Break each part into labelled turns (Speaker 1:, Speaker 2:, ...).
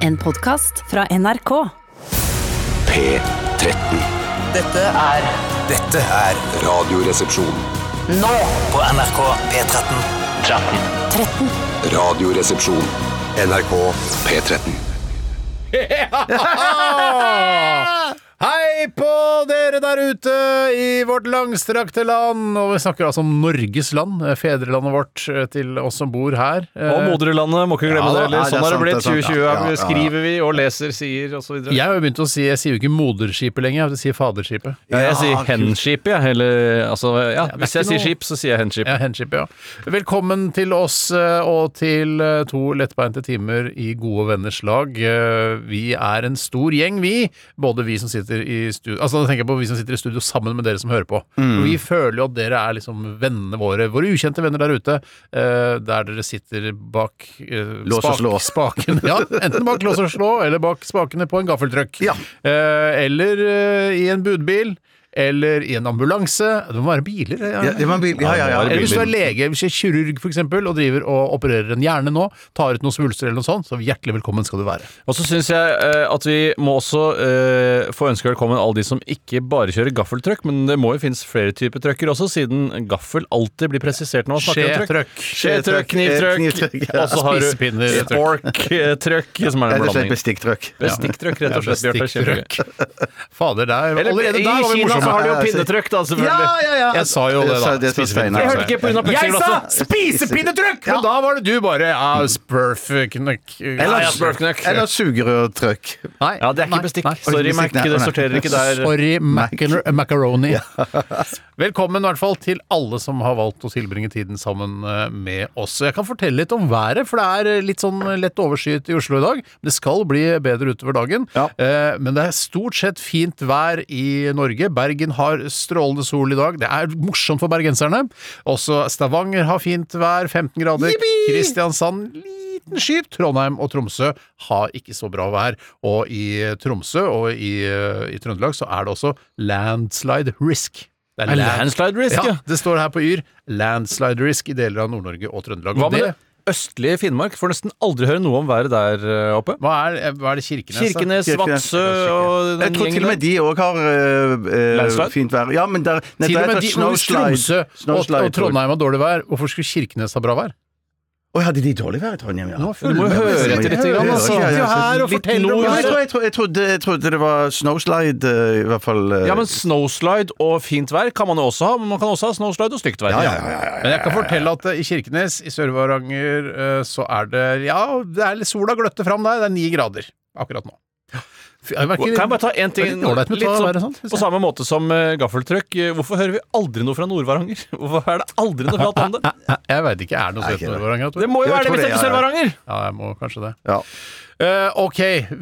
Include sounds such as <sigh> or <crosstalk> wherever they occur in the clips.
Speaker 1: En podkast fra NRK.
Speaker 2: P13.
Speaker 3: Dette er
Speaker 2: Dette er Radioresepsjon.
Speaker 3: nå på NRK P13. 13.
Speaker 2: Radioresepsjon. NRK P13.
Speaker 4: Hei på dere der ute i vårt langstrakte land! Og vi snakker altså om Norges land, eh, fedrelandet vårt, eh, til oss som bor her. Eh,
Speaker 5: Og moderlandet, må ikke glemme
Speaker 6: Ja,
Speaker 5: det
Speaker 6: nei,
Speaker 5: heller.
Speaker 6: det er
Speaker 5: Sånn har det
Speaker 6: sant,
Speaker 5: blitt.
Speaker 6: det er sant.
Speaker 5: 2020
Speaker 6: Ja, ja, ja.
Speaker 5: skriver vi og leser, sier osv.
Speaker 4: Jeg har jo begynt å si Jeg sier jo ikke moderskipet lenger, jeg sier faderskipet.
Speaker 5: Ja, jeg sier henskip, jeg. Eller altså ja, Hvis jeg
Speaker 4: ikke
Speaker 5: sier
Speaker 4: noe-
Speaker 5: skip, så sier jeg henskip.
Speaker 4: Ja, henskipet, ja. Velkommen til oss eh, og til eh, to lettbeinte timer i gode venners lag. Eh, Vi er en stor gjeng, vi. Både vi som sitter i studio Altså, da tenker jeg på vi som sitter i studio sammen med dere som hører på. Og Vi føler jo at dere er liksom vennene våre, våre ukjente venner der ute, eh, der dere sitter bak eh,
Speaker 6: Lås og slå. <laughs>
Speaker 4: spaken. Ja, enten bak lås og slå, eller bak spakene på en gaffeltrøkk.
Speaker 6: Ja.
Speaker 4: Eh, Eller eh, i en budbil. Eller i en ambulanse. Det må være biler. Ja,
Speaker 6: Ja, det var en bil. ja, ja, ja.
Speaker 4: eller hvis du er lege, hvis du er kirurg for eksempel, og driver og opererer en hjerne nå, tar ut noen svulster eller noe sånt, så hjertelig velkommen skal du være.
Speaker 5: Og så syns jeg eh, at vi må også eh, få ønske velkommen alle de som ikke bare kjører gaffeltrøkk, men det må jo finnes flere typer trøkker også, siden gaffel alltid blir presisert når man snakker om trøkk.
Speaker 4: Skjetrøkk.
Speaker 5: Skjetrøkk, knivtrøkk,
Speaker 6: Knivtrøkk, eh, ja.
Speaker 5: og så har
Speaker 4: Spisepinner, eh,
Speaker 5: du spork-trøkk, som er en
Speaker 6: Rett og slett
Speaker 5: blanding.
Speaker 6: bestikktrykk.
Speaker 5: Bestikktrøkk, rett og slett. Bjarte. Kjempegodt.
Speaker 4: <laughs> Fader, der, allerede der var vi morsomme.
Speaker 6: har de jo
Speaker 5: pinnetrøkk, da,
Speaker 6: ja, ja.
Speaker 4: Jeg sa jo det, da.
Speaker 6: Det sa Steinar.
Speaker 5: Jeg hørte ikke pga.
Speaker 4: altså, Jeg sa
Speaker 5: pleksiglasset.
Speaker 4: spisepinnetrykk! Men da var det du bare ja, spurfknøkk.
Speaker 5: Eller
Speaker 4: Nei,
Speaker 5: spurfknøkk.
Speaker 6: Eller sugerørtrykk.
Speaker 4: Nei,
Speaker 5: Ja, det er ikke
Speaker 4: nei,
Speaker 5: bestikk.
Speaker 4: nei.
Speaker 5: Sorry, Mac,
Speaker 6: Nei,
Speaker 5: det
Speaker 6: nei.
Speaker 5: sorterer ikke der.
Speaker 4: Sorry, macaron- macaroni. Velkommen i hvert fall til alle som har valgt å tilbringe tiden sammen eh, med oss. Jeg kan fortelle litt om været, for det er eh, litt sånn lett overskyet i Oslo i dag. Det skal bli bedre utover dagen,
Speaker 6: Ja.
Speaker 4: Eh, men det er stort sett fint vær i Norge. Bergen har strålende sol i dag. Det er morsomt for bergenserne. Også Stavanger har fint vær, 15 grader. Kristiansand liten skyet. Trondheim og Tromsø har ikke så bra vær. Og i Tromsø og i, eh, i Trøndelag så er det også landslide risk. Det
Speaker 5: Er landslide risk,
Speaker 4: ja.
Speaker 5: ja.
Speaker 4: Det står her på Yr. Landslide risk i deler av Nord-Norge og Trøndelag.
Speaker 5: Hva
Speaker 4: Og
Speaker 5: med det østlige Finnmark? Får nesten aldri høre noe om været der eh, oppe.
Speaker 4: Hva er, hva er det Kirkenes? da?
Speaker 5: Kirkenes, Vadsø og
Speaker 6: Jeg
Speaker 5: den
Speaker 6: tror til
Speaker 5: gjengen
Speaker 6: og med
Speaker 5: der.
Speaker 6: de òg har eh, eh,
Speaker 5: Landslide?
Speaker 6: fint vær. Ja, men der, nei,
Speaker 4: Til
Speaker 6: der
Speaker 4: og med
Speaker 6: heter
Speaker 4: de, når
Speaker 6: snowslide.
Speaker 4: Tromsø og,
Speaker 6: Snowslide,
Speaker 4: og
Speaker 6: tror jeg.
Speaker 4: Trondheim har dårlig vær, hvorfor skulle Kirkenes ha bra vær?
Speaker 6: Å, hadde de dårlig vær i Trondheim, ja?
Speaker 4: Nå
Speaker 5: Du må jo høre etter litt. Grann, altså.
Speaker 6: Ja, ja, ja.
Speaker 5: Litt nord,
Speaker 6: Ja,
Speaker 5: altså.
Speaker 6: men jeg, tror, jeg, tror, jeg, trodde, jeg trodde det var snowslide, eh, i hvert fall. eh.
Speaker 5: Ja, men snowslide og fint vær kan man jo også ha, men man kan også ha snowslide og stygt vær.
Speaker 6: ja, ja, ja, ja, ja.
Speaker 4: Men jeg kan fortelle at eh, i Kirkenes, i Sør-Varanger, eh, så er det Ja, det er litt sola gløtter fram der. Det er ni grader akkurat nå. Fy- jeg merker-
Speaker 5: Kan jeg bare ta én
Speaker 4: Det er
Speaker 5: ting?
Speaker 4: litt ålreit med å ta været sånn, synes
Speaker 5: på
Speaker 4: jeg.
Speaker 5: samme måte som eh, gaffeltrøkk. eh, Hvorfor hører vi aldri noe fra Nord-Varanger? <laughs> Hvorfor er det aldri noe prat om det?
Speaker 4: Nei, Jeg veit ikke. Er det noe
Speaker 6: Nei,
Speaker 4: søtt
Speaker 6: ikke det.
Speaker 4: Nord-Varanger? tror
Speaker 5: Det
Speaker 4: jeg?
Speaker 5: må jo
Speaker 6: Jeg
Speaker 5: være det
Speaker 6: tror
Speaker 5: vi
Speaker 6: det,
Speaker 5: tenker
Speaker 6: ja, ja.
Speaker 5: Sør-Varanger!
Speaker 4: Ja, jeg må kanskje det.
Speaker 6: Ja.
Speaker 4: Eh, ok,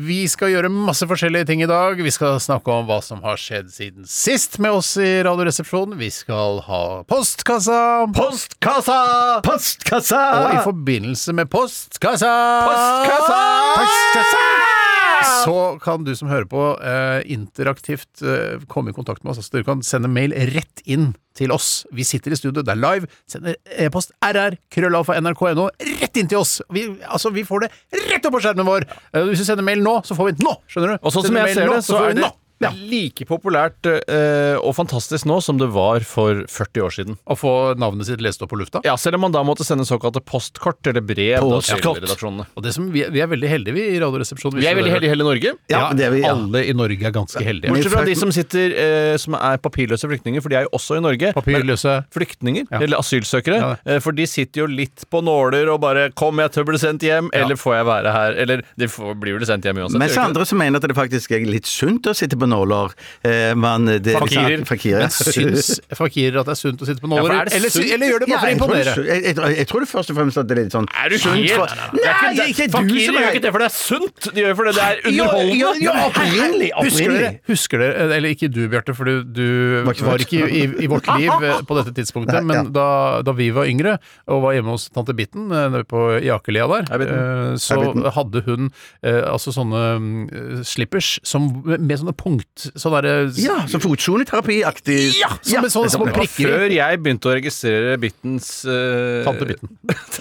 Speaker 4: vi skal gjøre masse forskjellige ting i dag. Vi skal snakke om hva som har skjedd siden sist med oss i Radioresepsjonen. Vi skal ha postkassa.
Speaker 6: Postkassa! Postkassa!
Speaker 4: Og i forbindelse med postkassa
Speaker 5: Ah. Postkassa! Ah.
Speaker 4: Så kan du som hører på eh, interaktivt eh, komme i kontakt med oss. Altså, du kan sende mail rett inn til oss. Vi sitter i studio, det er live. Sender e-post rr krøllalfa nrk.no rett inn til oss. Vi, altså, vi får det rett opp på skjermen vår. Eh, hvis du sender mail nå, så får vi den nå. Skjønner du?
Speaker 5: Og sånn som
Speaker 4: Sender
Speaker 5: jeg
Speaker 4: mail
Speaker 5: ser
Speaker 4: nå,
Speaker 5: det, så
Speaker 4: får vi
Speaker 5: er
Speaker 4: den
Speaker 5: det
Speaker 4: nå. ja.
Speaker 5: like populært eh, og fantastisk nå som det var for 40 år siden.
Speaker 4: Å få navnet sitt lest opp på lufta.
Speaker 5: Ja, Selv om man da måtte sende såkalte postkort eller brev da, til
Speaker 4: Postkort.
Speaker 5: redaksjonene.
Speaker 4: Og det som, vi, er- vi er veldig heldige, vi i Radioresepsjonen.
Speaker 5: Vi er veldig heldige i hele Norge.
Speaker 6: Ja, men det er vi, ja.
Speaker 4: Alle i Norge er ganske heldige.
Speaker 5: Bortsett fra
Speaker 6: Men-
Speaker 5: de som sitter eh, som er papirløse flyktninger, for de er jo også i Norge.
Speaker 4: Papirløse.
Speaker 5: Men Flyktninger,
Speaker 4: Ja.
Speaker 5: eller asylsøkere,
Speaker 4: Ja,
Speaker 5: eh, for de sitter jo litt på nåler og bare 'Kom jeg til å bli sendt hjem?' Eller 'Får jeg være her?' Eller de får, blir vel sendt hjem uansett.
Speaker 6: Mens
Speaker 5: gjør de ikke det?
Speaker 6: andre som mener at det faktisk er litt sunt å sitte på nåler. Eh, man, det,
Speaker 5: Fakirer.
Speaker 6: Fakirer.
Speaker 4: Men syns fakirer at det er sunt å sitte på nåler?
Speaker 5: Ja, for er det
Speaker 4: eller, sy-
Speaker 5: sunt?
Speaker 4: eller gjør det bare for å
Speaker 6: jeg, tror det,
Speaker 4: imponere?
Speaker 6: jeg, jeg, tror- jeg tror det først og fremst at det er litt sånn
Speaker 5: Er du sunt?
Speaker 6: for- Nei, det er ikke du
Speaker 5: Fakirer
Speaker 6: som
Speaker 5: gjør
Speaker 6: er
Speaker 5: ikke det for det er sunt, de gjør det fordi det er underholdende.
Speaker 6: Jo, jo, jo, opprinnelig,
Speaker 4: Husker dere,
Speaker 6: opprinnelig.
Speaker 4: husker dere, eller ikke du Bjarte, for du, du
Speaker 6: Var ikke
Speaker 4: var
Speaker 6: født.
Speaker 4: ikke i, i vårt liv eh, på dette tidspunktet, men
Speaker 6: <laughs> ja.
Speaker 4: da, da vi var yngre og var hjemme hos tante Bitten eh, nede på Jakelia der,
Speaker 5: Hei, Bitten.
Speaker 4: eh, så hadde hun eh, altså sånne mm, eh, slippers som, med sånne punkt Sånn derre
Speaker 6: Ja, som fotsoneterapi-aktig.
Speaker 4: Ja, som
Speaker 5: sånn
Speaker 4: med sånne små
Speaker 6: nettopp.
Speaker 4: prikker. Prikkeri.
Speaker 5: Før jeg begynte å registrere Bittens eh,
Speaker 4: Tante
Speaker 5: <laughs>
Speaker 4: Bitten.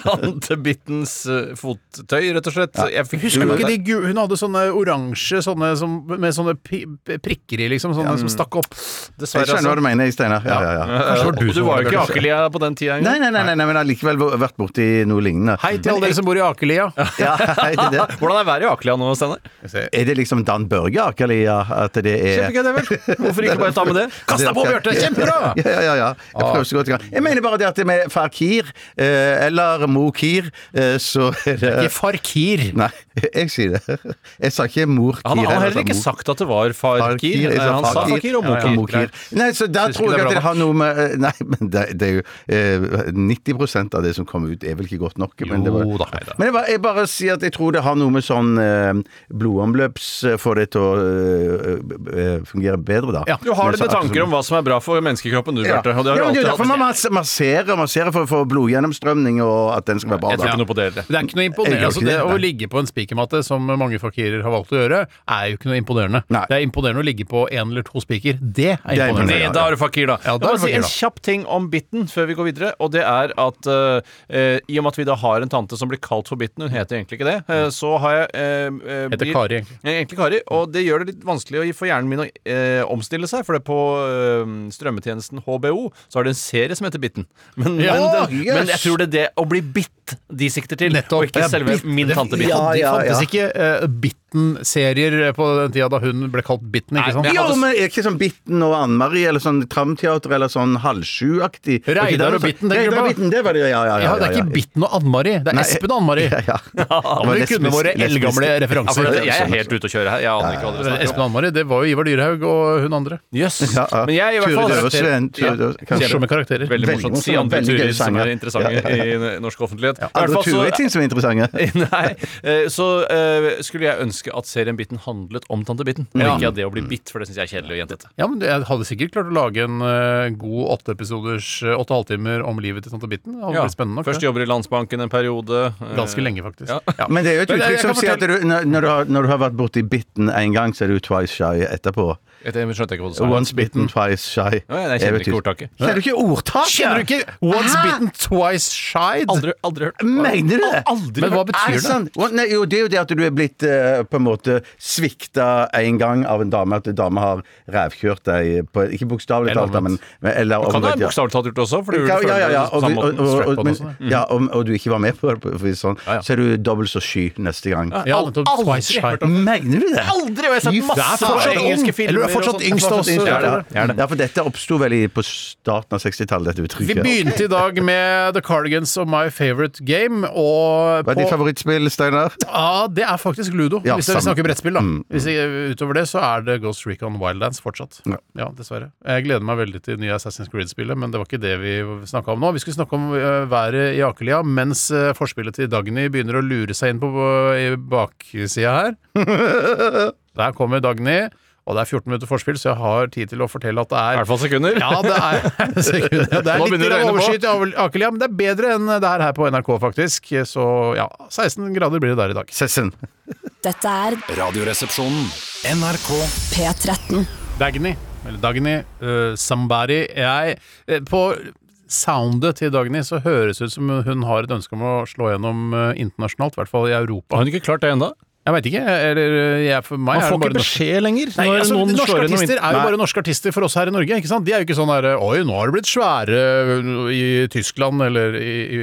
Speaker 5: Tante Bittens eh, fottøy, rett og slett. Jeg fikk
Speaker 4: Husker du
Speaker 5: med
Speaker 4: ikke de
Speaker 5: meg-
Speaker 4: gu- Hun hadde sånne oransje sånne som, med sånne pi, prikker i, liksom. Sånne
Speaker 6: mm.
Speaker 4: som stakk opp. altså.
Speaker 6: Jeg skjønner hva du mener, Steinar. Ja, ja, ja.
Speaker 4: Kanskje det var
Speaker 5: Og
Speaker 4: du
Speaker 5: Du
Speaker 4: som
Speaker 5: var
Speaker 4: var det,
Speaker 5: jo ikke i
Speaker 4: kanskje.
Speaker 5: Akelia på den tida
Speaker 6: Nei,
Speaker 5: engang.
Speaker 6: nei, nei, nei, nei, men allikevel vært borti noe lignende.
Speaker 4: Hei til alle dere som bor i Akelia.
Speaker 6: Ja, hei til
Speaker 5: <laughs>
Speaker 6: det.
Speaker 5: Ah, Hvordan er været i Akelia nå, Steinar?
Speaker 6: Er det liksom Dan Børge Akelia? At det er
Speaker 5: Kjempegøy, det vel. Hvorfor ikke bare ta med det?
Speaker 4: Kast deg på, Bjarte! Kjempebra!
Speaker 6: Ja, ja, ja. ja. Jeg prøver så godt jeg kan. Jeg mener bare det at det med Fakir, eh, eller Mokir, eh, så er det
Speaker 4: Ikke Farkir.
Speaker 6: Nei, <laughs> jeg sier det. Jeg sa ikke Mor Kir.
Speaker 5: Han har
Speaker 6: jeg
Speaker 5: heller ikke
Speaker 6: Mor-
Speaker 5: sagt at det var Farkir.
Speaker 6: jeg
Speaker 5: Nei, Han sa Fakir og
Speaker 6: Ja, ja,
Speaker 5: Mokir.
Speaker 6: Mokir. Nei, så der
Speaker 4: Syns
Speaker 6: tror
Speaker 4: ikke det er bra
Speaker 6: jeg at det har noe med eh, Nei, men det, det er jo eh, 90 av det som kommer ut, er vel ikke godt nok. Men det var,
Speaker 4: Jo da, nei da.
Speaker 6: Men jeg bare, jeg bare sier at jeg tror det har noe med sånn eh, blodomløps eh, Få det til å eh, eh, fungere bedre, da.
Speaker 4: Ja,
Speaker 5: Du har dine tanker om hva som er bra for menneskekroppen, du, Bjarte. og det har du
Speaker 6: ja, men det er
Speaker 5: alltid
Speaker 6: jo derfor man
Speaker 5: hatt.
Speaker 6: mas- masserer, masserer for å få blodgjennomstrømning og at den skal være bra.
Speaker 5: Jeg tror
Speaker 6: da.
Speaker 5: ikke noe på det. heller.
Speaker 4: Det er ikke noe
Speaker 6: Jeg
Speaker 4: imponerende.
Speaker 6: gjør
Speaker 4: Altså,
Speaker 6: ikke
Speaker 4: det
Speaker 6: det,
Speaker 4: å
Speaker 6: nei.
Speaker 4: ligge på en spikermatte, som mange fakirer har valgt å gjøre, er jo ikke noe imponerende.
Speaker 6: Nei.
Speaker 4: Det er imponerende å ligge på én eller to spiker. Det er
Speaker 6: er
Speaker 4: imponerende.
Speaker 5: Nei,
Speaker 6: imponerende.
Speaker 5: da er du fakir, da.
Speaker 4: Ja, da
Speaker 5: Jeg må
Speaker 4: er du
Speaker 5: si
Speaker 4: fakir,
Speaker 5: en
Speaker 4: da.
Speaker 5: kjapp ting om Bitten før vi går videre. Og det er at eh, eh, i og med at vi da har en tante som blir kalt for Bitten, hun heter egentlig ikke det, eh, så har jeg eh, eh,
Speaker 4: Heter
Speaker 5: blir-
Speaker 4: Kari, egentlig.
Speaker 5: Eh, Egentlig Kari. Og det gjør det litt vanskelig å gi- for hjernen min å eh, omstille seg, for det er på eh, strømmetjenesten HBO så har de en serie som heter Bitten. Men,
Speaker 4: Ja,
Speaker 5: men, den,
Speaker 6: yes.
Speaker 5: men jeg tror det er det å bli bitt de sikter til, og ikke
Speaker 4: Ja,
Speaker 5: selve
Speaker 4: Bitten.
Speaker 5: min tante Bitten.
Speaker 6: Ja,
Speaker 4: Det
Speaker 6: Ah, ja,
Speaker 4: fantes
Speaker 6: ja.
Speaker 4: ikke eh, Bitten-serier eh, på den tida da hun ble kalt Bitten,
Speaker 5: Nei,
Speaker 4: ikke sant?
Speaker 5: men jeg
Speaker 6: Jo,
Speaker 5: hadde-
Speaker 6: men er ikke sånn Bitten og Anne Marie eller sånn Tramteater eller sånn Halvsju-aktig? Var ikke det
Speaker 4: Reidar og
Speaker 6: noe sånn-
Speaker 4: Bitten, tenker du
Speaker 6: Reidar og
Speaker 4: på?
Speaker 6: Bitten, det var det, ja, ja, ja.
Speaker 4: Ja, det er
Speaker 6: ja,
Speaker 4: ikke
Speaker 6: ja.
Speaker 4: Bitten og Ann-Mari, det er
Speaker 6: Nei,
Speaker 4: Espen og Ann-Mari.
Speaker 6: <laughs> Ja, ja.
Speaker 4: Ja, vi kunne våre eldgamle
Speaker 5: Ja, for
Speaker 4: referanser.
Speaker 5: det, jeg er helt ute å kjøre her. Jeg aner ikke hva dere snakker om.
Speaker 4: Espen og Ann-Mari, det var jo Ivar Dyrhaug og hun andre.
Speaker 5: Jøss.
Speaker 6: Ja, ja.
Speaker 5: Men jeg i hvert
Speaker 6: Ture
Speaker 5: fall
Speaker 6: Døve, Sven, Ture Døve, kanskje.
Speaker 4: Morsomme karakterer.
Speaker 5: Veldig
Speaker 6: Veldig
Speaker 5: morsomt. Si
Speaker 6: morsomt,
Speaker 5: andre
Speaker 6: veldig gøy
Speaker 5: turer som
Speaker 6: sanger.
Speaker 5: er interessante
Speaker 6: Ja, ja,
Speaker 5: i norsk offentlighet. I hvert
Speaker 6: Andre
Speaker 5: fall så-
Speaker 6: turøyting som er interessante.
Speaker 5: <laughs> Nei, eh, så eh, skulle jeg ønske at serien Bitten handlet om tante Bitten, og ikke at det å bli bitt, for det syns jeg er kjedelig og jentete.
Speaker 4: Ja, men Jeg hadde sikkert klart å lage en eh, god åtte episoders eh, åtte halvtimer om livet til tante Bitten. Det hadde
Speaker 5: Ja.
Speaker 4: blitt spennende nok.
Speaker 5: Først
Speaker 4: det.
Speaker 5: jobber i Landsbanken en periode. eh,
Speaker 4: Ganske lenge, faktisk.
Speaker 5: Ja.
Speaker 4: Ja.
Speaker 6: Men det er jo et
Speaker 4: Men jeg-
Speaker 6: uttrykk
Speaker 4: jeg kan
Speaker 6: som sier at
Speaker 4: fortelle-
Speaker 6: du, når, når, du har, når du har vært borti Bitten én gang, så er du twice shy etterpå.
Speaker 5: Jeg skjønte ikke hva du sa.
Speaker 6: Once bitten, twice shy.
Speaker 5: Å, ja, jeg kjenner ikke ordtaket.
Speaker 6: Kjenner du ikke ordtaket?
Speaker 4: Kjenner du ikke Once bitten, twice shied?
Speaker 5: Aldri, aldri hørt.
Speaker 6: Mener du det?
Speaker 5: Aldri
Speaker 4: Men hva
Speaker 5: hørt.
Speaker 4: betyr
Speaker 6: Er
Speaker 4: det?
Speaker 6: sant? Å, Nei, jo, det er jo det at du er blitt eh, på en måte svikta en gang av en dame. At en dame har rævkjørt deg på Ikke bokstavelig
Speaker 4: Eller
Speaker 6: talt, da, men men-
Speaker 5: Kan
Speaker 6: eller
Speaker 5: det
Speaker 6: omvendt,
Speaker 5: være
Speaker 6: ja.
Speaker 5: bokstavelig talt gjort også? For du
Speaker 6: Ja,
Speaker 5: føler
Speaker 6: ja, ja,
Speaker 5: deg
Speaker 6: ja.
Speaker 5: på
Speaker 6: Og,
Speaker 5: samme
Speaker 6: og,
Speaker 5: måten.
Speaker 6: og,
Speaker 4: strap-on
Speaker 6: og, men,
Speaker 4: og sånn,
Speaker 6: ja, om- og du ikke var med på det, for å si det sånn,
Speaker 5: Ja, ja.
Speaker 6: så er du dobbelt så sky neste gang.
Speaker 4: Ja, nettopp. Twice
Speaker 5: aldri hørt
Speaker 4: shied.
Speaker 6: Mener du det?
Speaker 5: Aldri! Og jeg har sett
Speaker 4: Fy faen.
Speaker 5: masse
Speaker 4: Det er fortsatt ung.
Speaker 5: engelske filmer.
Speaker 4: Eller du er fortsatt
Speaker 5: og sånt.
Speaker 4: yngst også.
Speaker 5: Jeg er fortsatt yngst,
Speaker 6: Ja,
Speaker 5: ja. Jeg er det.
Speaker 6: ja, for dette oppsto vel i- på starten av 60-tallet, dette
Speaker 4: Vi
Speaker 6: uttrykket.
Speaker 4: begynte i dag med The Cardigans og My Favorite Game. Og
Speaker 6: Hva er ditt
Speaker 4: på
Speaker 6: favorittspill, Steinar?
Speaker 4: ja, det er faktisk Ludo,
Speaker 6: Ja,
Speaker 4: hvis vi
Speaker 6: samme.
Speaker 4: snakker brettspill. da Hvis jeg, Utover det så er det Ghost Recon Wildlands fortsatt. Ja, dessverre. Jeg gleder meg veldig til det nye Assassin's Creed-spillet, men det var ikke det vi snakka om nå. Vi skulle snakke om eh, været i Akelia, mens eh, forspillet til Dagny begynner å lure seg inn på på- i baksida her. Der kommer Dagny, og det er 14 minutter forspill, så jeg har tid til å fortelle at det
Speaker 5: I
Speaker 4: er
Speaker 5: hvert fall sekunder.
Speaker 4: ja, det er, <laughs> sekund, ja, det er
Speaker 5: Nå
Speaker 4: litt
Speaker 5: begynner det å
Speaker 4: grann
Speaker 5: regne på.
Speaker 4: overskyet i Avel- Akelia, men det er bedre enn det her her på NRK, faktisk. Så ja, 16 grader blir det der i dag.
Speaker 6: <laughs> Sessen.
Speaker 1: Dette er
Speaker 2: Radioresepsjonen.
Speaker 1: P13.
Speaker 4: Dagny, eller Dagny, øh, somebody Jeg eh, På soundet til Dagny så høres ut som hun har et ønske om å slå gjennom eh, internasjonalt, i hvert fall i Europa.
Speaker 5: Har hun ikke klart det ennå?
Speaker 4: Jeg veit ikke, eller eh, jeg, for meg er
Speaker 5: Man får
Speaker 4: det
Speaker 5: ikke
Speaker 4: bare norsk.
Speaker 5: beskjed lenger.
Speaker 4: Nei,
Speaker 5: når
Speaker 4: altså,
Speaker 5: noen
Speaker 4: norske
Speaker 5: slår inn noe
Speaker 4: artister er jo
Speaker 5: Nei.
Speaker 4: bare norske artister for oss her i Norge. ikke sant? De er jo ikke sånn der Oi, nå har det blitt svære øh, i Tyskland eller i, i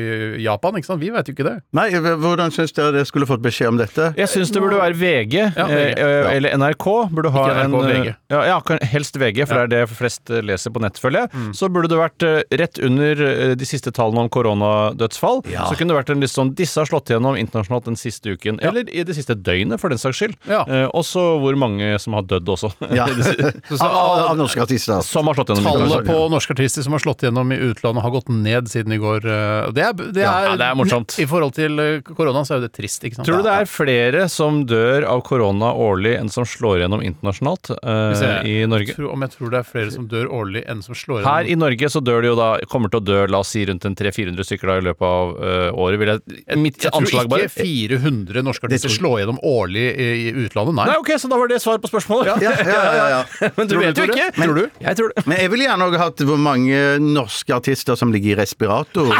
Speaker 4: Japan. ikke sant? Vi veit jo ikke det.
Speaker 6: Nei, h- hvordan syns dere dere skulle fått beskjed om dette?
Speaker 5: Jeg syns det burde være VG,
Speaker 4: Ja, VG.
Speaker 5: eh, eh, eller NRK. Burde ha
Speaker 4: Ikke NRK,
Speaker 5: en, eh,
Speaker 4: VG.
Speaker 5: Ja, ja, kan- helst VG, for det er det flest eh, leser på nett, føler jeg.
Speaker 4: Mm.
Speaker 5: Så burde det vært eh, rett under eh, de siste tallene om koronadødsfall. Så kunne det vært en liste sånn Disse har slått gjennom internasjonalt den siste uken, eller i det siste døgnet, for den saks skyld.
Speaker 4: Ja.
Speaker 5: Eh, også hvor mange som har dødd også. <laughs>
Speaker 4: <laughs>
Speaker 6: Ja. Av, av, av norske artister.
Speaker 5: som har slått gjennom.
Speaker 4: Tallet
Speaker 5: internasjonalt.
Speaker 4: på norske artister som har slått gjennom i utlandet, har gått ned siden i går. eh, og Det er, det er,
Speaker 5: ja, det er morsomt.
Speaker 4: I forhold til eh, korona så er jo det trist, ikke sant?
Speaker 5: Tror du det er flere som dør av korona årlig enn som slår gjennom internasjonalt eh, i Norge?
Speaker 4: Jeg tror, om jeg tror det er flere som dør årlig enn som slår
Speaker 5: Her
Speaker 4: gjennom.
Speaker 5: i Norge så dør det jo da kommer til å dø la oss si rundt en 300-400 stykker da i løpet av eh, året. Vil jeg, mitt
Speaker 4: Jeg tror
Speaker 5: anslag bare
Speaker 4: ikke 400 norske
Speaker 6: Det
Speaker 4: artister
Speaker 6: tror jeg-
Speaker 4: slår gjennom årlig i i utlandet. Nei.
Speaker 5: Nei, ok, så da var det svaret på spørsmålet.
Speaker 6: Ja, ja, ja, ja, ja.
Speaker 5: <laughs> Men du
Speaker 4: Tror-
Speaker 5: vet jo
Speaker 4: tror du
Speaker 5: ikke.
Speaker 4: det? Tror du?
Speaker 5: Jeg tror det.
Speaker 6: Men jeg ville gjerne også hatt hvor mange norske artister som ligger i
Speaker 4: <laughs>
Speaker 6: respirator.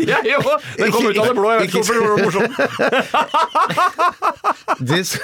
Speaker 5: Jeg <laughs> òg! Den kom ut av det blå. Jeg vet ikke hvorfor det var morsomt.
Speaker 6: Det s-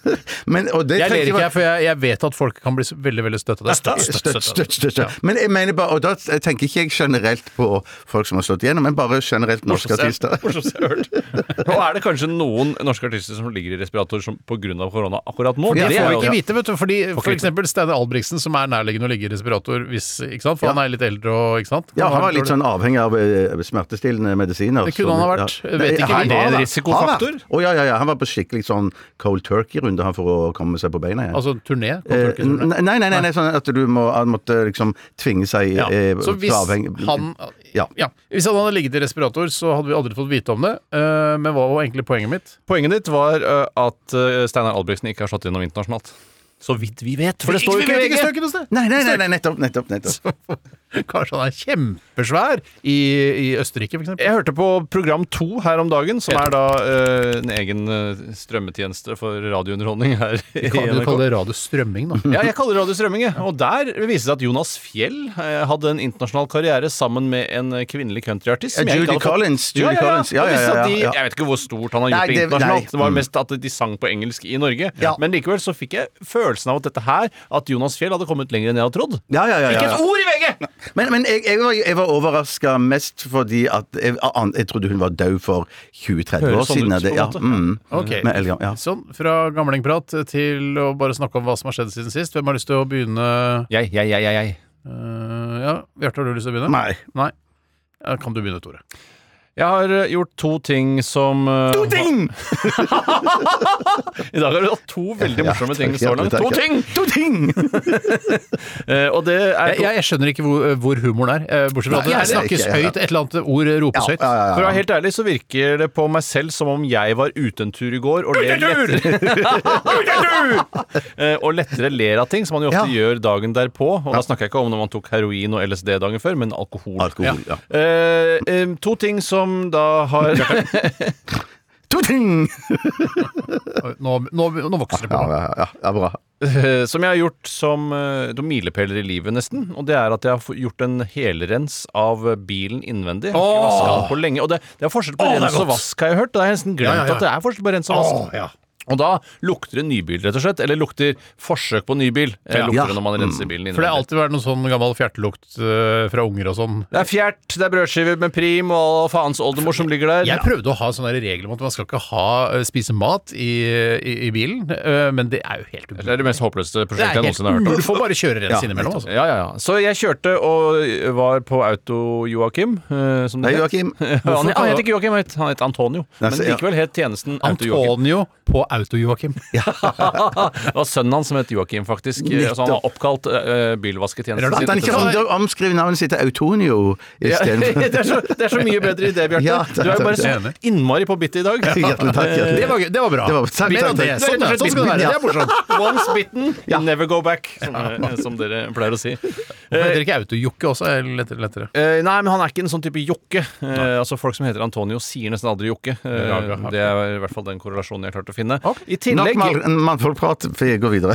Speaker 6: <laughs> Men, og det
Speaker 4: Jeg
Speaker 6: trenger
Speaker 4: ler ikke,
Speaker 6: være-
Speaker 4: jeg, for jeg, jeg vet at folk kan bli så veldig veldig støtt av det. Støtt,
Speaker 6: Støtt, støtt, støtt. støtt. Men jeg mener bare, og da tenker ikke jeg generelt på folk som har slått igjennom, men bare generelt norske artister.
Speaker 5: Morsomst jeg har hørt. Og er det kanskje noen norske artister som ligger i respirator som pga. korona akkurat nå?
Speaker 4: Det
Speaker 5: Det
Speaker 4: får
Speaker 5: er
Speaker 4: vi
Speaker 5: jo-
Speaker 4: ikke vite, vet du. Fordi for
Speaker 5: vite.
Speaker 4: eksempel Steinar Albrigtsen, som er nærliggende å ligge i respirator, hvis, ikke sant? for
Speaker 6: Ja.
Speaker 4: han er litt eldre og ikke sant?
Speaker 6: Ja, han var
Speaker 4: Kan-
Speaker 6: litt sånn avhengig av eh, smertestillende medisiner.
Speaker 4: Det kunne han ha vært. Jeg vet ikke
Speaker 5: om det er en risikofaktor.
Speaker 6: Å ja, ja, ja. Han var på skikkelig sånn cold turkey-runde han for å komme seg på
Speaker 5: sånn-
Speaker 6: beina igjen.
Speaker 4: Altså turné?
Speaker 6: Eh,
Speaker 4: kontorturné.
Speaker 6: nei, nei, nei, nei, sånn at du må, han måtte liksom tvinge seg
Speaker 4: Ja.
Speaker 6: eh,
Speaker 4: Så hvis
Speaker 6: til avheng-
Speaker 4: han, ja.
Speaker 6: Ja.
Speaker 4: hvis han hadde ligget i respirator, så hadde vi aldri fått vite om det. Eh, Men hva var egentlig poenget mitt?
Speaker 5: Poenget ditt var ø, at ø, Steinar Albrigtsen ikke har slått gjennom internasjonalt. Så vidt vi vet. For det står jo
Speaker 4: Vi vet
Speaker 5: ikke i VG.
Speaker 4: står ikke noe sted.
Speaker 6: Nei, nei, nei, nei, nettopp, nettopp,
Speaker 4: <laughs>
Speaker 6: nettopp.
Speaker 4: Kanskje han er kjempesvær i, i Østerrike, for eksempel.
Speaker 5: Jeg hørte på Program 2 her om dagen, som er da ø, en egen ø, strømmetjeneste for radiounderholdning her i
Speaker 4: Kan du kalle
Speaker 5: NRK.
Speaker 4: det radiostrømming, da?
Speaker 5: Ja, jeg kaller det Radio Strømming, jeg. Og der viser det seg at Jonas Fjell eh, hadde en internasjonal karriere sammen med en eh, kvinnelig countryartist. som
Speaker 6: Ja,
Speaker 5: jeg ikke
Speaker 6: Judy
Speaker 5: hadde fått-
Speaker 6: Collins, Judy
Speaker 5: Ja, ja, ja.
Speaker 6: Collins. Ja,
Speaker 5: Og det
Speaker 6: ja,
Speaker 5: viser seg at
Speaker 6: ja,
Speaker 5: de-
Speaker 6: ja.
Speaker 5: Jeg vet ikke hvor stort han har gjort
Speaker 6: Nei,
Speaker 5: det
Speaker 6: det-
Speaker 5: internasjonalt.
Speaker 6: nei.
Speaker 5: Det var mest at de sang på engelsk i Norge.
Speaker 6: Ja.
Speaker 5: Men likevel så fikk jeg følelsen av at dette her, at Jonas Fjell hadde kommet lenger enn jeg hadde trodd.
Speaker 6: Ja, ja, ja, ja,
Speaker 5: Ikke et
Speaker 6: ja.
Speaker 5: ord i VG!
Speaker 6: Men, men jeg, jeg var, jeg var overraska mest fordi at jeg, an- jeg trodde hun var død for 20-30 år
Speaker 5: Høres sånn
Speaker 6: siden.
Speaker 5: ut, på
Speaker 6: det,
Speaker 5: en
Speaker 6: ja,
Speaker 5: måte.
Speaker 6: mm,
Speaker 4: Ok.
Speaker 6: med Elgam, ja.
Speaker 4: Sånn, fra gamlingprat til å bare snakke om hva som har skjedd siden sist. Hvem har lyst til å begynne?
Speaker 5: Jeg, jeg, jeg, jeg, jeg.
Speaker 4: Eh, ja, Bjarte, har du lyst til å begynne?
Speaker 6: Nei.
Speaker 4: Nei. Ja, kan du begynne, Tore?
Speaker 5: Jeg har eh, gjort to ting som To <laughs> ting! I dag har du hatt to veldig
Speaker 6: Ja,
Speaker 5: morsomme ting
Speaker 6: takk,
Speaker 5: så langt.
Speaker 6: hjertelig
Speaker 5: To
Speaker 6: takk.
Speaker 5: ting!
Speaker 6: To ting!
Speaker 5: Eh, og det er
Speaker 4: Jeg, jeg, jeg skjønner ikke hvor, hvor humoren er, eh, bortsett fra at
Speaker 6: Nei,
Speaker 4: det
Speaker 6: jeg er
Speaker 4: snakkes
Speaker 6: ikke-
Speaker 4: høyt, et eller annet ord ropes høyt.
Speaker 5: For å være helt ærlig så virker det på meg selv som om jeg var ute en tur i går og ler
Speaker 4: <laughs>
Speaker 5: lettere <laughs> Eh, Og lettere ler av ting, som man jo ofte
Speaker 6: Ja.
Speaker 5: gjør dagen derpå. Og da snakker jeg ikke om når man tok heroin og LSD dagen før, men alkohol.
Speaker 6: Alkohol, ja.
Speaker 5: Eh, em, to ting som
Speaker 4: <laughs>
Speaker 5: da har <laughs>
Speaker 6: To ting!
Speaker 4: Nå, nå, nå vokser det på
Speaker 6: Ja,
Speaker 4: meg.
Speaker 6: ja, ja, ja, bra.
Speaker 5: eh, Som jeg har gjort som eh, noen milepæler i livet, nesten. Og det er at jeg har f- gjort en helrens av bilen innvendig. Jeg har ikke vasket den på lenge. Og det, det er forskjell på
Speaker 4: Åh, det er
Speaker 5: rens og
Speaker 4: godt.
Speaker 5: vask, har jeg hørt. Det har jeg nesten glemt
Speaker 4: Ja, ja, ja.
Speaker 5: at det er forskjell på rens og vask.
Speaker 4: Åh, ja.
Speaker 5: Og da lukter det nybil, rett og slett. Eller lukter forsøk på nybil. Eh,
Speaker 4: Ja.
Speaker 5: Lukter
Speaker 6: Ja.
Speaker 5: det når man renser bilen
Speaker 4: For det har
Speaker 5: innvendig.
Speaker 4: alltid vært noe sånn gammel fjertelukt eh, fra unger og sånn.
Speaker 5: Det er fjert, det er brødskiver med prim og all faens oldemor som ligger der.
Speaker 4: Jeg prøvde å ha sånne der regler om at man skal ikke ha, eh, spise mat i, i, i bilen, eh, men det er jo helt umulig.
Speaker 5: Det er det mest håpløse
Speaker 4: Det er
Speaker 5: prosjektet
Speaker 4: helt
Speaker 5: jeg noensinne har hørt om.
Speaker 4: umulig. Du får bare kjøre rens
Speaker 6: Ja,
Speaker 4: innimellom. Altså.
Speaker 5: Ja, ja, ja. Så jeg kjørte og var på Auto-Joakim. eh, som det
Speaker 6: Nei,
Speaker 5: het. <laughs>
Speaker 6: Joakim.
Speaker 5: Han, han het ikke Joakim, han het- han het Antonio.
Speaker 6: Nei,
Speaker 5: Men
Speaker 6: så- ja.
Speaker 5: likevel het tjenesten Auto-Joakim.
Speaker 4: Antonio på
Speaker 6: <laughs>
Speaker 4: Auto-Joakim.
Speaker 5: <laughs> det var sønnen hans som het Joakim, faktisk. Eh, Så han var oppkalt eh, bilvasketjenesten.
Speaker 6: At
Speaker 5: sin.
Speaker 6: han ikke omdø- omskriver navnet sitt til Autonio
Speaker 5: <laughs> Ja, <laughs>
Speaker 6: istedenfor
Speaker 5: det, er så, det er så mye bedre idé, Bjarte.
Speaker 6: Ja,
Speaker 5: du
Speaker 6: takk,
Speaker 5: er jo bare
Speaker 6: takk.
Speaker 5: så innmari på bittet i dag.
Speaker 6: Hjertelig takk. hjertelig.
Speaker 4: Det var, gøy, det var bra.
Speaker 6: Det var- takk,
Speaker 4: Mer
Speaker 6: takk,
Speaker 4: av det.
Speaker 6: takk.
Speaker 4: Sånn, er det. sånn skal det være. Det er morsomt.
Speaker 5: <laughs> Once bitten, never go back, som, eh, som dere pleier å si.
Speaker 4: Men Heter ikke Auto-Jokke også? Er det lettere, lettere.
Speaker 5: Eh, nei, men han er ikke en sånn type jokke. Eh, altså Folk som heter Antonio, sier nesten aldri jokke. Eh,
Speaker 4: Beklager, ja.
Speaker 5: det er i hvert fall den korrelasjonen jeg har klart å finne. I
Speaker 6: Nok
Speaker 5: tillegg,
Speaker 6: mal- mannfolkprat, for jeg går
Speaker 5: <laughs>
Speaker 6: videre.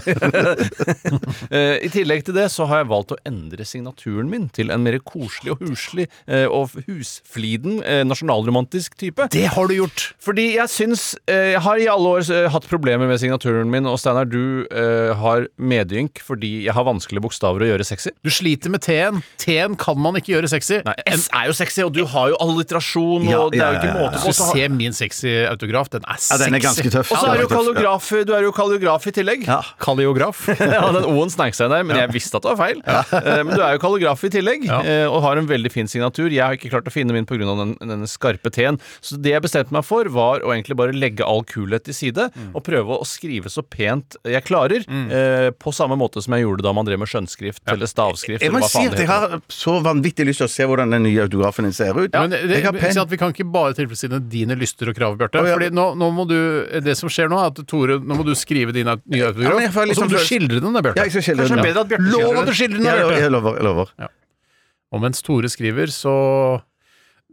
Speaker 5: eh, I tillegg til det så har jeg valgt å endre signaturen min til en mer koselig og huslig eh, og husfliden eh, nasjonalromantisk type.
Speaker 4: Det har du gjort.
Speaker 5: Fordi jeg syns eh, Jeg har i alle år eh, hatt problemer med signaturen min, og Steinar, du eh, har medynk fordi jeg har vanskelige bokstaver å gjøre sexy.
Speaker 4: Du sliter med T-en. T-en kan man ikke gjøre sexy.
Speaker 5: Nei, S er jo sexy, og du har jo alliterasjon, og
Speaker 6: Ja,
Speaker 5: det er jo
Speaker 6: ja,
Speaker 5: ikke
Speaker 6: ja, ja.
Speaker 5: måte på.
Speaker 4: Hvis
Speaker 5: så
Speaker 4: du
Speaker 5: har-
Speaker 4: ser min sexy autograf, den er
Speaker 6: Ja,
Speaker 4: sexy.
Speaker 6: den er ganske tøff.
Speaker 5: Og så er du
Speaker 6: Ja, den tøff, ja.
Speaker 5: kalliograf, du er jo kalliograf i tillegg.
Speaker 6: Ja.
Speaker 4: Kalliograf.
Speaker 5: <laughs> Ja, den O-en snek seg der, men jeg visste at det var feil. Eh, Men du er jo kalligraf i tillegg, eh, og har en veldig fin signatur. Jeg har ikke klart å finne min pga. Den, denne skarpe T-en. Så det jeg bestemte meg for, var å egentlig bare legge all kulhet til side,
Speaker 6: Mm.
Speaker 5: og prøve å skrive så pent jeg klarer, eh, på samme måte som jeg gjorde da man drev med skjønnskrift eller stavskrift.
Speaker 6: Jeg må
Speaker 5: eller hva
Speaker 6: si
Speaker 5: faen
Speaker 6: at
Speaker 5: det
Speaker 6: jeg
Speaker 5: heter.
Speaker 6: har så vanvittig lyst til å se hvordan den nye autografen din ser ut.
Speaker 4: Men det, det,
Speaker 6: Jeg har
Speaker 4: ikke
Speaker 6: pen.
Speaker 4: sant, vi kan ikke bare tilfredsstille dine lyster og krav, Bjarte.
Speaker 6: Å, ja.
Speaker 4: Fordi nå, nå må du, Det som skjer nå, er at Tore, nå må du skrive din aut- nye
Speaker 6: Ja,
Speaker 4: autograf,
Speaker 6: men jeg får
Speaker 4: og så
Speaker 6: liksom
Speaker 4: må du
Speaker 6: følelse-
Speaker 4: skildre den, da,
Speaker 6: Ja,
Speaker 4: Bjarte.
Speaker 6: jeg skal skildre
Speaker 5: Kanskje
Speaker 6: den.
Speaker 5: bedre at Bjarte
Speaker 6: Lov
Speaker 5: skildrer
Speaker 6: at du skildrer
Speaker 4: den,
Speaker 6: Ja,
Speaker 4: Bjarte.
Speaker 6: Jeg lover. jeg lover.
Speaker 4: <laughs> Og mens Tore skriver, så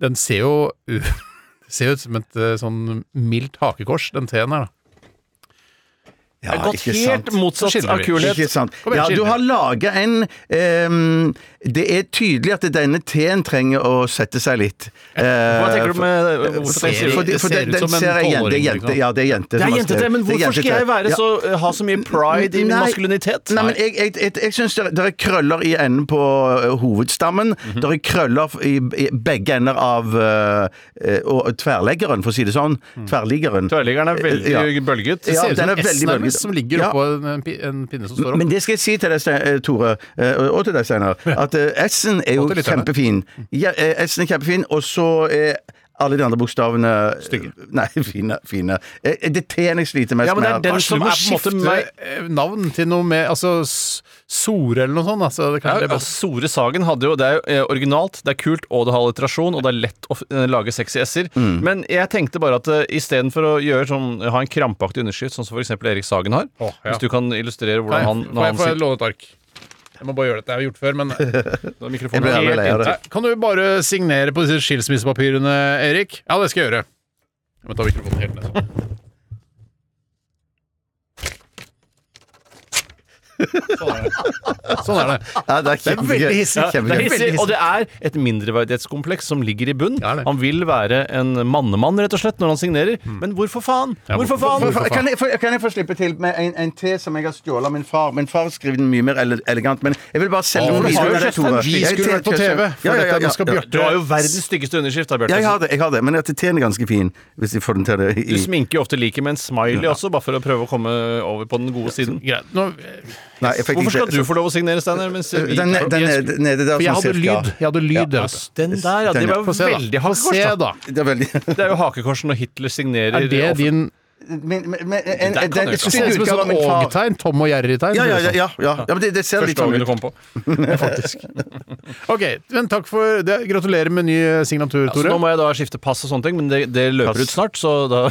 Speaker 4: Den ser jo Ser ut som et eh, sånn mildt hakekors, den T-en her, da.
Speaker 6: Ja,
Speaker 5: Jeg har gått
Speaker 6: ikke
Speaker 5: helt
Speaker 6: sant?
Speaker 5: motsatt
Speaker 4: Skiller
Speaker 5: av
Speaker 4: vi.
Speaker 5: kulhet.
Speaker 6: Ikke sant.
Speaker 4: Kom igjen,
Speaker 6: Ja,
Speaker 4: skyld
Speaker 6: du
Speaker 4: meg.
Speaker 6: har laga en ehm, Det er tydelig at denne T-en trenger å sette seg litt. eh,
Speaker 5: Hva tenker du med eh, hvorfor
Speaker 4: ser
Speaker 5: tenker
Speaker 4: vi-
Speaker 5: du
Speaker 6: Fordi,
Speaker 4: det
Speaker 6: for
Speaker 4: ser
Speaker 6: den,
Speaker 4: ut
Speaker 6: den
Speaker 4: som en
Speaker 6: ser jeg jente, det er
Speaker 4: tolvåring,
Speaker 6: jente,
Speaker 4: liksom.
Speaker 6: ja, det er jente
Speaker 5: Det er
Speaker 6: som har
Speaker 5: jente-T,
Speaker 6: skrevet-
Speaker 5: men
Speaker 6: det er
Speaker 5: hvorfor skal
Speaker 6: jente-T.
Speaker 5: jeg være
Speaker 6: Ja.
Speaker 5: så, eh, ha så mye pride i min
Speaker 6: Nei.
Speaker 5: maskulinitet?
Speaker 6: Nei, men jeg, jeg, jeg, jeg syns det, det er krøller i enden på eh, hovedstammen.
Speaker 5: Mhm.
Speaker 6: Det er krøller i, i begge ender av eh, eh, og, tverrleggeren, for å si det sånn. Tverrliggeren.
Speaker 5: Mm. Tverrliggeren er veldig
Speaker 6: Ja.
Speaker 5: bølget.
Speaker 6: Ja,
Speaker 4: Ser ut som
Speaker 6: den er
Speaker 4: en S
Speaker 6: veldig bølget.
Speaker 4: nærmest, som ligger
Speaker 6: Ja.
Speaker 4: oppå en, en, pi- en pinne som står opp.
Speaker 6: Men det skal jeg si til deg, Stein- eh, Tore, eh, og- og til deg, Steinar, at eh, S-en er jo
Speaker 4: Og til lytterne.
Speaker 6: kjempefin. Ja, eh, S-en er kjempefin, og så er alle de andre bokstavene Stygge. <laughs> Nei, fine. fine. Eh, Det er T-en jeg sliter mest
Speaker 5: Ja, men det er
Speaker 6: med.
Speaker 5: den
Speaker 4: Kanskje
Speaker 5: som
Speaker 4: du må
Speaker 5: er på en måte
Speaker 4: skifte
Speaker 5: meg
Speaker 4: eh, navn til noe med altså, S- Sore eller noe sånt. Altså, det
Speaker 5: ja,
Speaker 4: kan
Speaker 5: altså, Sore Sagen hadde jo Det er jo eh, originalt, det er kult, og det har alliterasjon, og det er lett å f- eh, lage sexy s-er. Men jeg tenkte bare at eh, istedenfor å gjøre sånn, ha en krampaktig underskrift, sånn som f.eks. Erik Sagen har
Speaker 4: Åh, ja.
Speaker 5: Hvis du kan illustrere
Speaker 4: Kan
Speaker 5: hvordan
Speaker 4: jeg-
Speaker 5: han,
Speaker 4: Får
Speaker 5: når
Speaker 4: jeg-
Speaker 5: han
Speaker 4: får jeg
Speaker 5: sitter
Speaker 4: låne et ark? Jeg må bare gjøre dette. Jeg har gjort før,
Speaker 6: <laughs>
Speaker 4: men
Speaker 5: Da er
Speaker 6: Jeg
Speaker 5: mikrofonen
Speaker 6: ble jævlig
Speaker 5: helt
Speaker 6: lei av
Speaker 5: inntil.
Speaker 6: det.
Speaker 4: Nei, Kan du bare signere på disse skilsmissepapirene, Erik? Ja, det skal jeg gjøre. Jeg må ta mikrofonen helt ned. Sånn er det. Sånn er det.
Speaker 6: Ja, det er, kjempegøy.
Speaker 4: veldig hissig.
Speaker 6: Kjempegøy.
Speaker 5: Det er hissig, og det er et mindreverdighetskompleks som ligger i bunn.
Speaker 4: Ja, det er det.
Speaker 5: Han vil være en mannemann, rett og slett, når han signerer. Men hvorfor faen?
Speaker 4: Ja, hvorfor-
Speaker 5: Hvorfor faen?
Speaker 4: hvorfor faen?
Speaker 6: Kan jeg, få- kan jeg få slippe til med en, en T som jeg har stjålet av min far? Min far skriver den mye mer ele elegant, men jeg vil bare selge
Speaker 4: Å, for
Speaker 6: den videre.
Speaker 4: du har jo kjøpt den. Vi
Speaker 6: til deg, Tore. Jeg-
Speaker 4: skulle vært på TV, for
Speaker 6: Ja, ja,
Speaker 4: dette-
Speaker 6: ja,
Speaker 4: nå skal
Speaker 6: ja.
Speaker 4: Bjarte-
Speaker 5: Du har jo verdens styggeste underskrift, da,
Speaker 6: Ja, jeg har
Speaker 5: Bjarte.
Speaker 6: det, jeg har det, men at T-en er ganske fin. Hvis de får den til det i
Speaker 5: Du sminker jo ofte liket med en smiley også, bare for å prøve å komme over på den gode siden.
Speaker 4: Greit. Nå,
Speaker 6: Nei, jeg fikk
Speaker 5: Hvorfor
Speaker 6: ikke-
Speaker 5: skal du få lov å signere, Steinar? mens vi-
Speaker 6: Den, ne- den nede, nede der
Speaker 4: for jeg
Speaker 6: som
Speaker 4: hadde
Speaker 6: Sånn cirka-
Speaker 4: lyd. Jeg hadde lyd, det, vet du.
Speaker 5: Den der, ja. Det var
Speaker 6: Den, ja. altså.
Speaker 5: jo
Speaker 4: Få se, da.
Speaker 5: veldig
Speaker 4: Få se,
Speaker 5: hakekors. da.
Speaker 4: da.
Speaker 6: Det er veldig
Speaker 5: Det er jo hakekors når Hitler signerer.
Speaker 4: Er det
Speaker 5: offentlig-
Speaker 4: din
Speaker 6: <laughs> Men, men, men,
Speaker 5: der kan
Speaker 6: en, en, den,
Speaker 5: du ikke
Speaker 4: Det ser ut som et
Speaker 6: utgave av
Speaker 4: sånt
Speaker 6: min far-
Speaker 4: Åge-tegn. Tom og Jerry-tegn.
Speaker 6: Ja, ja, ja, ja, ja. ja men det, det ser litt
Speaker 5: første
Speaker 6: sånn
Speaker 5: gangen du
Speaker 6: ut.
Speaker 5: kom på?
Speaker 4: Ok, men takk for det. Gratulerer med ny eh, signatur,
Speaker 5: Så
Speaker 4: Tore.
Speaker 5: nå må jeg da skifte pass og sånne ting, men det, det løper ut snart, så da,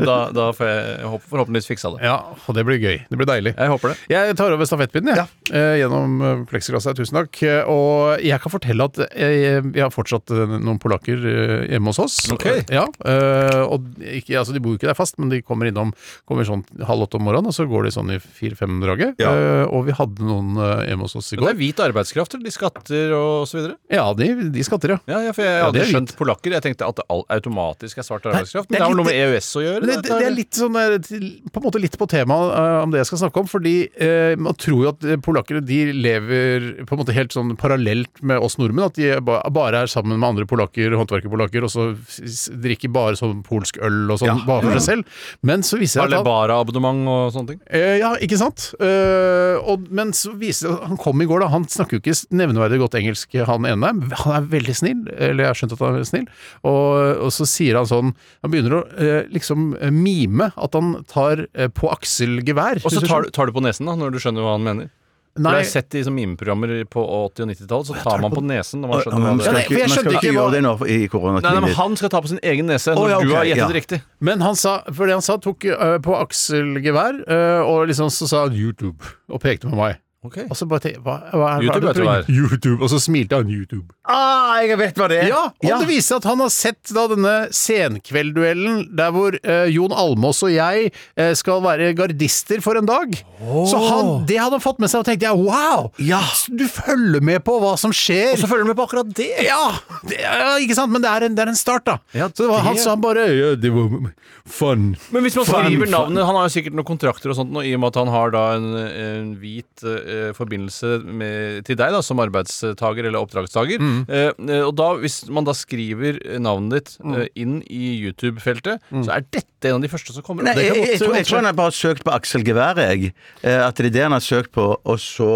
Speaker 5: <laughs> da, da får jeg håp- forhåpentligvis fiksa det.
Speaker 4: Ja, og det blir gøy. Det blir deilig.
Speaker 5: Jeg håper det.
Speaker 4: Jeg tar over stafettpinnen, jeg. eh, Gjennom eh, pleksiglasset. Tusen takk. Eh, Og jeg kan fortelle at jeg, jeg har fortsatt eh, noen polakker eh, hjemme hos oss.
Speaker 5: Ok.
Speaker 4: Ja, eh, og ikke, altså, de bor jo ikke der fast, men de kommer innom kommer sånn halv åtte om morgenen, og så går de sånn i fire-fem-draget.
Speaker 6: Ja.
Speaker 4: Eh, Og vi hadde noen eh, hjemme hos oss i
Speaker 5: Men det
Speaker 4: går.
Speaker 5: er hvit arbeidskraft, eller de skatter og så videre?
Speaker 4: Ja, de, de skatter, ja.
Speaker 5: Ja, ja, for jeg,
Speaker 4: Ja, det
Speaker 5: hadde
Speaker 4: er
Speaker 5: skjønt polakker. Jeg tenkte at det all, automatisk er svart arbeidskraft.
Speaker 4: det
Speaker 5: Men det
Speaker 4: er
Speaker 5: har vel noe med
Speaker 4: litt-
Speaker 5: EØS å gjøre?
Speaker 4: Men det, det, det er litt sånn der, til- på en måte litt på temaet eh, om det jeg skal snakke om, fordi eh, man tror jo at eh, polakkere de lever på en måte helt sånn parallelt med oss nordmenn, at de ba, bare er sammen med andre polakker, håndverkerpolakker, og så s- s- drikker bare sånn polsk øl og sånn, bare for seg selv. Men så viser det seg at han-
Speaker 5: Alebara-abonnement og sånne ting?
Speaker 4: Eh, ja, ikke sant? Eh, og, men så viser det Han kom i går, da. Han snakker jo ikke s- nevneverdig godt engelsk, han ene. Han er veldig snill, eller jeg har skjønt at han er snill. Og, og så sier han sånn Han begynner å eh, liksom eh, mime at han tar eh, på akselgevær.
Speaker 5: Og så tar, du- tar du på nesen da, når du skjønner hva han mener. For
Speaker 4: Nei,
Speaker 5: jeg har sett i sånne mimeprogrammer på 80- og 90-tallet, så tar man på nesen når man
Speaker 6: Ja, men
Speaker 5: skjønner
Speaker 6: man
Speaker 5: hva
Speaker 6: skal
Speaker 4: nei, for
Speaker 5: det er.
Speaker 6: ikke,
Speaker 4: jeg
Speaker 6: man skal
Speaker 4: skjønte
Speaker 6: ikke
Speaker 4: ikke
Speaker 6: gjøre
Speaker 4: hva-
Speaker 6: det nå i
Speaker 5: Nei, nei, men
Speaker 6: koronatiden.
Speaker 5: Han skal ta på sin egen nese når
Speaker 6: Å, ja, ok,
Speaker 5: du har gjettet
Speaker 6: ja.
Speaker 5: det riktig.
Speaker 4: men han sa For det han sa, tok eh, på akselgevær, eh, og liksom så sa han YouTube, og pekte på meg. Og så bare tenkte jeg, hva, hva er
Speaker 5: YouTube
Speaker 4: hva er det
Speaker 5: vet
Speaker 4: for- YouTube, og så smilte han YouTube.
Speaker 6: Ah, jeg vet hva
Speaker 5: Eh,
Speaker 6: det er!
Speaker 4: Ja, og det viser seg at han har sett da denne senkveldduellen der hvor eh, Jon Almås og jeg eh, skal være gardister for en dag. Så han, det hadde han fått med seg og tenkte jeg, wow!
Speaker 6: Ja.
Speaker 4: s- Du følger med på hva som skjer.
Speaker 5: Og så følger du med på akkurat det!
Speaker 4: ja, det, ja, ikke sant, men det er en, det er en start, da.
Speaker 5: Ja,
Speaker 4: så det var han
Speaker 5: det-
Speaker 4: som bare ja, Det var fun.
Speaker 5: Men hvis man
Speaker 4: Fan,
Speaker 5: skriver
Speaker 4: fan.
Speaker 5: navnet Han har jo sikkert noen kontrakter og sånt nå, i og med at han har da en, en hvit eh, forbindelse med, til deg da, som arbeidstager eller oppdragstager. Eh, eh, og da, hvis man da skriver navnet ditt eh, inn i YouTube-feltet, så er dette en av de første som kommer
Speaker 6: Nei,
Speaker 5: opp.
Speaker 6: jeg,
Speaker 5: Det kan godt-
Speaker 6: jeg, jeg, tror, jeg
Speaker 5: kanskje-
Speaker 6: tror han har bare søkt på akselgevær, jeg. Eh, At det er det han har søkt på, og så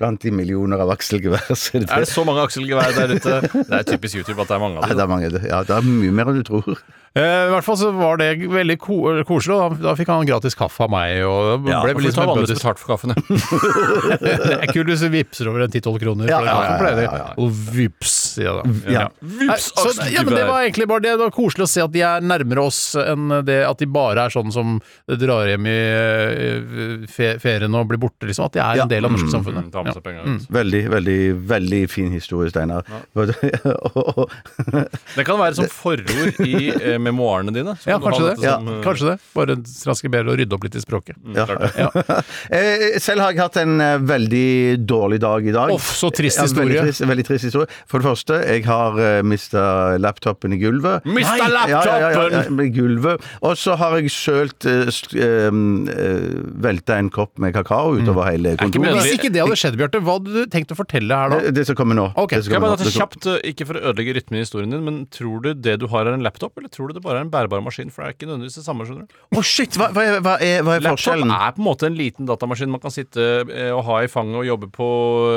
Speaker 6: blant de millioner av akselgevær så er det
Speaker 5: er det så mange akselgevær der ute? Det er typisk YouTube at det er mange
Speaker 6: Nei,
Speaker 5: av
Speaker 6: det
Speaker 5: dem.
Speaker 6: er mange, ja, det er mye mer enn du tror.
Speaker 4: Eh, I hvert fall så var det veldig ko eh, koselig, og da, da fikk han gratis kaffe av meg. Og det
Speaker 5: Ja,
Speaker 4: ble
Speaker 5: for
Speaker 4: litt
Speaker 5: du
Speaker 4: som en
Speaker 5: tar vanligvis
Speaker 4: bøtte.
Speaker 5: betalt for kaffen. ja.
Speaker 4: Det er kult hvis du vippser over en 10-12 kroner.
Speaker 6: Ja,
Speaker 4: for det er
Speaker 6: eh, ja,
Speaker 4: sånn
Speaker 6: ja,
Speaker 4: pleier de.
Speaker 6: ja, ja, ja.
Speaker 4: Og vips. sida, da.
Speaker 6: Ja.
Speaker 4: Nei, så, ja, men det var egentlig bare det. Det var koselig å se at de er nærmere oss enn det at de bare er sånn som drar hjem i eh, fe ferien og blir borte, liksom. At de er en del av
Speaker 6: Mm.
Speaker 4: det norske samfunnet.
Speaker 5: Ta med seg penger ut.
Speaker 6: Veldig, veldig, veldig fin historie, Steinar. <laughs> Og- og-
Speaker 5: Det kan være som forord i eh, memoarene dine. Så
Speaker 4: Ja,
Speaker 5: kan du ha
Speaker 4: kanskje det.
Speaker 5: dette
Speaker 4: Ja,
Speaker 5: som, eh, Mm.
Speaker 4: kanskje det. Bare transkribere og rydde opp litt i språket.
Speaker 6: ja. <laughs> Eh, Selv har jeg hatt en eh, veldig dårlig dag i dag.
Speaker 4: Uff, så trist historie.
Speaker 6: veldig, trist, veldig trist historie. For det første, jeg har mista laptopen i gulvet.
Speaker 5: Mistet
Speaker 6: Nei!
Speaker 5: laptopen!
Speaker 6: med gulvet. Og så har jeg sølt eh, sk- eh, eh, Velta en kopp med kakao utover hele kontoret. Eh,
Speaker 4: Hvis ikke det hadde skjedd, Bjarte, hva hadde du tenkt å fortelle her da?
Speaker 6: Det, det som kommer nå.
Speaker 4: Ok,
Speaker 6: Det som
Speaker 5: Skal jeg
Speaker 6: kommer
Speaker 5: bare
Speaker 6: nå.
Speaker 5: ta
Speaker 6: Det
Speaker 5: det
Speaker 6: som-
Speaker 5: kjapt, eh, ikke for å ødelegge rytmen i historien din, men tror du det du har er en laptop, eller tror du det bare er en bærbar maskin? For det er ikke nødvendigvis det samme, skjønner du.
Speaker 6: Å, shit! Hva, hva, er- hva er, hva er
Speaker 5: Laptop
Speaker 6: forskjellen?
Speaker 5: er på en måte en liten datamaskin man kan sitte eh, og ha i fanget og jobbe på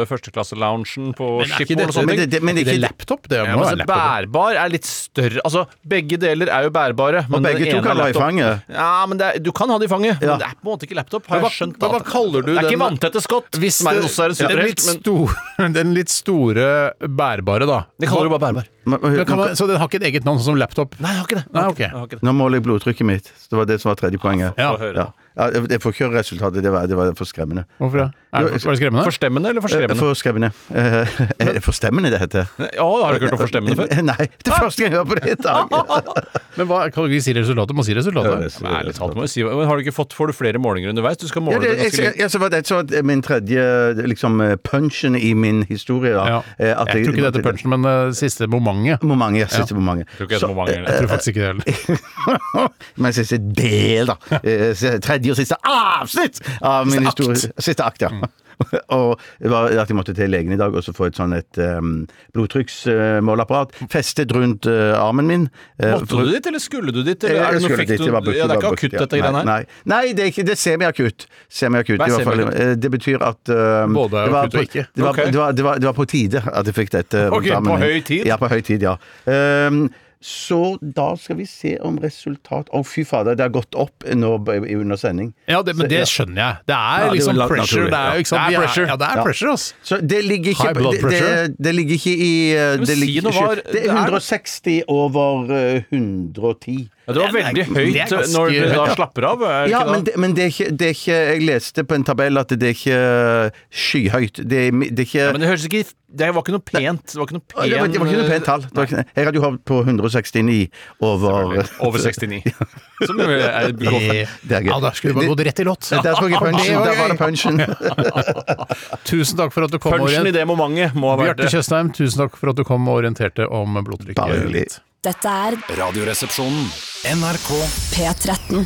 Speaker 5: eh, førsteklasseloungen på skip og sånne
Speaker 6: men
Speaker 5: ting.
Speaker 6: det, men det,
Speaker 4: Det er
Speaker 6: ikke,
Speaker 4: laptop, det.
Speaker 5: Ja,
Speaker 4: må
Speaker 5: men
Speaker 4: være
Speaker 5: altså,
Speaker 4: laptop.
Speaker 5: bærbar er litt større Altså, begge deler er jo bærbare.
Speaker 6: og
Speaker 5: men den
Speaker 6: begge to
Speaker 5: ene er
Speaker 6: kan være i
Speaker 5: laptop.
Speaker 6: fanget.
Speaker 5: Ja, men det er, du kan ha det i fanget,
Speaker 6: Ja.
Speaker 5: men det er på en måte ikke laptop.
Speaker 4: Men
Speaker 5: Har
Speaker 4: hva-
Speaker 5: jeg skjønt
Speaker 4: men hva
Speaker 5: da.
Speaker 4: kaller du
Speaker 5: Det er
Speaker 4: den-
Speaker 5: ikke vanntette skott.
Speaker 4: Hvis
Speaker 5: som er en- også er en
Speaker 4: den,
Speaker 5: superhelt,
Speaker 4: litt
Speaker 5: men
Speaker 4: store, <laughs> den litt store bærbare, da.
Speaker 5: det kaller du bare bærbar.
Speaker 6: Men-
Speaker 4: Men kan man,
Speaker 6: men-
Speaker 4: så den har ikke et eget navn, sånn som laptop?
Speaker 5: Nei, jeg har ikke det.
Speaker 4: Nei, ok.
Speaker 5: Jeg har ikke det.
Speaker 6: Nå måler jeg blodtrykket mitt. Det var det som var tredje poenget.
Speaker 4: Ja.
Speaker 5: Få høre.
Speaker 6: Ja. Ja, jeg- jeg får ikke høre resultatet. Det var, det var for skremmende.
Speaker 4: Hvorfor det? Er det, var det skremmende?
Speaker 5: Forstemmende eller
Speaker 6: Eh,
Speaker 5: forskrevende?
Speaker 6: For skremmende. Eh, Er det forstemmende det heter?
Speaker 5: Ja, har du ikke hørt om forstemmende
Speaker 6: <laughs>
Speaker 5: før?
Speaker 6: Nei, det er første gang jeg hører på det
Speaker 4: <laughs>
Speaker 6: i dag.
Speaker 4: Men hva, kan du ikke si resultatet? Må si
Speaker 6: Ja, det
Speaker 4: resultatet.
Speaker 6: er
Speaker 5: Men ærlig talt, må jeg si Men har du ikke fått Får du flere målinger underveis? Du skal
Speaker 6: Ja,
Speaker 5: måle
Speaker 6: det,
Speaker 5: det
Speaker 6: jeg,
Speaker 5: ganske
Speaker 6: jeg,
Speaker 5: lenge.
Speaker 6: jeg, så var det så at min tredje liksom, eh, punchen i min historie. Da,
Speaker 4: Ja.
Speaker 6: eh, at Mm.
Speaker 4: Jeg tror ikke det heter punchen, men eh, siste momentet.
Speaker 6: Hvor mange? Jeg synes det er hvor mange.
Speaker 5: Tror ikke jeg
Speaker 6: Så- eh,
Speaker 5: vet hvor mange
Speaker 4: Jeg
Speaker 5: det er.
Speaker 4: tror faktisk ikke det heller.
Speaker 6: <laughs> Men siste del, da. Eh, se- Tredje og siste avsnitt av
Speaker 4: Siste Mm.
Speaker 6: min historie. Siste akt, ja. <laughs> Og det var at jeg måtte til legen i dag og så få et sånn et um, blodtrykksmåleapparat festet rundt eh, armen min. Eh,
Speaker 5: Måtte du dit, eller skulle du dit? Eller
Speaker 6: Jeg-
Speaker 5: er
Speaker 6: jeg
Speaker 5: det, noe
Speaker 6: skulle
Speaker 5: fikk
Speaker 6: dit,
Speaker 5: du,
Speaker 6: jeg var
Speaker 5: ja,
Speaker 6: brukt-
Speaker 5: det er
Speaker 6: jeg var
Speaker 5: ikke
Speaker 6: brukt,
Speaker 5: akutt,
Speaker 6: ja.
Speaker 5: dette greiene her?
Speaker 6: Nei, nei. nei, det er ikke det er semiakutt. Semiakutt.
Speaker 5: Hva er
Speaker 6: i hvert fall.
Speaker 5: semiakutt?
Speaker 6: Eh, Det betyr at eh,
Speaker 4: Både
Speaker 6: det var
Speaker 4: akutt
Speaker 6: på-
Speaker 4: og ikke.
Speaker 6: Det var,
Speaker 5: Ok.
Speaker 6: det, var, det, var, det var på tide at jeg fikk dette.
Speaker 5: Ok,
Speaker 6: rundt armen
Speaker 5: på
Speaker 6: min.
Speaker 5: høy tid.
Speaker 6: Ja, på høy tid, ja. Ehm, så da skal vi se om resultat Å, fy fader, det har gått opp nå b- under sending.
Speaker 4: Ja, det, men
Speaker 6: Så, ja.
Speaker 4: det skjønner jeg. Det er
Speaker 6: Ja, det er jo
Speaker 4: liksom
Speaker 6: langt
Speaker 4: pressure.
Speaker 6: naturlig,
Speaker 4: Det er
Speaker 6: ja.
Speaker 4: jo ikke sant?
Speaker 5: Det er
Speaker 4: vi
Speaker 5: pressure.
Speaker 4: Ja, det er
Speaker 6: Ja.
Speaker 4: pressure, ass.
Speaker 6: Så det ligger ikke
Speaker 4: High blood
Speaker 6: det, det, det ligger ikke i eh,
Speaker 5: Men
Speaker 6: det,
Speaker 5: si
Speaker 6: ligger,
Speaker 5: noe var-
Speaker 6: det
Speaker 5: det
Speaker 6: er
Speaker 5: er-
Speaker 6: 160 over eh, 110.
Speaker 5: Ja, det var veldig
Speaker 4: det er
Speaker 5: høyt
Speaker 4: ganske
Speaker 5: når du
Speaker 4: høyt,
Speaker 5: da
Speaker 4: ja.
Speaker 5: slapper av. Er
Speaker 6: Ja,
Speaker 5: ikke
Speaker 6: men,
Speaker 5: det?
Speaker 6: det, men det, er ikke, det er ikke Jeg leste på en tabell at det er ikke eh, skyhøyt. Det er, mi- det er ikke
Speaker 5: Ja, men det høres ikke Det var ikke noe pent. Det var ikke noe
Speaker 6: Å, det, var,
Speaker 5: pen,
Speaker 6: det var ikke noe pent tall. Det var ikke, jeg hadde jo håpet på 169 over
Speaker 5: <laughs> Over 69. Som jo
Speaker 6: <laughs>
Speaker 5: er et bukoff.
Speaker 6: Det er gøy.
Speaker 4: Ja, da skulle du bare gått rett i låt.
Speaker 6: <laughs> Der tok jeg punchen. Der var <laughs> det <laughs> punchen.
Speaker 4: Tusen takk for at du kom og
Speaker 5: Punchen i
Speaker 4: orien-
Speaker 5: det momentet må ha vært
Speaker 4: Bjarte
Speaker 5: det.
Speaker 4: Tjøstheim, tusen takk for at du kom og orienterte om blodtrykket.
Speaker 6: Bare hyggelig.
Speaker 1: Dette er
Speaker 2: Radioresepsjonen.
Speaker 4: NRK.
Speaker 1: P13.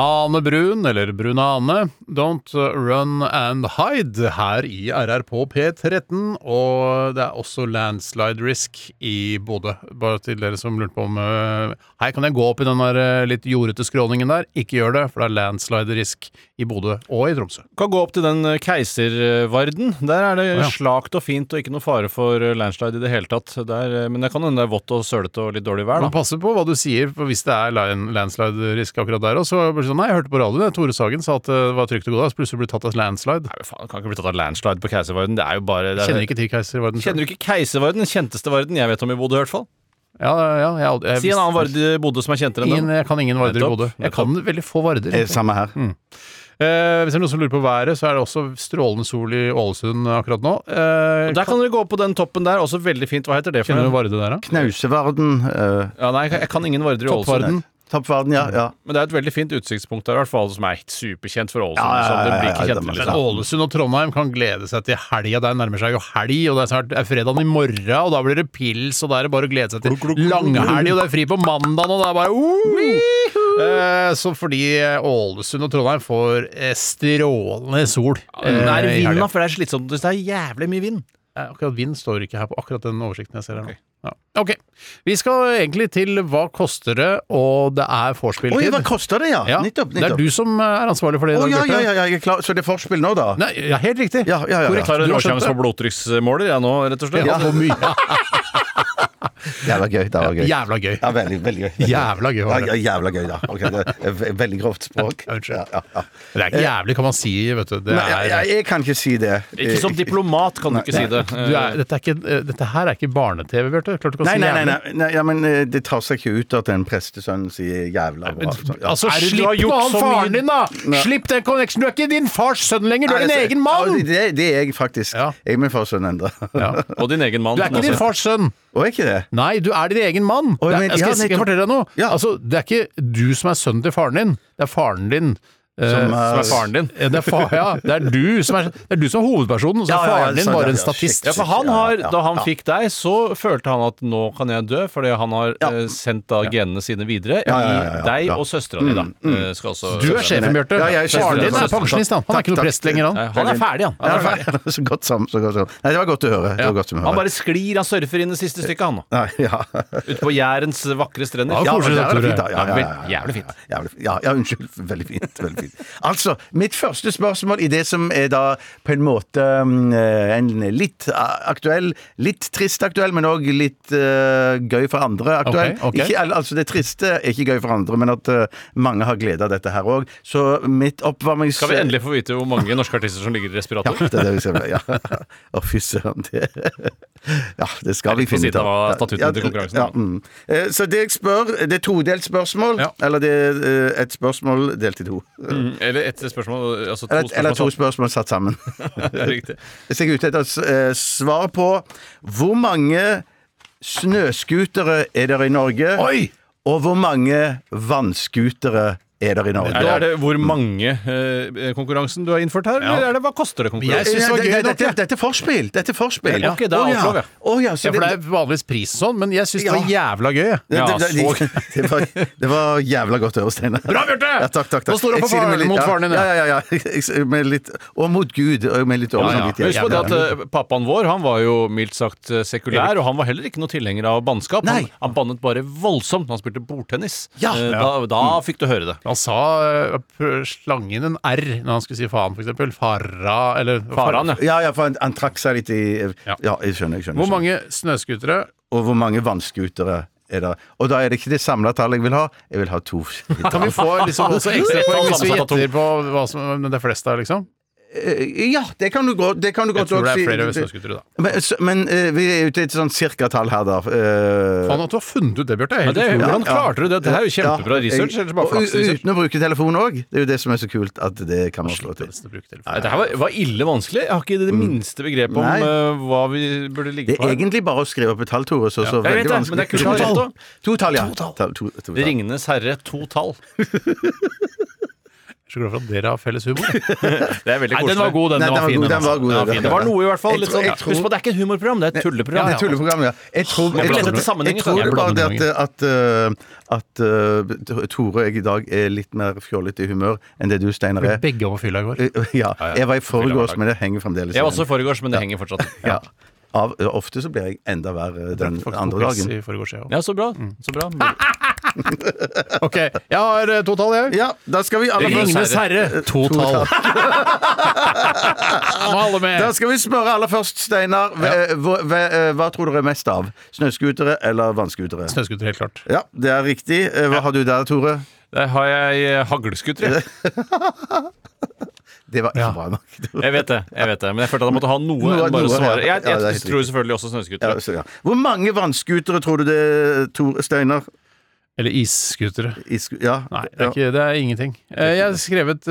Speaker 4: Ane Brun, eller Brun Ane, Don't uh, Run and Hide her i RR på P13. Og det er også landslide risk i Bodø. Bare til dere som lurte på om eh, Hei, kan jeg gå opp i den der eh, litt jordete skråningen der? Ikke gjør det, for det er landslide risk i Bodø og i Tromsø.
Speaker 5: Kan gå opp til den eh, keiservarden. Der er det
Speaker 4: ja.
Speaker 5: slakt og fint og ikke noe fare for eh, landslide i det hele tatt. Der, eh, men det kan hende det er vått og sølete og litt dårlig vær,
Speaker 4: Men
Speaker 5: da.
Speaker 4: passe på hva du sier, for hvis det er lan- landslide-risk akkurat der også, så er det bare sånn, nei, jeg hørte på radioen, jeg, Tore Sagen sa at uh, det var trygt å gå der, så plutselig ble du tatt av landslide.
Speaker 5: Nei, men faen, kan ikke bli tatt av landslide på keiservarden. Det er jo bare det er,
Speaker 4: Kjenner ikke til Keiser Varden selv.
Speaker 5: Kjenner du ikke keiservarden? Den kjenteste varden jeg vet om i Bodø, i hvert fall.
Speaker 4: Ja, ja, jeg, jeg, jeg,
Speaker 5: Si en annen vard i Bodø som er kjentere enn
Speaker 4: Ingen,
Speaker 5: den.
Speaker 4: jeg kan ingen varder i
Speaker 5: Nettopp,
Speaker 4: Bodø. Jeg kan veldig få varder.
Speaker 6: Eh, Samme her.
Speaker 4: Eh, hvis det er noen som lurer på været, så er det også strålende sol i Ålesund akkurat nå. Eh,
Speaker 5: Og Der kan dere gå opp på den toppen der, også veldig fint. Hva heter det? for
Speaker 4: Kjenner du
Speaker 5: noe?
Speaker 4: varde der, da?
Speaker 6: Knausevarden. eh,
Speaker 5: Ja, nei, jeg kan- jeg kan ingen varder i Ålesund.
Speaker 4: Toppvarden?
Speaker 6: Toppvarden, ja. ja.
Speaker 5: Men det er et veldig fint utsiktspunkt der, i hvert fall, som er helt superkjent for Ålesund.
Speaker 6: Ja, ja, ja,
Speaker 5: så det blir
Speaker 6: ja,
Speaker 5: ikke
Speaker 6: ja,
Speaker 5: kjent
Speaker 6: det må
Speaker 5: for
Speaker 6: jeg
Speaker 4: Men Ålesund og Trondheim kan glede seg til helga. Der nærmer seg jo helg, og det er snart det er fredagen i morgen, og da blir det pils, og da er det bare å glede seg til langhelg, og det er fri på mandag, og det er bare uh! Eh, Så fordi eh, Ålesund og Trondheim får eh, strålende sol eh,
Speaker 5: Det er
Speaker 4: i
Speaker 5: vind, da,
Speaker 4: helga.
Speaker 5: for det er slitsomt hvis det er jævlig mye vind.
Speaker 4: Eh, Akkurat vind står ikke her på akkurat den oversikten jeg ser her nå. Ja. Ok, vi skal egentlig til Hva koster det, og det er
Speaker 6: Oi,
Speaker 4: vorspiel-tid.
Speaker 6: hva koster det, ja?
Speaker 4: Ja,
Speaker 6: Nettopp.
Speaker 4: Det er
Speaker 6: nettopp.
Speaker 4: du som eh, er ansvarlig for det i
Speaker 6: Å,
Speaker 4: dag,
Speaker 6: ja, ja,
Speaker 4: Bjarte.
Speaker 6: ja, ja, jeg er klar. Så det er forspill nå, da?
Speaker 4: Nei, ja, helt riktig.
Speaker 6: Ja, ja, ja, ja.
Speaker 4: Korrekt.
Speaker 5: Tar en
Speaker 4: Du har skjønt
Speaker 5: råsjanse
Speaker 4: det.
Speaker 5: på blodtrykksmåler, jeg nå, rett og slett.
Speaker 4: Ja, hvor mye?
Speaker 6: Jævla gøy. Det var gøy.
Speaker 4: Jævla gøy.
Speaker 6: Ja, veldig, veldig gøy. Veldig
Speaker 4: Jævla gøy var det.
Speaker 6: Ja, ja, <laughs> jævla gøy, da. Ok, det er ve- veldig grovt <laughs> språk.
Speaker 4: Ja, unnskyld.
Speaker 6: Ja, ja, ja.
Speaker 4: Det er ikke jævlig, kan man si, vet du. Det
Speaker 6: Nei, jeg,
Speaker 4: er,
Speaker 6: jeg, jeg kan ikke si det.
Speaker 5: Ikke som diplomat kan du ikke si
Speaker 6: <laughs>
Speaker 5: det.
Speaker 4: du er, dette, er ikke, eh, dette her er ikke barne-TV, Bjarte. Klart du kan
Speaker 6: Nei,
Speaker 4: si
Speaker 6: nei, nei,
Speaker 4: jævlig.
Speaker 6: nei, nei ja, men eh, det tar seg ikke ut at en prestesønn sier jævla bra. sånn, ja.
Speaker 4: Altså,
Speaker 5: Er det du har
Speaker 4: slipp nå
Speaker 5: gjort
Speaker 4: han
Speaker 5: så
Speaker 4: faren
Speaker 5: mye-
Speaker 4: din, da! Slipp den connection! Du er ikke din fars sønn lenger, du er din
Speaker 6: Nei, altså,
Speaker 4: egen
Speaker 6: ja,
Speaker 4: mann!
Speaker 6: Det, det er jeg faktisk.
Speaker 4: Ja.
Speaker 6: Jeg er min fars sønn ennå.
Speaker 4: Ja.
Speaker 5: Eh, Og din egen mann.
Speaker 4: Du er ikke din
Speaker 5: altså.
Speaker 4: fars sønn!
Speaker 6: <laughs> Og er ikke det?
Speaker 4: Nei, du er din egen mann.
Speaker 6: Oi,
Speaker 4: Det er-
Speaker 6: men-
Speaker 4: jeg skal,
Speaker 6: ja,
Speaker 4: skal jeg
Speaker 6: nettopp.
Speaker 4: fortelle deg noe.
Speaker 6: Ja.
Speaker 4: Altså, det er ikke du som er sønnen til faren din, det er faren din. eh,
Speaker 6: Som er-
Speaker 5: Som er faren din.
Speaker 4: eh, det er, fa ja, det er, du som er, det er du som er hovedpersonen, så
Speaker 6: Ja,
Speaker 4: er
Speaker 6: ja, ja,
Speaker 4: faren din
Speaker 6: sånn,
Speaker 4: bare
Speaker 6: ja,
Speaker 4: en
Speaker 6: ja,
Speaker 4: statist.
Speaker 5: Ja, for han har,
Speaker 6: Ja, ja,
Speaker 5: Da han
Speaker 6: ja.
Speaker 5: fikk deg, så følte han at nå kan jeg dø, fordi han har
Speaker 6: Ja.
Speaker 5: eh, sendt da genene sine videre
Speaker 6: Ja, ja, ja, ja,
Speaker 5: i deg
Speaker 6: ja.
Speaker 5: og søstera di, da. Eh, skal også-
Speaker 4: Du er sjefen, Bjarte.
Speaker 6: Ja, jeg er sjef.
Speaker 4: Faren din er
Speaker 5: Takk, takk.
Speaker 4: pensjonist, han. Han er ikke noe
Speaker 6: Takk,
Speaker 4: prest lenger, han.
Speaker 5: Nei, Han er ferdig, han.
Speaker 6: Ja,
Speaker 5: han, er
Speaker 6: <laughs>
Speaker 5: ferdig.
Speaker 6: så godt som, så godt som. Nei, det var godt å høre. Det var godt å høre.
Speaker 5: han bare sklir, han surfer inn det siste stykket, han nå.
Speaker 6: Nei, <laughs> ja.
Speaker 5: Ute på Jærens vakre strender.
Speaker 4: Ja,
Speaker 6: Ja,
Speaker 4: Koselig,
Speaker 6: men det er
Speaker 4: Tore.
Speaker 6: fint, da. Ja, ja, ja, ja,
Speaker 5: Jævlig fint.
Speaker 6: Jævlig fint. Ja, ja, unnskyld. <laughs> Veldig fint. Veldig fint. Altså, mitt første spørsmål i det som er da på en måte mm, en litt eh, aktuell, litt trist aktuell, men òg litt eh, gøy for andre aktuell.
Speaker 4: Ok, ok.
Speaker 6: Ikke, al- altså, det triste er ikke gøy for andre, men at eh, mange har glede av dette her òg. Så mitt oppvarmings...
Speaker 5: Skal vi endelig få vite hvor mange norske artister som ligger i
Speaker 6: Ja,
Speaker 5: respirator?
Speaker 6: det er det vi skal bli. Ja. <laughs> Å, fy søren. Det <laughs> Ja, det skal vi
Speaker 5: litt på
Speaker 6: finne
Speaker 5: siden av statutten til konkurransen, da.
Speaker 6: mm. Eh, Så det jeg spør, det er todelt spørsmål.
Speaker 5: Ja.
Speaker 6: Eller det er eh, et spørsmål delt i to.
Speaker 5: Eller ett spørsmål, altså to
Speaker 6: Eller, eller to
Speaker 5: spørsmål.
Speaker 6: spørsmål satt sammen.
Speaker 5: <laughs> Det er riktig.
Speaker 6: Så jeg er ute etter s- eh, svar på hvor mange snøskutere er det i Norge,
Speaker 4: Oi!
Speaker 6: og hvor mange vannskutere er det i Norge?
Speaker 5: Er det, er det hvor mange-konkurransen du har innført her, eller er det hva koster det?
Speaker 4: Jeg synes det var
Speaker 6: Nei,
Speaker 4: gøy
Speaker 6: det-
Speaker 4: nok,
Speaker 6: dette,
Speaker 4: jeg.
Speaker 6: dette er forspill! Dette er forspill.
Speaker 5: Ja, ok, da
Speaker 6: Å,
Speaker 5: avslår vi.
Speaker 6: Å, ja, så
Speaker 4: Ja, for det
Speaker 6: det-
Speaker 4: er vanligvis pris og sånn, men jeg syns det var jævla gøy. jeg.
Speaker 5: Ja,
Speaker 6: det, det,
Speaker 5: så-
Speaker 6: det, det, var, det var jævla godt å høre, Steinar.
Speaker 4: Bra, Bjarte!
Speaker 6: Ja, takk, takk, takk.
Speaker 4: Nå står du opp
Speaker 6: Jeg
Speaker 4: for
Speaker 6: sier det med
Speaker 4: faren-
Speaker 6: litt-
Speaker 4: mot faren din,
Speaker 6: Ja,
Speaker 4: ja.
Speaker 6: ja, ja, ja. Jeg sier Med litt, og mot Gud. Og med litt
Speaker 4: Ja,
Speaker 6: dårlig
Speaker 4: ja.
Speaker 6: samvittighet.
Speaker 5: Husk på det at eh, pappaen vår han var jo mildt sagt eh, sekulær, og han var heller ikke noe tilhenger av bannskap. Han,
Speaker 6: Nei.
Speaker 5: han bannet bare voldsomt når han spilte bordtennis.
Speaker 6: Ja. Mm.
Speaker 5: Eh, Da, da fikk du høre det.
Speaker 4: Han sa eh, pr- slang inn en R når han skulle si faen, for eksempel. Farra, eller
Speaker 5: Faran, ja.
Speaker 6: Ja, ja, for han, han trakk seg litt i
Speaker 4: Ja.
Speaker 6: Ja, jeg skjønner. jeg skjønner
Speaker 4: Hvor mange snøskutere?
Speaker 6: <laughs> Og hvor mange vannskutere er det? Og da er det ikke det samla tallet jeg vil ha. Jeg vil ha to.
Speaker 4: Kan vi få liksom også ekstrapoeng hvis vi
Speaker 5: Sammensatt av to.
Speaker 4: gjetter på hva som men det er flest av, liksom?
Speaker 6: Eh, Ja, det kan du godt det kan du
Speaker 4: Jeg
Speaker 6: godt
Speaker 4: tror det
Speaker 6: også
Speaker 4: er
Speaker 6: si.
Speaker 4: flere snøskutere, da.
Speaker 6: Men, så- men eh, vi er ute i et sånn cirkatall her, da. Eh,
Speaker 4: Faen at du har funnet ut det, Bjarte.
Speaker 5: Ja, det,
Speaker 4: Det er helt utrolig.
Speaker 5: hvordan klarte du det? Det er jo kjempebra
Speaker 6: ja,
Speaker 5: research.
Speaker 6: jeg-
Speaker 5: Eller bare flaks liksom.
Speaker 6: og u-
Speaker 5: research.
Speaker 6: Uten å bruke telefon òg. Det er jo det som er så kult, at det kan man slå til.
Speaker 4: Hvis du bruker telefon.
Speaker 5: Dette her var, var ille vanskelig. Jeg har ikke det minste begrep om
Speaker 6: Mm. Nei.
Speaker 5: eh, hva vi burde ligge
Speaker 6: Det
Speaker 5: på.
Speaker 6: er
Speaker 5: her.
Speaker 6: egentlig bare å skrive opp et tall, Tore. Så, så
Speaker 5: Jeg vet
Speaker 6: veldig
Speaker 5: det,
Speaker 6: vanskelig.
Speaker 5: men det er kult å ha rett, da.
Speaker 6: To tall, ja. Ta- to- to tall.
Speaker 5: Ringenes herre, to tall.
Speaker 4: Jeg er så glad for at dere har felles humor.
Speaker 5: Det er veldig
Speaker 4: Nei, den var god, den.
Speaker 6: Nei,
Speaker 4: Den var fin.
Speaker 6: god, den
Speaker 4: altså.
Speaker 6: var god. den,
Speaker 5: Det var noe, i hvert fall.
Speaker 6: Jeg
Speaker 5: Litt
Speaker 6: tror-
Speaker 5: sånn,
Speaker 6: jeg tror-
Speaker 5: Husk på, det er ikke et humorprogram, det er et
Speaker 6: Ja,
Speaker 5: tulleprogram.
Speaker 6: det er tulleprogram, ja. Jeg tror, jeg,
Speaker 5: Man blander til
Speaker 6: tror, jeg
Speaker 5: sammenhengen,
Speaker 6: tror
Speaker 5: ja.
Speaker 6: det bare det
Speaker 4: Jeg blander
Speaker 6: at, at, uh, at uh, Tore og jeg i dag er litt mer fjollete i humør enn det du, Steinar, er.
Speaker 4: Begge var fylla i går.
Speaker 6: Uh, Ja, jeg var i
Speaker 5: Fylla hverdag.
Speaker 6: forgårs, men det henger fremdeles
Speaker 5: Jeg var også
Speaker 6: igjen.
Speaker 5: i forgårs, men det henger fortsatt.
Speaker 6: <laughs> Ja. Av, ofte så blir jeg enda verre den
Speaker 4: Faktisk
Speaker 6: andre
Speaker 4: Opels
Speaker 6: dagen.
Speaker 4: i forgårs, jeg også.
Speaker 5: Ja, så bra.
Speaker 6: Mm.
Speaker 5: Så bra.
Speaker 4: Ok, jeg har eh, to tall, jeg.
Speaker 6: Ja, da skal vi alle først-
Speaker 4: Ringenes herre, to tall. Må alle med.
Speaker 6: Da skal vi spørre aller først, Steinar. Hva, hva, hva- hva tror dere mest av? Snøskutere eller vannskutere?
Speaker 4: Snøskuter, helt klart.
Speaker 6: Ja, det er riktig. Eh, Hva har du der, Tore?
Speaker 5: Der har jeg eh, haglskuter,
Speaker 6: <laughs>
Speaker 5: jeg.
Speaker 6: Det var ikke
Speaker 4: Ja.
Speaker 6: bra nok.
Speaker 5: Jeg vet det, jeg vet det, men jeg følte at jeg måtte ha noe,
Speaker 6: Noe-
Speaker 5: enn bare å
Speaker 6: noe, ja.
Speaker 5: svare. Jeg,
Speaker 6: Ja, det
Speaker 5: jeg
Speaker 6: er helt
Speaker 5: tror
Speaker 6: riktig.
Speaker 5: selvfølgelig også
Speaker 6: Ja,
Speaker 5: snøskutere.
Speaker 6: så ja. Hvor mange vannskutere tror du det Tor Steinar?
Speaker 4: Eller isskutere.
Speaker 6: I sku- Ja.
Speaker 4: Nei, det er, ikke, det er ingenting. Eh, Jeg har skrevet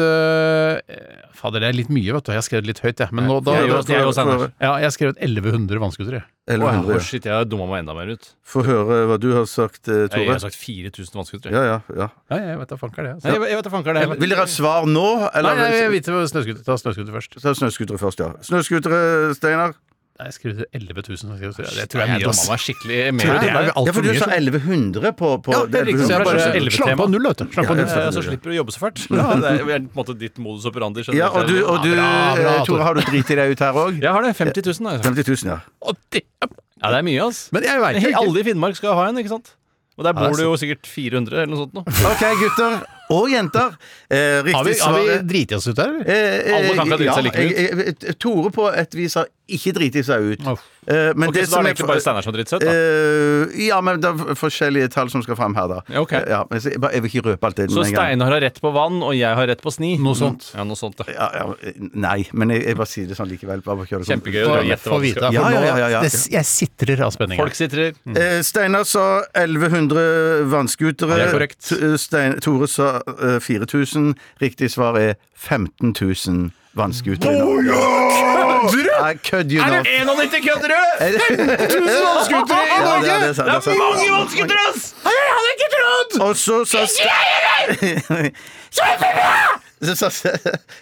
Speaker 4: eh, Fader, det er litt mye, vet du. Jeg har skrevet litt høyt, jeg. Men nå, da,
Speaker 5: Jeg gjør
Speaker 4: ja,
Speaker 5: også- jeg gjør også, Anders.
Speaker 4: jeg har skrevet 1100 vannskutere. jeg.
Speaker 6: Ja. Eller
Speaker 5: Åh,
Speaker 6: 100.
Speaker 5: shit, jeg har dumma meg enda mer ut.
Speaker 6: Få høre hva du har sagt, eh,
Speaker 5: Jeg
Speaker 6: Tore.
Speaker 5: har sagt 4000 vannskutere.
Speaker 6: Ja, ja, ja.
Speaker 4: Ja, jeg vet da fanker det. Altså.
Speaker 5: Nei, jeg, jeg vet da fanker det.
Speaker 6: Vil dere ha svar nå, eller?
Speaker 4: Nei, jeg, jeg vet hva snøskuter, ta snøskuter først.
Speaker 6: Ta snøskutere først, ja. Snøskutere, Steinar?
Speaker 4: Nei, jeg skrev 11 000. Jeg skrev, det tror
Speaker 5: Nei,
Speaker 4: jeg er
Speaker 5: Jeg
Speaker 4: mye.
Speaker 5: dumma
Speaker 4: ass.
Speaker 5: meg skikkelig
Speaker 4: Tror du
Speaker 5: mer.
Speaker 4: det er alt
Speaker 6: Ja, for
Speaker 4: for
Speaker 6: du
Speaker 4: mye,
Speaker 6: sa
Speaker 4: så-
Speaker 6: 1100 på, på
Speaker 4: Ja, det er riktig, så jeg
Speaker 5: Det er
Speaker 4: bare
Speaker 5: elleve
Speaker 4: Slapp av
Speaker 5: tema.
Speaker 4: null, vet du. Slapp av null.
Speaker 5: Eh, Så slipper du å jobbe så fælt. Ja, <laughs> det er på en måte ditt modus operandi. skjønner
Speaker 6: Ja, og du, og du
Speaker 4: Ja, bra, bra,
Speaker 6: eh, Tore,
Speaker 4: Tore.
Speaker 6: har du driti deg ut her òg?
Speaker 5: Jeg har det. 50 000, da.
Speaker 6: 50 000, ja.
Speaker 5: Ja, det er mye, ass.
Speaker 4: Men jeg veit
Speaker 5: He-
Speaker 4: ikke.
Speaker 5: Alle i Finnmark skal ha en, ikke sant? Og der
Speaker 4: det er
Speaker 5: bor det jo sikkert 400 eller noe
Speaker 6: <laughs>
Speaker 5: sånt nå.
Speaker 6: Ok, gutter og jenter. Eh,
Speaker 4: Har vi,
Speaker 6: riktig
Speaker 4: har
Speaker 6: svar
Speaker 4: vi
Speaker 6: er-
Speaker 4: driti oss ut her, eller?
Speaker 6: Eh, eh,
Speaker 5: Alle kan ikke ha dritt seg
Speaker 6: ja,
Speaker 5: like mye ut.
Speaker 6: jeg- jeg- Tore på et vis har ikke driti seg ut.
Speaker 4: Uff.
Speaker 6: Eh, men
Speaker 5: Ok, så da er det egentlig bare Steinar som er drittsøt, da.
Speaker 6: Eh, ja, men det er forskjellige tall som skal fram her, da.
Speaker 5: Ja, ok.
Speaker 6: Eh, ja, men så, jeg, bare, jeg vil ikke røpe alt det.
Speaker 5: Så
Speaker 6: med en gang.
Speaker 5: Steinar har rett på vann, og jeg har rett på sni. Mm.
Speaker 4: Noe sånt.
Speaker 5: Ja, noe sånt, ja.
Speaker 6: ja, ja, eh, Nei, men jeg, jeg bare sier det sånn likevel. Bare for å kjøre det sånn.
Speaker 5: Kjempegøy å
Speaker 4: Få
Speaker 5: gjette hva
Speaker 4: få vite
Speaker 5: det skal-
Speaker 4: det.
Speaker 6: Ja, ja, ja, ja, ja.
Speaker 4: Det- Jeg sitrer av spenninga.
Speaker 5: Folk sitrer.
Speaker 6: Eh, Steinar sa 1100 vannskutere.
Speaker 5: Ja, det er korrekt.
Speaker 6: T- eh, Stein, Tore sa eh, 4000. Riktig svar er 15 000 vannskutere. Oh, ja! I could you not.
Speaker 5: 91 køddere?!
Speaker 6: <laughs> Vannskutere i Norge! Ja, det, er sant, det, er sant.
Speaker 5: vannskutere, ass!
Speaker 6: Og så sa Steinar Så sa Ste-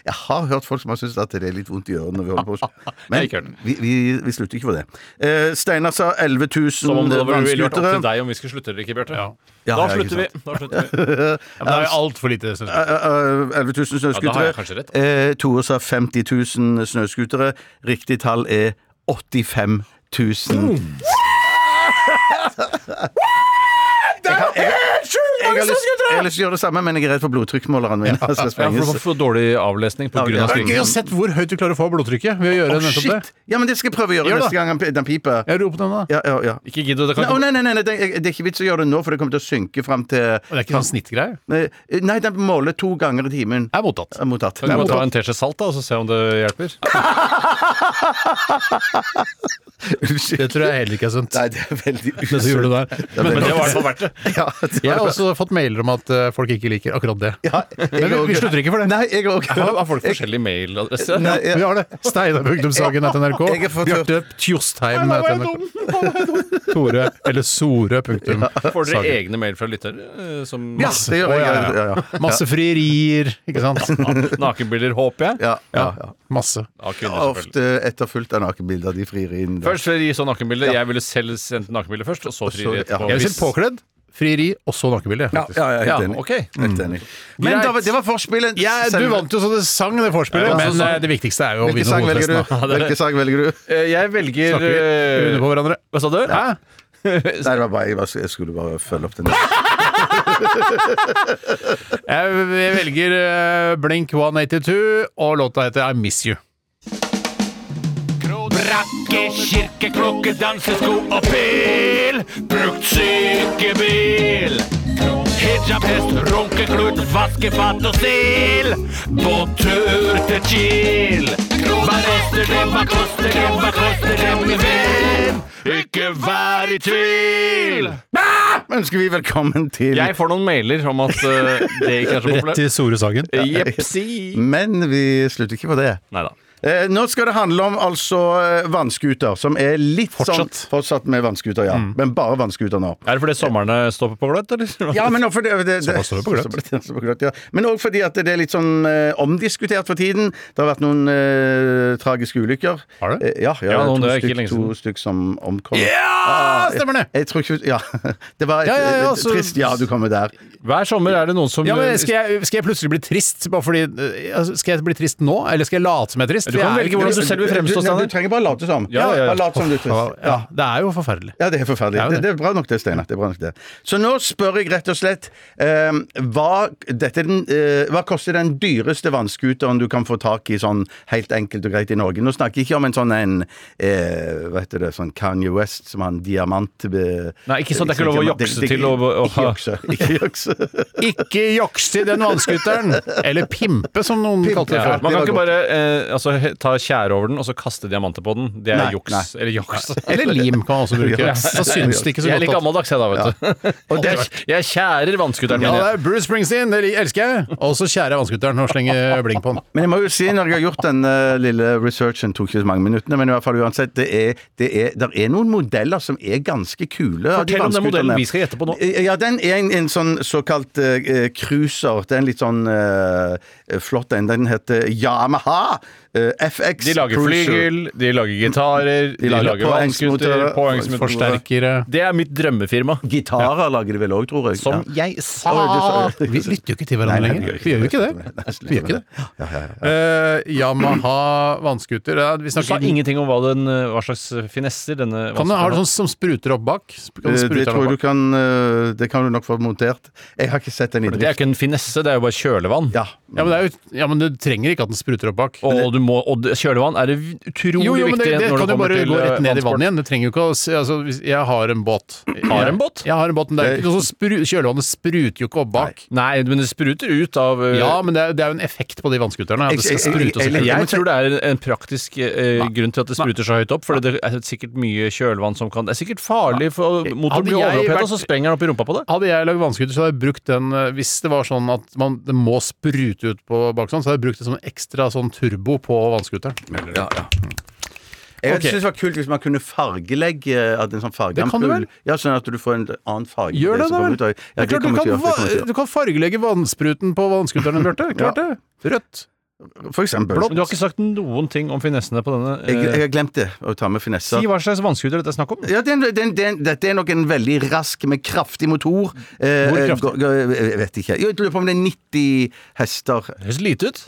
Speaker 6: Jeg har hørt folk som har syntes at det er litt vondt i ørene når vi holder på sånn.
Speaker 5: <laughs> Jeg ikke hørt
Speaker 6: Men
Speaker 5: det.
Speaker 6: vi, vi, vi slutter ikke på det. Eh, Steinar sa 11
Speaker 5: Som om det
Speaker 6: 000
Speaker 5: var ville vært opp til
Speaker 6: vannskutere.
Speaker 5: deg om vi skulle slutte eller ikke, Bjarte.
Speaker 6: Ja,
Speaker 5: da,
Speaker 6: ja, ikke
Speaker 5: slutter vi.
Speaker 6: sant.
Speaker 5: da slutter vi.
Speaker 4: Ja, men det er jo altfor lite synes jeg.
Speaker 6: Eh, eh, 11 000 snøskutere.
Speaker 5: Ja, da har jeg kanskje rett.
Speaker 6: Eh, Tore sa 50 000 snøskutere. Riktig tall er 85 000. Jeg har, jeg, jeg, har lyst, jeg har lyst til å gjøre det samme, men jeg er redd for blodtrykksmåleren min. Altså, Ja, skal
Speaker 5: Ja, for du
Speaker 6: sprenges.
Speaker 5: får for dårlig avlesning på
Speaker 6: Ja,
Speaker 5: grunn av
Speaker 4: Det er gøy å
Speaker 5: svingen.
Speaker 4: se hvor høyt du klarer å få blodtrykket ved å gjøre
Speaker 6: Å,
Speaker 4: nettopp det.
Speaker 6: shit! Ja, men det skal jeg prøve å gjøre
Speaker 4: Gjør det.
Speaker 6: neste gang han p- den piper.
Speaker 4: Jeg roper den da.
Speaker 6: Ja, ja, ja.
Speaker 5: Ikke gidd å det
Speaker 6: Nei,
Speaker 5: kan
Speaker 6: å, nei, nei, nei, nei, det er det er ikke vits å gjøre det nå, for det kommer til å synke fram til
Speaker 4: Og det er ikke sånn snittgreie.
Speaker 6: Nei, Nei, den måler to ganger i timen.
Speaker 4: Det er mottatt.
Speaker 6: Er Mottatt.
Speaker 5: Kan du bare
Speaker 6: Nei,
Speaker 5: ta en teskje salt, da, og så se om det hjelper?
Speaker 4: Det tror jeg heller ikke er sunt.
Speaker 6: Nei, det er veldig
Speaker 4: Det som gjorde det der.
Speaker 5: Men det var i hvert fall verdt det.
Speaker 6: Ja, det
Speaker 4: Jeg har
Speaker 6: var-
Speaker 4: også fått mailer om at eh, folk ikke liker akkurat det.
Speaker 6: Ja, jeg
Speaker 4: Men vi,
Speaker 6: også.
Speaker 4: vi slutter ikke for det.
Speaker 6: Nei, jeg òg.
Speaker 5: Har har folk forskjellig mailadresse?
Speaker 6: Nei, jeg-
Speaker 4: Vi har det. Steinar.sagen.nrk.
Speaker 6: Jeg har fått hørt-
Speaker 4: Bjarte Tjostheim. at NRK. <laughs> Tore eller Sore. Punktum.
Speaker 5: Får dere
Speaker 4: Sagen.
Speaker 5: egne mail fra lyttere? eh, Som
Speaker 6: Ja, det gjør jeg.
Speaker 4: Å, ja, ja.
Speaker 6: Ja, ja.
Speaker 4: Masse frierier, ikke sant?
Speaker 5: nakenbilder, håper jeg?
Speaker 6: Ja, ja, ja.
Speaker 4: Masse.
Speaker 5: Av kvinner, selvfølgelig.
Speaker 6: Ofte etterfulgt av nakenbilder. De frir inn. da.
Speaker 5: Først frieri, så nakenbilde. Jeg ville selv sendt nakenbilde først, og så frieri
Speaker 6: ja.
Speaker 5: etterpå.
Speaker 4: Jeg vil
Speaker 5: Hvis-
Speaker 4: selv påkledd, frieri og så nakenbilde.
Speaker 6: Ja,
Speaker 4: faktisk.
Speaker 6: ja, ja,
Speaker 5: Ja,
Speaker 6: helt enig.
Speaker 5: ok.
Speaker 6: Helt enig. Men da, var- det var forspillet.
Speaker 4: Ja, du
Speaker 6: Selve-
Speaker 4: vant jo så det sang, det vorspielet,
Speaker 5: Ja, det var
Speaker 4: men
Speaker 5: så sang.
Speaker 4: eh, det viktigste er jo å
Speaker 6: Hvilken
Speaker 4: vinne
Speaker 6: sang velger
Speaker 4: hovedfesten.
Speaker 6: du?
Speaker 4: da. <laughs>
Speaker 6: Hvilken sang velger du?
Speaker 5: Eh, Jeg velger
Speaker 4: Snakker vi under
Speaker 5: eh,
Speaker 4: på hverandre?
Speaker 5: Hva sa du?
Speaker 4: Hæ?
Speaker 6: Nei, det var bare, jeg, bare, jeg skulle bare følge opp den.
Speaker 4: Jeg, jeg velger eh, Blink 182, og låta heter I Miss You.
Speaker 7: Brakke, kirke, klokke, dansesko og pil. Brukt sykebil. Hijab, hest, runkeklut, vaskefat og stil. På tur til Kiel. Hva koster det, hva koster det, hva koster det, min venn? Ikke vær i tvil.
Speaker 6: Ønsker vi velkommen til
Speaker 5: Jeg får noen mailer om at eh, det ikke er så
Speaker 4: Rett
Speaker 5: populært.
Speaker 6: <laughs>
Speaker 4: til Sore-sangen.
Speaker 5: Eh, Jepsi.
Speaker 6: Men vi slutter ikke på det.
Speaker 5: Nei da.
Speaker 6: Eh, nå skal det handle om altså eh, vannskuter, som er litt
Speaker 5: Fortsatt.
Speaker 6: sånn Fortsatt med vannskuter, ja. Men bare vannskuter nå.
Speaker 5: Er det fordi sommerne stopper på gløtt, eller?
Speaker 6: Ja, men også fordi det, det,
Speaker 4: Såpass var det på gløtt.
Speaker 6: <laughs> Såpass var det- såpass var det på gløtt, ja. Men også fordi at det er litt sånn eh, omdiskutert for tiden. Det har vært noen eh, tragiske ulykker.
Speaker 4: Har det?
Speaker 6: Eh, ja, ja,
Speaker 5: Ja, noen
Speaker 6: to,
Speaker 5: dør ikke
Speaker 6: stykk,
Speaker 5: lenge
Speaker 6: to
Speaker 5: siden.
Speaker 6: stykk som omkom. Ah,
Speaker 4: Ja, stemmer det!
Speaker 6: Jeg tror ikke Ja. <laughs> Det var et,
Speaker 4: Ja, ja, ja, altså-
Speaker 6: et trist ja du kommer der.
Speaker 5: Hver sommer er det noen som
Speaker 4: Ja, men skal jeg, skal jeg plutselig bli trist bare fordi eh, altså, Skal jeg bli trist nå, eller skal jeg late som jeg er trist?
Speaker 5: Du kan
Speaker 4: Jeg er
Speaker 5: velge
Speaker 4: ikke-
Speaker 5: hvordan du selv vil fremstå,
Speaker 6: Du, nei,
Speaker 5: Steinar.
Speaker 6: du trenger bare late som.
Speaker 5: Ja, ja, ja.
Speaker 6: Bare late som du er
Speaker 4: ja,
Speaker 6: trist.
Speaker 4: ja, det er jo forferdelig.
Speaker 6: Ja, det er forferdelig.
Speaker 4: Det er jo
Speaker 6: Det,
Speaker 4: det.
Speaker 6: det er bra nok det, Steinar. Det er bra nok det. Så nå spør jeg rett og slett eh, hva, dette er den, eh, hva koster den dyreste vannskuteren du kan få tak i sånn helt enkelt og greit i Norge? Nå snakker jeg ikke om en sånn en eh, Vet du det, sånn Kanye West som han diamant... eh,
Speaker 5: Nei, ikke sånn, det er ikke lov å jukse til å- å
Speaker 6: Ikke
Speaker 5: ha-
Speaker 6: jukse. Ikke jukse.
Speaker 4: Ikke joks til den
Speaker 5: <laughs>
Speaker 4: vannskuteren! Eller pimpe, som noen kalte det
Speaker 5: Ja,
Speaker 4: før.
Speaker 5: man kan
Speaker 6: det var
Speaker 5: ikke bare eh, altså, he- ta tjære over den og så kaste diamanter på den. Det er
Speaker 6: Nei,
Speaker 5: juks.
Speaker 6: nei.
Speaker 5: Eller juks.
Speaker 4: Eller lim kan man også bruke.
Speaker 6: Ja.
Speaker 4: Da syns det ikke så
Speaker 5: Jeg er litt
Speaker 4: godt. at-
Speaker 5: gammeldags, jeg da, vet du.
Speaker 4: <laughs>
Speaker 6: Og det,
Speaker 5: Jeg kjærer vannskuteren
Speaker 4: Ja,
Speaker 5: min.
Speaker 4: det
Speaker 5: jeg.
Speaker 4: er Bruce Springsteen, det elsker jeg. Og så kjære vannskuteren og slenge bling på den.
Speaker 6: men jeg må jo si, når jeg har gjort den eh, lille researchen, tok ikke så mange minuttene, men i hvert fall uansett, det er, det er, der er noen modeller som er ganske kule. av de
Speaker 5: Fortell om den
Speaker 6: vannskuterne.
Speaker 5: modellen vi skal gjette på nå.
Speaker 6: Ja, den er en, en sånn såkalt eh, eh, cruiser. Det er en litt sånn eh, flott en. Den heter Yamaha eh, FX
Speaker 5: De lager
Speaker 6: Cruiser.
Speaker 5: flygel, de lager gitarer, de
Speaker 6: lager
Speaker 5: lager vannskuter,
Speaker 6: påhengsmotorer,
Speaker 5: påhengsmotorer
Speaker 4: Forsterkere.
Speaker 5: Det er mitt drømmefirma. Sånn.
Speaker 6: Gitarer lager de vel òg, tror jeg.
Speaker 5: Som
Speaker 6: ja.
Speaker 5: jeg sa!
Speaker 6: Oi, du sa-
Speaker 4: Vi lytter jo ikke til hverandre
Speaker 6: Nei, nei,
Speaker 4: lenger. Vi gjør jo ikke
Speaker 6: Nei,
Speaker 4: det.
Speaker 6: nei,
Speaker 4: Vi gjør ikke det.
Speaker 6: Ja, ja, ja.
Speaker 4: Eh, Yamaha vannskuter ja, Vi
Speaker 5: Du sa
Speaker 4: snakker
Speaker 5: ingenting om hva, den, eh, hva slags finesser denne
Speaker 4: kan du, Har du sånn som spruter opp bak? Sp- Kan
Speaker 6: Eh,
Speaker 4: du
Speaker 6: Det
Speaker 4: sprute den
Speaker 6: tror jeg
Speaker 4: opp
Speaker 6: du
Speaker 4: bak?
Speaker 6: kan eh, Det kan du nok få montert. Jeg har ikke sett den i
Speaker 5: Det er
Speaker 6: drift.
Speaker 5: ikke en finesse, det er jo bare kjølevann.
Speaker 6: Ja,
Speaker 4: Ja, men, det er jo, ja, men du trenger ikke at den spruter opp bak.
Speaker 5: Og, du må, og det- kjølevann er det v- utrolig
Speaker 4: Jo, jo, men det,
Speaker 5: viktig
Speaker 4: det
Speaker 5: når
Speaker 4: kan
Speaker 5: det
Speaker 4: jo
Speaker 5: kommer
Speaker 4: bare
Speaker 5: til eh,
Speaker 4: gå rett ned i
Speaker 5: vannsport.
Speaker 4: vannet igjen. Du trenger jo ikke å si altså, hvis- Jeg har en båt.
Speaker 5: Har en båt?
Speaker 4: Jeg har en båt, men det er jo ikke noe som spru, kjølvannet spruter jo ikke opp bak.
Speaker 5: Nei, men det spruter ut av eh,
Speaker 4: Ja, men det er, det er jo en effekt på de vannskuterne. At det skal
Speaker 6: Jeg- jeg- jeg-
Speaker 4: sprute og
Speaker 6: jeg-
Speaker 4: sprute.
Speaker 5: Jeg tror det er en praktisk eh, grunn til at det spruter så høyt opp, for det er sikkert mye kjølvann som kan Det er sikkert farlig, for motoren
Speaker 4: Hadde
Speaker 5: blir
Speaker 4: jeg
Speaker 5: overopphetet,
Speaker 4: vært-
Speaker 5: og så sprenger den opp i rumpa på det.
Speaker 4: Hadde jeg lagd vannskuter, så hadde jeg brukt den eh, Hvis det var sånn at man, det må sprute ut på baksiden, så hadde jeg brukt det som en ekstra sånn turbo på vannskuteren.
Speaker 6: Ja, ja. Jeg
Speaker 4: Ok.
Speaker 6: synes det var kult hvis man kunne fargelegge Hadde en sånn
Speaker 4: du
Speaker 6: fargeampull.
Speaker 4: vel?
Speaker 6: Ja, sånn at du får en annen farge. på
Speaker 4: Gjør det, da
Speaker 6: som kommer
Speaker 4: vel!
Speaker 6: ut av- Ja,
Speaker 4: det er
Speaker 6: det
Speaker 4: klart, du, kan,
Speaker 6: kommer jeg til å gjøre, det kommer jeg til
Speaker 4: va- du kan fargelegge vannspruten på vannskuteren,
Speaker 6: <laughs>
Speaker 4: Bjarte. Klart det. Rødt.
Speaker 6: å gjøre. For eksempel.
Speaker 5: Men du har ikke sagt noen ting om finessene på denne.
Speaker 6: Jeg,
Speaker 5: eh,
Speaker 6: jeg har glemt det, å ta med finesser.
Speaker 5: si hva slags vannskuter dette er snakk om.
Speaker 6: Ja, det er, en- det, er en- det, er en- dette er nok en veldig rask, men kraftig motor. Eh,
Speaker 4: Hvor kraftig?
Speaker 6: gå- gå- Jeg vet ikke. Jo, Jeg lurer på om det er 90 hester.
Speaker 5: Det høres lite ut.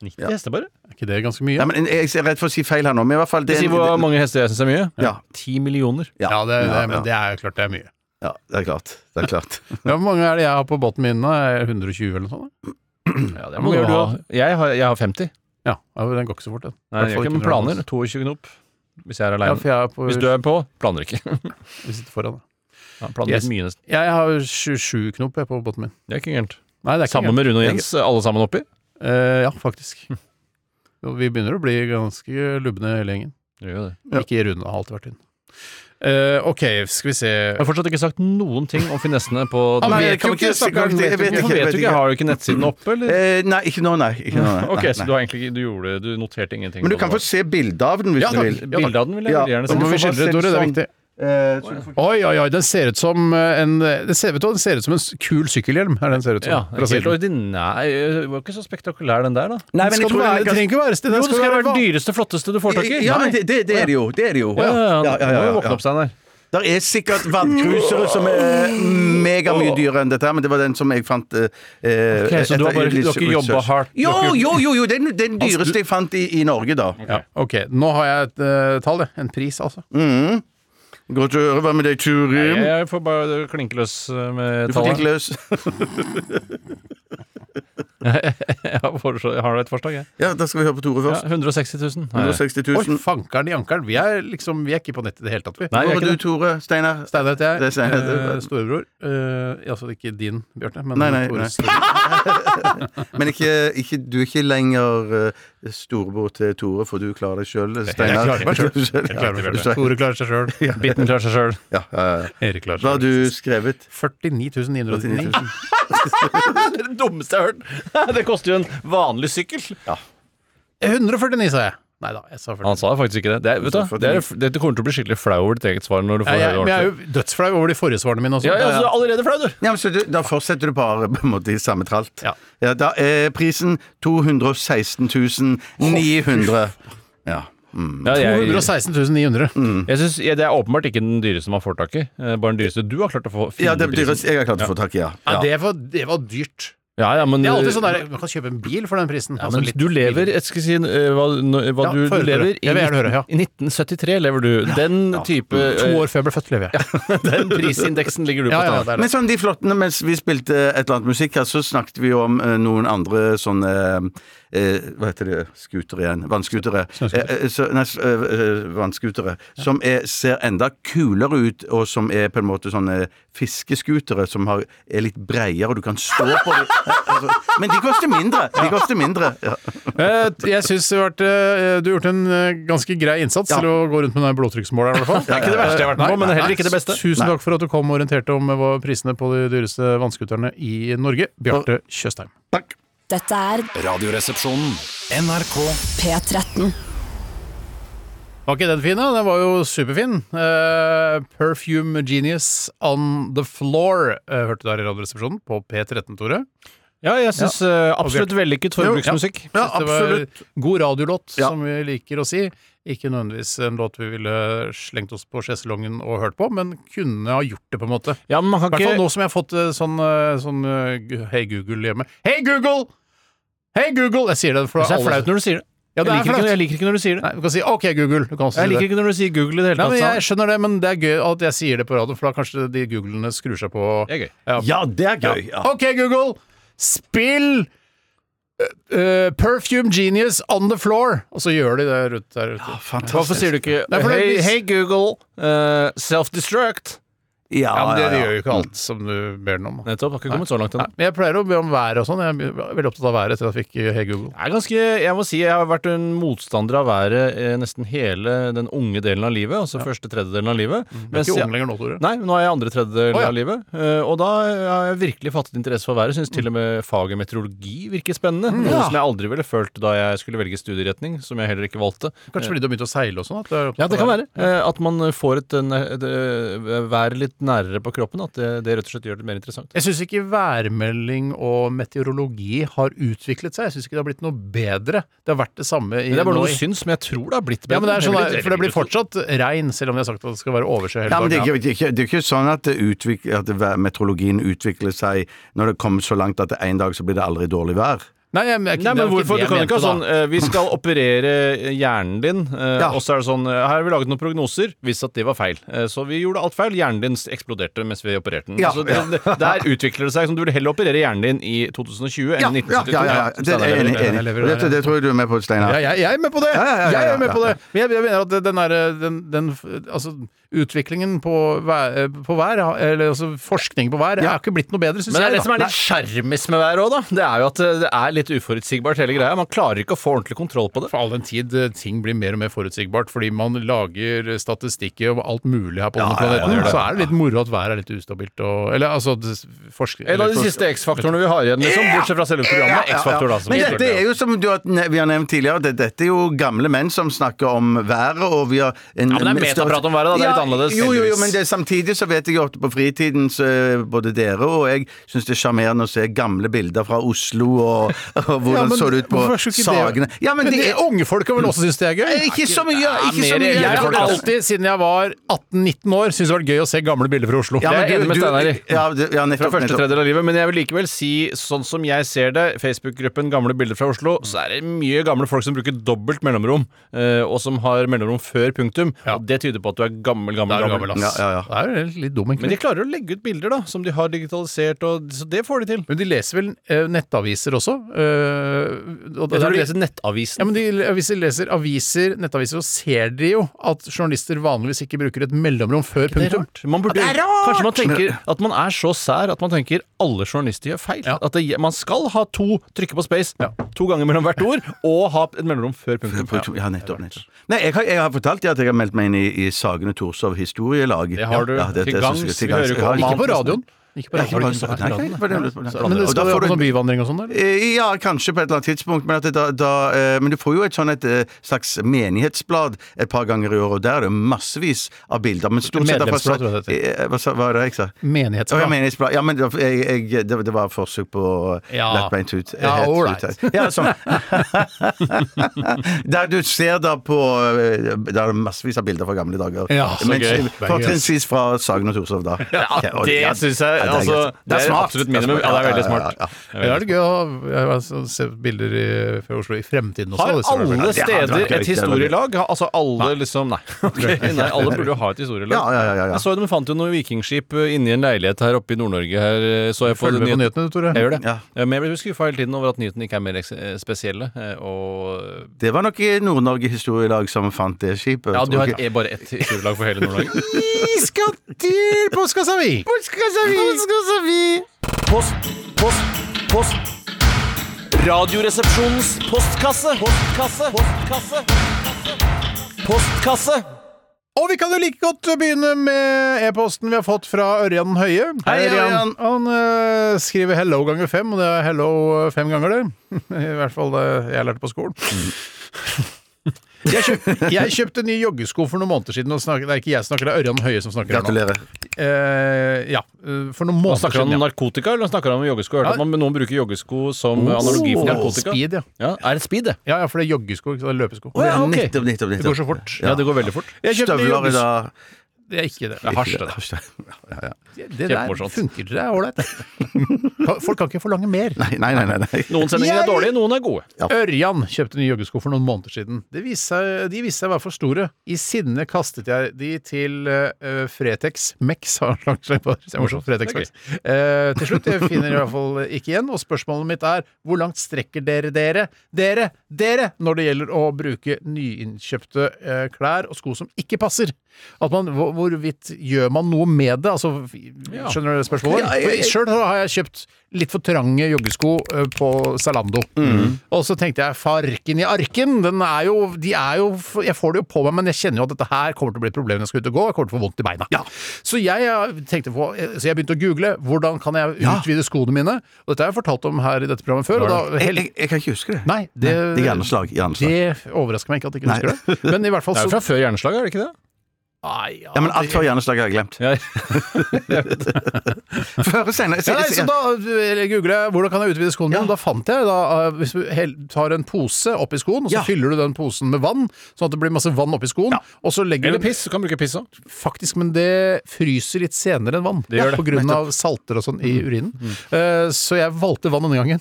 Speaker 5: 90 hester, bare.
Speaker 4: Er ikke det ganske mye?
Speaker 6: Ja, men jeg er redd for å si feil her nå, men i hvert fall det,
Speaker 5: Si
Speaker 6: er en-
Speaker 5: hvor mange hester jeg syns er mye.
Speaker 6: Ja.
Speaker 5: 10 millioner.
Speaker 6: Ja,
Speaker 4: Ja, det, det,
Speaker 6: ja, ja.
Speaker 4: men det er jo klart det er mye.
Speaker 6: ja, det er klart. Det
Speaker 4: <laughs>
Speaker 6: er klart.
Speaker 4: Ja, Hvor mange er det jeg har på båten min nå? Er det 120 eller noe sånt? da?
Speaker 5: Ja, det
Speaker 4: må du ha.
Speaker 5: Jeg har, jeg har 50.
Speaker 4: Ja, ja, den går ikke så fort, den.
Speaker 5: Nei,
Speaker 4: Hvertfall
Speaker 5: jeg gjør ikke men
Speaker 4: under
Speaker 5: planer.
Speaker 4: vann.
Speaker 5: 22 knop. Hvis jeg er
Speaker 4: Ja,
Speaker 5: aleine.
Speaker 4: for jeg er på
Speaker 5: Hvis du er på, planer ikke.
Speaker 4: vi sitter foran. da.
Speaker 5: Ja, planer
Speaker 4: Yes.
Speaker 5: litt mye nesten.
Speaker 4: Jeg har 27 knop jeg på båten min.
Speaker 5: Det er ikke gærent.
Speaker 4: Nei, det er ikke
Speaker 5: Sammen
Speaker 4: gærent.
Speaker 5: med Rune og Jens, alle sammen oppi.
Speaker 4: Eh, ja,
Speaker 5: <laughs>
Speaker 4: faktisk. Og Vi begynner å bli ganske lubne hele gjengen.
Speaker 5: Gjør jo det.
Speaker 4: Ikke Rune, har alltid vært Rune. Eh, ok, skal vi se
Speaker 5: Jeg har fortsatt ikke sagt noen ting om finessene på
Speaker 4: <laughs>
Speaker 6: Ah, nei,
Speaker 5: Vet
Speaker 6: jeg kan
Speaker 5: jo
Speaker 6: ikke-
Speaker 5: stakkaren,
Speaker 6: jeg vet
Speaker 5: vet jo ikke, vet
Speaker 6: ikke, jeg vet
Speaker 5: jo
Speaker 6: ikke.
Speaker 5: ikke, Har du ikke nettsiden oppe, eller?
Speaker 6: Eh, nei, ikke nå, nei. Ikke nå, nei.
Speaker 5: Ok,
Speaker 6: nei,
Speaker 5: så
Speaker 6: nei.
Speaker 5: du har egentlig ikke Du gjorde det, du noterte ingenting.
Speaker 6: Men du
Speaker 5: på
Speaker 6: kan
Speaker 5: det.
Speaker 6: få se bilde av den hvis
Speaker 5: Ja,
Speaker 6: du
Speaker 5: takk.
Speaker 6: vil.
Speaker 5: Ja, bilde av den vil jeg veldig gjerne se.
Speaker 4: Da må
Speaker 5: Du
Speaker 4: vi
Speaker 5: får bare
Speaker 4: skildre,
Speaker 5: se
Speaker 4: Tore. Det er
Speaker 6: sånn.
Speaker 4: viktig.
Speaker 6: Eh, så du får-
Speaker 4: Oi, oi, oi, den ser ut som eh, en den ser, vet du, hva, den ser ut som en s- kul sykkelhjelm. Er den ser ut som,
Speaker 5: Ja,
Speaker 4: fra
Speaker 5: ikke helt
Speaker 4: siden.
Speaker 5: ordinær Eh, Det var ikke så spektakulær, den der, da.
Speaker 6: Nei, men jeg
Speaker 4: Skal den
Speaker 6: tror
Speaker 4: være,
Speaker 6: det er
Speaker 4: det trenger ikke å være sted.
Speaker 5: Jo,
Speaker 4: Den
Speaker 5: det
Speaker 4: skal
Speaker 5: skal være
Speaker 4: være
Speaker 5: den dyreste, flotteste du får tak i.
Speaker 6: Ja, men det, det, det er det jo. Det er det jo.
Speaker 5: Ja, ja, ja.
Speaker 6: Ja, ja, ja,
Speaker 5: Nå må
Speaker 6: ja.
Speaker 5: du våkne opp, Steinar.
Speaker 6: Der er sikkert vanncruisere som er megamye dyrere enn dette, her, men det var den som jeg fant eh,
Speaker 5: Ok, så du har bare- du
Speaker 6: etter
Speaker 5: har ikke
Speaker 6: research.
Speaker 5: jobba hardt? Du
Speaker 6: Jo,
Speaker 5: har ikke- Altså,
Speaker 6: jo, jo! jo det er den- det er den dyreste jeg fant i, i Norge, da.
Speaker 4: Ja, ok, nå har jeg et eh, tall, jeg. En pris, altså.
Speaker 6: Godt å høre. Hva med deg,
Speaker 5: Jeg,
Speaker 6: Turim?
Speaker 5: jeg får bare klinke løs med
Speaker 6: Du får
Speaker 5: tallet.
Speaker 6: klikke løs.
Speaker 5: <laughs> Jeg har foreslå- jeg har da et forslag, jeg.
Speaker 6: Ja, da skal vi høre på Tore
Speaker 5: Ja,
Speaker 6: først.
Speaker 5: 160 000. Nei.
Speaker 6: 160
Speaker 4: Oi,
Speaker 6: 000.
Speaker 4: fankeren i ankeren. Vi er liksom, vi er ikke på nettet i det hele tatt, vi.
Speaker 5: Nei,
Speaker 6: Hvor
Speaker 5: jeg er
Speaker 6: var du,
Speaker 5: ikke det.
Speaker 6: Tore? Steinar?
Speaker 4: Steinar heter
Speaker 6: Det er
Speaker 4: jeg.
Speaker 6: Steinar, det er
Speaker 4: eh,
Speaker 6: bra.
Speaker 4: storebror. Eh, altså ikke din, Bjarte, men
Speaker 6: Nei, nei,
Speaker 4: Tores
Speaker 6: nei.
Speaker 4: storebror.
Speaker 6: Men ikke, ikke, du er ikke lenger eh, storebror til Tore, for du klarer deg sjøl, Steinar.
Speaker 4: klarer meg
Speaker 6: <laughs>
Speaker 4: selv.
Speaker 6: Du selv,
Speaker 4: Jeg klarer meg
Speaker 6: ja.
Speaker 4: selv. Tore klarer seg sjøl.
Speaker 5: Bitten klarer seg sjøl.
Speaker 6: Ja, ja, ja.
Speaker 4: Erik klarer
Speaker 6: Hva har
Speaker 4: seg sjøl.
Speaker 6: du skrevet?
Speaker 4: 49 999.
Speaker 5: Det er det dummeste jeg har hørt.
Speaker 4: <laughs>
Speaker 5: Det koster jo en vanlig sykkel.
Speaker 4: 149, sa jeg. Nei da, jeg sa 49.
Speaker 5: Han sa faktisk ikke det. Det, er- vet du, hva, det, er, det kommer til å bli skikkelig flau over ditt eget svar når du får
Speaker 4: Ja, jeg, men
Speaker 5: høre det.
Speaker 4: jeg er
Speaker 5: ordentlig.
Speaker 4: jo dødsflau over de forrige svarene mine også.
Speaker 5: Ja, ja, så du er allerede flau, du.
Speaker 6: Ja, men så du, da fortsetter du bare på en måte i samme tralt.
Speaker 4: Ja.
Speaker 6: da er prisen 216 900. Ja. mm.
Speaker 5: Ja, jeg, Mm.
Speaker 4: 216 900.
Speaker 5: jeg synes, ja, det er åpenbart ikke den dyreste man får tak i. Eh, Bare den dyreste du har klart å få. finne
Speaker 6: ja, det betyr
Speaker 5: prisen.
Speaker 6: at jeg har klart å få tak i, ja.
Speaker 4: Ja,
Speaker 6: ja.
Speaker 4: det, var, det var dyrt.
Speaker 5: ja, ja, men,
Speaker 4: Det er alltid sånn der, Man kan kjøpe en bil for den prisen.
Speaker 5: Ja,
Speaker 4: Altså
Speaker 5: men
Speaker 4: litt
Speaker 5: du lever jeg skal si, eh, hva, nå-
Speaker 4: Ja,
Speaker 5: hva du, du
Speaker 4: få høre,
Speaker 5: lever
Speaker 4: Tore. Jeg vil gjerne høre, ja.
Speaker 5: i 1973 lever du. Den type
Speaker 4: billigere. To år før jeg ble født, lever
Speaker 5: <laughs>
Speaker 4: jeg.
Speaker 5: eh, Den prisindeksen ligger du på.
Speaker 4: Ja, ja,
Speaker 5: Steinar.
Speaker 4: det er det.
Speaker 6: Men sånn de flottene, mens vi spilte et eller annet musikk her, så snakket vi jo om eh, noen andre sånne eh, Hva heter det? Scooter igjen. Vannskutere.
Speaker 4: Snøscooter.
Speaker 6: Eh, eh, så- nei, s- eh, eh, vannskutere. Som er, ser enda kulere ut, og som er på en måte sånne fiskeskutere som har, er litt breiere, og du kan stå på
Speaker 4: <laughs>
Speaker 6: dem. Altså, Men de koster mindre! De koster mindre. Ja.
Speaker 4: Eh, Jeg syns du har gjort en eh, ganske grei innsats til å gå rundt med den blodtrykksmåleren, i hvert fall.
Speaker 5: <laughs> Det er ikke det verste jeg har vært med på, men det er heller ikke det beste.
Speaker 4: Tusen takk for at du kom og orienterte om eh, hva prisene på de dyreste vannskuterne i Norge. Bjarte Tjøstheim.
Speaker 1: Dette er
Speaker 2: Radioresepsjonen.
Speaker 1: P13.
Speaker 4: Var ikke den fin, da? Den var jo superfin. Eh, Perfume Genius On The Floor eh, hørte du der i Radioresepsjonen på P13, Tore.
Speaker 5: Ja, jeg syns eh, absolutt vellykket forbruksmusikk.
Speaker 4: Ja,
Speaker 6: Ja,
Speaker 4: det var
Speaker 6: absolutt.
Speaker 4: god radiolåt,
Speaker 6: Ja.
Speaker 4: som vi liker å si. Ikke nødvendigvis en låt vi ville slengt oss på sjeselongen og hørt på, men kunne ha gjort det, på en måte. I
Speaker 5: Ja, men man kan
Speaker 4: hvert fall
Speaker 5: ikke
Speaker 4: nå som jeg har fått eh, sånn, eh, sånn eh, gu- Hei Google hjemme. Hei Google! Hei Google! Jeg sier det for
Speaker 5: Det er
Speaker 4: alle.
Speaker 5: flaut når du sier det.
Speaker 4: Ja, det er
Speaker 5: jeg, liker ikke,
Speaker 4: flaut.
Speaker 5: jeg liker ikke når du sier det.
Speaker 4: Nei, du kan si OK Google. Du kan også
Speaker 5: Jeg
Speaker 4: si det.
Speaker 5: liker ikke når du sier Google i det hele
Speaker 4: Nei,
Speaker 5: tatt.
Speaker 4: men
Speaker 5: Steinar.
Speaker 4: jeg skjønner det, men det er gøy at jeg sier det på radio, for da kanskje de googlene skrur seg på.
Speaker 5: Det er gøy.
Speaker 6: Ja, det er gøy. Ja.
Speaker 4: OK, Google! Spill eh, Perfume Genius on the floor, og så gjør de det rundt der ute.
Speaker 5: Hvorfor sier du ikke
Speaker 4: Nei, for det-
Speaker 5: Hei, hei, Google, eh, self-destruct?
Speaker 6: Ja,
Speaker 4: Ja, Mm. men det,
Speaker 6: ja,
Speaker 4: de
Speaker 6: ja.
Speaker 4: gjør jo ikke alt som du ber den om. da.
Speaker 5: Nettopp. Har ikke kommet så langt ennå.
Speaker 4: Men jeg pleier å be om været og sånn. Jeg er veldig opptatt av været etter at jeg fikk eh, Hey Google.
Speaker 5: Jeg, er ganske, jeg må si jeg har vært en motstander av været eh, nesten hele den unge delen av livet. Altså første tredjedelen av livet.
Speaker 4: Du Mm, er
Speaker 5: mens
Speaker 4: ikke
Speaker 5: jeg-
Speaker 4: ung lenger nå, Tore.
Speaker 5: Nei, nå er jeg andre
Speaker 4: Å,
Speaker 5: tredjedel
Speaker 4: ja.
Speaker 5: av livet. eh, Og da har jeg virkelig fattet interesse for været. Syns til og med faget meteorologi virker spennende.
Speaker 4: Mm,
Speaker 5: Noe som jeg aldri ville følt da jeg skulle velge studieretning, som jeg heller ikke valgte.
Speaker 4: Kanskje fordi du har begynt å seile og sånn? at du er opptatt
Speaker 5: Ja, det kan
Speaker 4: av
Speaker 5: være. Eh, At man får et, en- et, eh, været litt nærere på kroppen. At det, det rett og slett gjør det mer interessant.
Speaker 4: Jeg syns ikke værmelding og meteorologi har utviklet seg. Jeg syns ikke det har blitt noe bedre. Det har vært det samme i
Speaker 5: Men det er bare noe
Speaker 4: nå i-
Speaker 5: du syns, men jeg tror det har blitt bedre.
Speaker 4: Ja, men det er sånn,
Speaker 5: Jeg vil-
Speaker 4: der- For det blir fortsatt regn, selv om vi har sagt at det skal være overskyet hele
Speaker 6: Ja, men det er,
Speaker 4: dagen.
Speaker 6: ikke, det, er ikke, det er ikke sånn at, det utvik- at det- meteorologien utvikler seg når det kommer så langt at det en dag så blir det aldri dårlig vær.
Speaker 4: Nei, jeg, jeg,
Speaker 5: Nei,
Speaker 4: det
Speaker 5: men
Speaker 4: var det
Speaker 5: hvorfor? Du
Speaker 4: jeg
Speaker 5: kan ikke ha sånn
Speaker 4: mente da.
Speaker 5: eh, Vi skal operere hjernen din, eh,
Speaker 6: Ja.
Speaker 5: og så er det sånn eh, Her har vi laget noen prognoser, visst at det var feil. Eh, Så vi gjorde alt feil. Hjernen din eksploderte mens vi opererte den.
Speaker 6: Ja,
Speaker 5: Altså, det, det- Der utvikler det seg. Som du vil heller operere hjernen din i 2020 enn i 1972.
Speaker 6: ja, ja, ja. Det er jeg enig, enig. Og Dette, det tror jeg du er med på,
Speaker 4: Ja,
Speaker 6: Steinar.
Speaker 4: jeg, jeg er med på det!
Speaker 6: Ja, ja, ja, ja,
Speaker 4: jeg er med
Speaker 6: ja,
Speaker 4: på
Speaker 6: ja.
Speaker 4: det. Men jeg, jeg mener at eh, den derre den, den, Altså, utviklingen på vær, eh, på vær eller altså forskning på vær, har ikke blitt noe bedre, syns jeg.
Speaker 5: Men det er det
Speaker 4: da.
Speaker 5: som er litt sjarmis med været òg, da. Det er jo at eh, det er litt uforutsigbart hele greia. Man klarer ikke å få ordentlig kontroll på det.
Speaker 4: For all den tid eh, ting blir mer og mer forutsigbart fordi man lager statistikker om alt mulig her på denne planeten, så er det litt moro at været er litt ustabilt og Eller altså forsk...
Speaker 5: En av de siste X-faktorene vi har igjen, liksom, bortsett fra selve programmet. X-faktor, da. som
Speaker 6: Men
Speaker 5: vi
Speaker 6: dette
Speaker 5: følger.
Speaker 6: er jo som du har, ne- vi har nevnt tidligere, det, dette er jo gamle menn som snakker om været, og vi har en,
Speaker 5: Ja, men det er metaprat om været, da. Det er litt annerledes,
Speaker 6: Jo, jo, jo,
Speaker 5: heldigvis.
Speaker 6: men det, samtidig så vet jeg jo ofte på fritiden, så eh, både dere og jeg syns det er sjarmerende å se gamle bilder fra Oslo, og, og hvordan så det ut på Sagene. Ja, men det er
Speaker 4: unge folk kan vel også synes det er gøy?
Speaker 6: Eh, Ikke så mye!
Speaker 5: Ja,
Speaker 6: Ikke så
Speaker 5: mer
Speaker 6: mye.
Speaker 5: eldre
Speaker 4: Jeg
Speaker 5: folk,
Speaker 4: har
Speaker 5: altså.
Speaker 4: alltid, siden jeg var 18-19 år, syntes det har vært gøy å se gamle bilder fra Oslo.
Speaker 6: Ja, men
Speaker 5: Jeg er
Speaker 6: du-
Speaker 5: enig med
Speaker 6: du-
Speaker 5: Steinar i.
Speaker 6: Ja, du- ja,
Speaker 5: fra
Speaker 6: nettopp,
Speaker 5: første
Speaker 6: nettopp.
Speaker 5: tredjedel av livet, men jeg vil likevel si, sånn som jeg ser det, Facebook-gruppen Gamle bilder fra Oslo, så er det mye gamle folk som bruker dobbelt mellomrom, eh, og som har mellomrom før punktum. Og det tyder på at du er gammel, gammel,
Speaker 4: Da er du
Speaker 5: gammel.
Speaker 4: gammel,
Speaker 6: Ja,
Speaker 4: ass.
Speaker 6: ja, ja.
Speaker 4: Det er jo helt litt dum,
Speaker 5: Men
Speaker 4: egentlig.
Speaker 5: de klarer å legge ut bilder, da, som de har digitalisert, og, så det får de til.
Speaker 4: Men de leser vel eh, nettaviser også? eh, og det er
Speaker 5: Jeg tror de
Speaker 4: det-
Speaker 5: leser Nettavisen.
Speaker 4: Ja, men de, Hvis de leser aviser, nettaviser, så ser de jo at journalister vanligvis ikke bruker et mellomrom før
Speaker 5: Det er
Speaker 4: punktum.
Speaker 5: rart. Man burde, Kanskje man tenker at man er så sær at man tenker alle journalister gjør feil.
Speaker 4: Ja.
Speaker 5: At det, man skal ha to trykke på space to ganger mellom hvert ord, og ha et mellomrom før punktum.
Speaker 6: På- Ja, nettopp. nettopp. Nei, jeg har, jeg har fortalt deg at jeg har meldt meg inn i, i Sagene Torshov historielag.
Speaker 5: Det har du. Til
Speaker 6: det synes
Speaker 5: gangs.
Speaker 6: jeg-
Speaker 5: Vi hører jo
Speaker 6: Jeg har
Speaker 5: ikke
Speaker 4: Ikke
Speaker 5: om
Speaker 4: på radioen. Ikke på
Speaker 6: Nei,
Speaker 4: radioen.
Speaker 6: ikke på
Speaker 4: Har du ikke sagt
Speaker 6: radioen.
Speaker 4: det?
Speaker 6: Nei, ikke på radioen.
Speaker 4: Men det
Speaker 6: Og da
Speaker 4: skal du
Speaker 6: får
Speaker 4: på
Speaker 6: du-
Speaker 4: sånn byvandring og sånn, eller?
Speaker 6: Eh, Ja, kanskje på et eller annet tidspunkt, men, at det da, da, eh, men du får jo et sånn et eh, slags menighetsblad et par ganger i året, og der er det massevis av bilder. Men stort sett
Speaker 4: Medlemsblad, tror jeg det
Speaker 6: heter. Eh, Hva sa- hva var det jeg sa? Å, ja,
Speaker 4: Menighetsblad.
Speaker 6: menighetsblad. Ja, men det var- jeg, jeg, det, det var forsøk på å
Speaker 4: Ja.
Speaker 6: lette meg ut.
Speaker 4: Ja,
Speaker 6: helt
Speaker 4: all right.
Speaker 6: ut her. Ja, sånn. <laughs> Der du ser da på eh, Der er det massevis av bilder fra gamle dager.
Speaker 4: Ja, så
Speaker 6: Men
Speaker 4: gøy.
Speaker 6: Fortrinnsvis fra Sagen og Torshov, da.
Speaker 5: Ja,
Speaker 6: Ok, og-
Speaker 5: det
Speaker 6: ja,
Speaker 5: synes jeg,
Speaker 6: ja,
Speaker 5: altså,
Speaker 6: greit.
Speaker 5: det er absolutt minimum. Ja, det er veldig smart.
Speaker 6: ja, ja.
Speaker 4: Ja, det er gøy å ha- altså, se bilder i, fra Oslo i fremtiden også.
Speaker 5: Har
Speaker 4: det ser veldig bra
Speaker 5: alle
Speaker 4: ut.
Speaker 6: det
Speaker 5: steder
Speaker 6: hadde vært gøy,
Speaker 5: et
Speaker 6: det hadde vært
Speaker 5: historielag? Har- Altså alle liksom <laughs> Nei. Ok, nei alle burde jo ha et historielag.
Speaker 6: Ja, ja, ja, ja, ja.
Speaker 5: Jeg så jo de fant jo noen vikingskip eh, inni en leilighet her oppe i Nord-Norge. her eh, så jeg på
Speaker 4: Følg med på
Speaker 5: nyhet-
Speaker 4: nyhetene, du, Tore.
Speaker 5: Jeg gjør det.
Speaker 6: Ja.
Speaker 5: Eh, Men jeg blir skuffa hele tiden over at nyhetene ikke er mer eks- eh, spesielle. eh, Og
Speaker 6: Det var nok i Nord-Norge Historielag som fant det skipet.
Speaker 5: Ja, du har
Speaker 6: tror jeg.
Speaker 5: et, bare ett historielag for hele
Speaker 4: <laughs>
Speaker 5: Nord-Norge.
Speaker 4: Vi skal til Påskasavi! Påskasavi!
Speaker 3: Post, post, post. Radioresepsjonens postkasse. Postkasse. Postkasse. Postkasse.
Speaker 4: Og vi kan jo like godt begynne med e-posten vi har fått fra Ørjan Høie.
Speaker 6: Hei, Ørjan.
Speaker 4: Han øh, skriver 'hello' ganger fem, og det er 'hello' øh, fem ganger, det. <laughs> I hvert fall det jeg lærte på skolen.
Speaker 5: Mm.
Speaker 4: Jeg, kjøp, jeg kjøpte nye joggesko for noen måneder siden. Og snakker, det er ikke jeg som snakker, det er Ørjan Høie som snakker. her nå.
Speaker 6: Gratulerer.
Speaker 4: Eh, ja, øh, for noen
Speaker 5: Man
Speaker 4: måneder
Speaker 5: snakker han
Speaker 4: siden.
Speaker 5: om
Speaker 4: Ja.
Speaker 5: narkotika, eller han snakker han om joggesko? Jeg har Hørt at man, noen bruker joggesko som analogi for narkotika.
Speaker 4: Speed, Oh. ja.
Speaker 5: Ja, er det speed, det?
Speaker 4: Ja, ja, for det er joggesko, ikke sant? Det er løpesko.
Speaker 5: ja, ok.
Speaker 6: Nettopp, nettopp, nettopp.
Speaker 4: Det går så fort.
Speaker 5: Ja, det går veldig fort.
Speaker 4: Jeg kjøpte nye
Speaker 6: Støvler i
Speaker 4: joggesko.
Speaker 6: dag
Speaker 4: Det er ikke det.
Speaker 5: Det er hasj, det.
Speaker 6: Hasj, ja, ja, ja.
Speaker 4: Det, det der
Speaker 5: Kjempemorsomt.
Speaker 4: funker det er ålreit. Folk kan ikke forlange mer.
Speaker 6: Nei, nei, nei. nei, nei.
Speaker 5: Noen sendinger er dårlige, noen er gode.
Speaker 4: Ørjan kjøpte nye joggesko for noen måneder siden. Det viste seg, de viste seg å være for store. I sinne kastet jeg de til eh, Fretex Mex. <laughs> har han lagt seg på. <laughs> Det er morsomt. Fretex Mex. Eh, til slutt jeg finner jeg i hvert fall ikke igjen, og spørsmålet mitt er hvor langt strekker dere dere, dere, dere, når det gjelder å bruke nyinnkjøpte eh, klær og sko som ikke passer? At man, hvor- Hvorvidt gjør man noe med det? Altså, skjønner du spørsmålet? Sjøl har jeg kjøpt litt for trange joggesko eh, på Zalando. Og så tenkte jeg farken i arken! Den er jo, de er jo, jeg får det jo på meg, men jeg kjenner jo at dette her kommer til å bli et problem når jeg skal ut og gå. Jeg kommer til å få vondt i beina. Så, jeg, eh, tenkte på, så jeg begynte å google hvordan kan jeg utvide skoene mine. Og dette har jeg fortalt om her i dette programmet før. Og da,
Speaker 6: Jeg,
Speaker 4: hel,
Speaker 6: jeg, jeg kan ikke huske det.
Speaker 4: nei, det,
Speaker 6: Det er hjerneslag. hjerneslag.
Speaker 4: det overrasker meg ikke at jeg ikke
Speaker 6: Nei.
Speaker 4: husker det. Men i hvert fall
Speaker 5: <laughs> Det er jo
Speaker 4: så
Speaker 5: fra før hjerneslag, er det ikke det?
Speaker 4: Nei, ja,
Speaker 6: Ja, men alt fra hjerneslag har
Speaker 4: <laughs>
Speaker 6: jeg glemt.
Speaker 5: Ja.
Speaker 6: Før senere.
Speaker 4: Ja, nei, så da eh, eller googlet jeg hvordan kan jeg utvide skoen min. Da fant jeg da, eh, Hvis du hel- tar en pose oppi skoen, og så
Speaker 6: Ja.
Speaker 4: fyller du den posen med vann, sånn at det blir masse vann oppi skoen, og så legger
Speaker 5: Eller
Speaker 4: du den
Speaker 5: piss. Du kan bruke piss òg.
Speaker 4: faktisk, men det fryser litt senere enn vann.
Speaker 5: Det gjør det.
Speaker 4: På grunn av salter og sånn i urinen. Eh, Så jeg valgte vann denne gangen.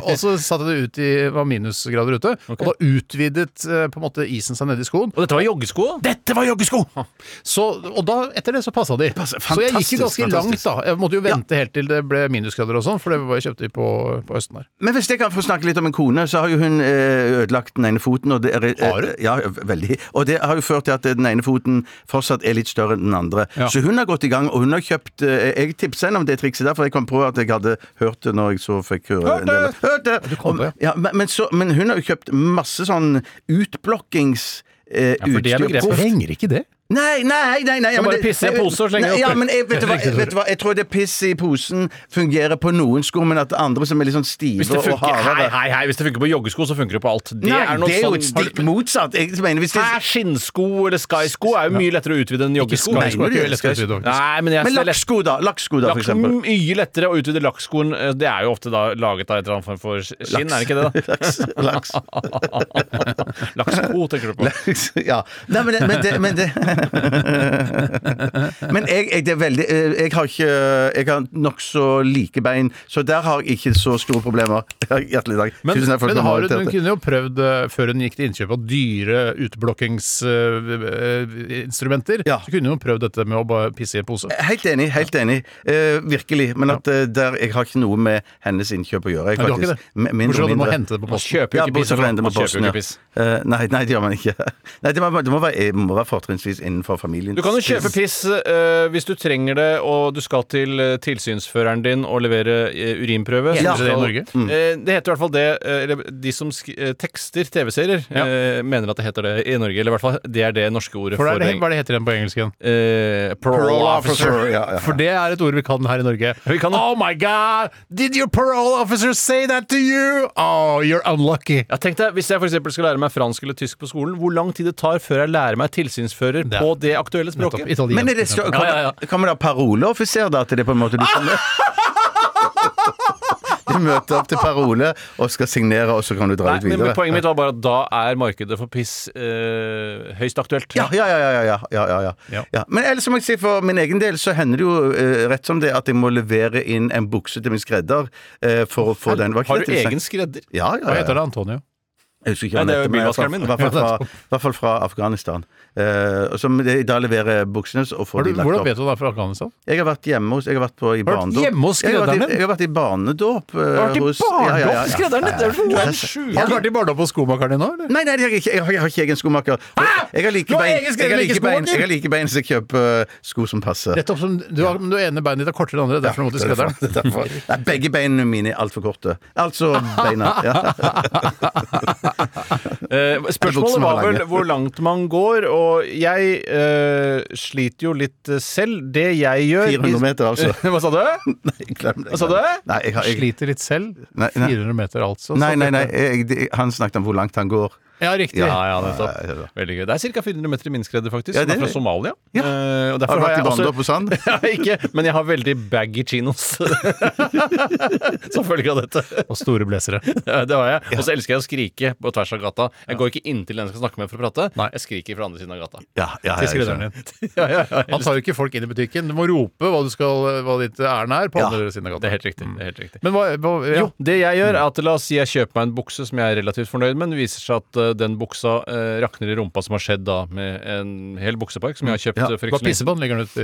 Speaker 4: <laughs> og så satte det ut i var minusgrader ute, og da utvidet eh, på en måte isen seg nedi skoen.
Speaker 5: <laughs> Og dette var joggesko?
Speaker 4: Dette var joggesko! Så, og da, etter det så passa de. så jeg gikk jo ganske langt,
Speaker 6: fantastisk,
Speaker 4: da. Jeg måtte jo vente helt til det ble minusgrader og sånn, for det var jeg kjøpte på, på Østen her.
Speaker 6: Men hvis jeg kan få snakke litt om en kone, så har jo hun eh, ødelagt den ene foten. Og det er, eh,
Speaker 4: Har hun?
Speaker 6: Ja, veldig. Og det har jo ført til at eh, den ene foten fortsatt er litt større enn den andre. Så hun har gått i gang, og hun har kjøpt eh, Jeg tipset henne om det trikset der, for jeg kom på at jeg hadde hørt det når jeg så fikk høre en del- Hørt det!
Speaker 4: kom på, ja.
Speaker 6: ja, men, men, så, men hun har jo kjøpt masse sånn utblokkings... Eh, ja,
Speaker 5: for det er begrepet.
Speaker 4: Henger ikke det?
Speaker 6: Nei, nei, nei, nei ja, men
Speaker 5: bare
Speaker 6: det-
Speaker 5: pisse i
Speaker 6: nei,
Speaker 5: pose og slenge
Speaker 6: nei,
Speaker 5: det oppi.
Speaker 6: Ja, men jeg, vet, du hva, jeg, vet du hva, jeg tror det piss i posen fungerer på noen sko, men at andre som er litt sånn stive
Speaker 5: Hvis det
Speaker 6: og
Speaker 5: funker, hei,
Speaker 6: hardere
Speaker 5: hei, hei, hvis det funker på joggesko, så funker det på alt. Det
Speaker 6: Nei,
Speaker 5: er noe
Speaker 6: det er jo
Speaker 5: sånn-
Speaker 6: et stikk motsatt. Jeg mener, hvis det,
Speaker 5: Hæ, skinnsko eller skysko er jo mye lettere å utvide enn joggesko.
Speaker 4: Sko
Speaker 6: sky-
Speaker 4: er ikke
Speaker 6: det
Speaker 4: lett å
Speaker 6: skal-
Speaker 4: utvide, faktisk.
Speaker 5: Nei, men jeg det er
Speaker 6: men
Speaker 5: lett-
Speaker 6: lakksko, da. Lakksko, da, for
Speaker 5: Laks,
Speaker 6: eksempel.
Speaker 5: mye lettere å utvide lakkskoen. eh, Det er jo ofte da laget av et eller annet form for skinn, er det ikke det? da?
Speaker 6: Laks. <laughs> laks.
Speaker 5: Lakksko tenker du på.
Speaker 6: Laks, Ja. Nei, men det, men det, men det. <laughs> Men jeg, jeg, det er veldig, eh, jeg har ikke Jeg har nokså like bein, så der har jeg ikke så store problemer. <laughs> Hjertelig takk.
Speaker 4: Men,
Speaker 6: Tusen takk for
Speaker 4: men
Speaker 6: at du
Speaker 4: har,
Speaker 6: har
Speaker 4: hun hun
Speaker 6: orientert.
Speaker 4: kunne jo prøvd, eh, før hun gikk til innkjøp av dyre utblokkingsinstrumenter,
Speaker 6: Ja. Eh,
Speaker 4: så kunne hun jo prøvd dette med å bare pisse i en pose.
Speaker 6: Helt enig. helt enig Eh, Virkelig. Men at eh, der, jeg har ikke noe med hennes innkjøp å gjøre. Jeg,
Speaker 4: Nei, du har ikke det?
Speaker 6: faktisk. M- mindre
Speaker 4: Bortsett
Speaker 6: og
Speaker 4: fra at du må
Speaker 6: mindre.
Speaker 4: hente det på
Speaker 5: Man
Speaker 4: posten.
Speaker 5: kjøper jo
Speaker 6: Ja,
Speaker 5: ikke piss.
Speaker 6: bortsett fra
Speaker 5: Man
Speaker 6: ender med
Speaker 5: kjøper jo
Speaker 6: posten. Ja.
Speaker 5: ikke piss.
Speaker 6: Eh, nei, nei, det gjør man ikke. <laughs> Nei, det må, det må være, eh, må være fortrinnsvis innenfor familien.
Speaker 5: Du kan jo kjøpe piss eh, hvis du trenger det og du skal til eh, tilsynsføreren din og levere eh, urinprøve.
Speaker 4: Ja. Heter
Speaker 5: Så
Speaker 4: det i
Speaker 5: skal-
Speaker 4: Norge?
Speaker 5: Eh, det heter i hvert fall det eh, eller De som sk eh, tekster TV-serier, eh, mener at det heter det i Norge. Eller i hvert fall det er det norske ordet
Speaker 4: For
Speaker 5: for,
Speaker 4: det er det,
Speaker 5: en-
Speaker 4: Hva er det heter den på engelsk igjen?
Speaker 5: eh, parole officer.
Speaker 6: Ja, ja.
Speaker 4: For det er et ord vi kan her i Norge.
Speaker 5: Vi kan det.
Speaker 4: oh my god! Did your parole officer say that to you? Oh, you're unlucky.
Speaker 5: Ja, tenk deg, Hvis jeg for eksempel skal lære meg fransk eller tysk på skolen, hvor lang tid det tar før jeg lærer meg tilsynsfører på det aktuelle språket?
Speaker 4: Nettopp. Italien.
Speaker 6: Men er det, så- kommer,
Speaker 5: Ja, ja,
Speaker 6: kommer det paroleoffiser da til det på en
Speaker 5: <laughs>
Speaker 6: måte? Du, kommer, <laughs> du møter opp til parole og skal signere, og så kan du dra ut
Speaker 5: Nei, men
Speaker 6: videre.
Speaker 5: Poenget mitt var bare at da er markedet for piss eh, høyst aktuelt.
Speaker 6: Ja, ja, ja, ja, ja, ja, ja, ja.
Speaker 4: Ja.
Speaker 6: ja. Men ellers må jeg si for min egen del så hender det jo eh, rett som det at jeg må levere inn en bukse til min skredder eh, for å få den var ikke
Speaker 5: Har
Speaker 6: det
Speaker 5: du
Speaker 6: tilsagt?
Speaker 5: egen skredder?
Speaker 6: Ja, ja,
Speaker 4: Hva
Speaker 6: ja.
Speaker 4: heter det, Antonio?
Speaker 6: Jeg husker ikke
Speaker 5: Nei,
Speaker 6: hva han
Speaker 5: det er jo
Speaker 6: heter, men i hvert fall-
Speaker 5: bilvaskeren min.
Speaker 6: I hvert fall
Speaker 4: <laughs>
Speaker 6: fra, i hvert fall fra Afghanistan. Eh, og som jeg da leverer buksene og får
Speaker 4: Har du,
Speaker 6: de lagt
Speaker 4: hvordan
Speaker 6: opp.
Speaker 4: vet du det er fra Afghanistan?
Speaker 6: Jeg har vært hjemme hos Jeg har vært på i
Speaker 4: vært
Speaker 6: barnedåp.
Speaker 4: hjemme hos
Speaker 6: Jeg har vært i-
Speaker 4: skredderen din?
Speaker 6: Jeg har vært i barnedåp. eh,
Speaker 4: vært i
Speaker 6: hos-
Speaker 4: barnedåp
Speaker 6: Ja, ja, ja, ja.
Speaker 5: Skredderen din? Det er vel
Speaker 6: Ja,
Speaker 5: noe
Speaker 6: ja.
Speaker 5: en sju-
Speaker 4: Har du vært i barndom hos skomakeren din nå, eller?
Speaker 6: Nei, nei, jeg har ikke, jeg har, jeg har ikke egen skomaker. Og Jeg har like
Speaker 4: Du har
Speaker 6: bein,
Speaker 4: egen skredder,
Speaker 6: jeg har
Speaker 4: ikke
Speaker 6: like bein,
Speaker 4: skomaker?
Speaker 6: jeg har like bein så jeg kjøper eh, sko som passer.
Speaker 4: Nettopp som du har, men det ene beinet ditt er kortere enn det andre, derfor må du til
Speaker 6: Det
Speaker 4: skredderen.
Speaker 6: er derfor- det er derfor- Nei, begge beina mine er altfor korte. Altså beina. Ja.
Speaker 5: Eh, spørsmålet
Speaker 6: Buksene var
Speaker 5: var vel
Speaker 6: lange.
Speaker 5: hvor langt man går, og jeg eh, sliter jo litt eh, selv. Det jeg gjør
Speaker 6: 400 meter, altså.
Speaker 5: <laughs> Hva sa du?
Speaker 6: Nei, glem det.
Speaker 5: Hva sa du?
Speaker 6: Nei, jeg har, jeg,
Speaker 4: Sliter litt selv.
Speaker 6: Nei, nei.
Speaker 4: 400 meter, altså. Så
Speaker 6: nei, nei, nei
Speaker 4: dette-
Speaker 6: jeg, de- han snakket om hvor langt han går.
Speaker 4: Ja, riktig.
Speaker 5: Ja, ja,
Speaker 6: Ja, ja, ja.
Speaker 5: nettopp. Veldig gøy. Det er ca. 400 meter i minskredet, faktisk.
Speaker 6: Ja,
Speaker 5: som
Speaker 6: det
Speaker 5: er
Speaker 6: er
Speaker 5: fra
Speaker 6: det.
Speaker 5: Somalia.
Speaker 6: Ja.
Speaker 5: Eh, og derfor
Speaker 6: Har du vært i
Speaker 5: også-
Speaker 6: Banda på sand?
Speaker 5: <laughs> Ja, ikke, men jeg har veldig baggy chinos <laughs> som følge av dette.
Speaker 4: Og store blazere.
Speaker 5: Ja, Det har jeg. Og så elsker jeg å skrike på tvers av gata. Jeg går ikke inntil den jeg skal snakke med for å prate.
Speaker 4: Nei.
Speaker 5: Jeg skriker fra andre siden av gata.
Speaker 6: Ja, ja, ja,
Speaker 4: Til
Speaker 6: jeg
Speaker 4: skrederen
Speaker 6: skjønner.
Speaker 4: din. Han tar jo ikke folk inn i butikken. Du må rope hva, du skal, hva ditt ærend er, på
Speaker 6: Ja.
Speaker 4: andre siden av
Speaker 5: Det er
Speaker 4: gata.
Speaker 5: helt riktig. Det er helt riktig.
Speaker 4: Men hva, hva ja.
Speaker 5: Jo, det jeg gjør er at La oss si jeg kjøper meg en bukse som jeg er relativt fornøyd med. Det viser seg at eh, den buksa eh, rakner i rumpa, som har skjedd da med en hel buksepark som jeg har kjøpt eh, for
Speaker 4: Bare
Speaker 5: ikke
Speaker 4: pisse på
Speaker 5: så lenge
Speaker 4: den, legger den ut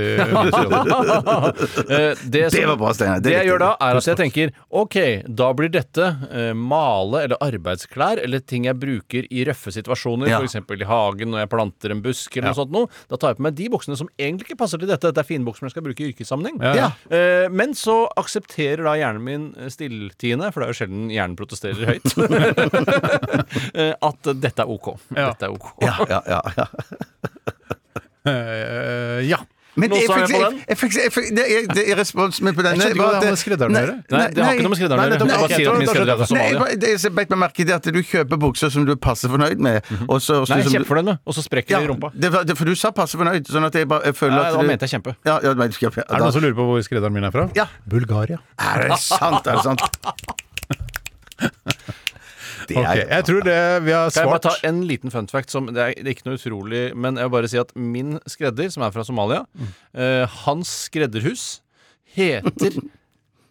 Speaker 4: i
Speaker 5: <laughs>
Speaker 6: <laughs>
Speaker 5: Eh, det, som-
Speaker 6: Det var bra, Steinar. Det
Speaker 5: Det jeg
Speaker 6: likte
Speaker 5: gjør da,
Speaker 6: jeg.
Speaker 5: er at jeg tenker OK, da blir dette eh, male eller arbeidsklær eller ting jeg bruker i røffe situasjoner,
Speaker 6: Ja.
Speaker 5: for f.eks. i hagen når jeg planter en busk eller noe sånt noe. Da tar jeg på meg de buksene som egentlig ikke passer til dette. Dette er finbukser som jeg skal bruke i yrkessammenheng.
Speaker 4: Ja.
Speaker 5: Eh, men så aksepterer da hjernen min eh, stilltiende, for det er jo sjelden hjernen protesterer
Speaker 6: <laughs>
Speaker 5: høyt, <laughs> eh, at dette er OK.
Speaker 4: Ja.
Speaker 5: Dette er OK.
Speaker 6: Ja, ja, ja, ja.
Speaker 4: Eh, Ja.
Speaker 6: Men
Speaker 5: Nå
Speaker 6: jeg
Speaker 5: så jeg
Speaker 6: fikk,
Speaker 5: på
Speaker 6: jeg,
Speaker 5: den.
Speaker 6: jeg fikk, jeg fikk, det, jeg, det, responsen min på denne
Speaker 4: Jeg skjønte ikke
Speaker 6: var
Speaker 4: hva det hadde
Speaker 6: at-
Speaker 4: med skredderen å
Speaker 6: Nei,
Speaker 4: gjøre.
Speaker 5: Nei, det har ikke noe med skredderen å
Speaker 6: nei,
Speaker 5: gjøre.
Speaker 6: nettopp.
Speaker 5: Jeg bare
Speaker 6: Nei,
Speaker 5: sier at min
Speaker 6: da- da-
Speaker 5: skredder er fra
Speaker 6: Nei, jeg
Speaker 5: Somalia.
Speaker 6: bare- det- jeg beit meg merke i det at du kjøper bukser som du er passe fornøyd med. og så- så-
Speaker 5: Nei,
Speaker 6: som du-
Speaker 5: kjempefornøyd med, og så sprekker
Speaker 6: Ja,
Speaker 5: det i rumpa.
Speaker 6: det var, det, for du sa passe fornøyd, sånn at jeg bare jeg føler
Speaker 5: Nei,
Speaker 6: at
Speaker 5: da
Speaker 6: du-
Speaker 5: mente jeg kjempe.
Speaker 6: Ja, ja, du mente kjempe.
Speaker 4: Er det
Speaker 6: Da-
Speaker 4: noen som lurer på hvor skredderen min er fra?
Speaker 6: Ja.
Speaker 4: Bulgaria.
Speaker 6: Er det sant? Er det sant? Det er-
Speaker 4: Ok, Jeg tror det vi har
Speaker 5: Kan jeg bare
Speaker 4: svart.
Speaker 5: ta en liten fun fact? Som, det, er, det er ikke noe utrolig, men jeg vil bare si at min skredder, som er fra Somalia, eh, hans skredderhus heter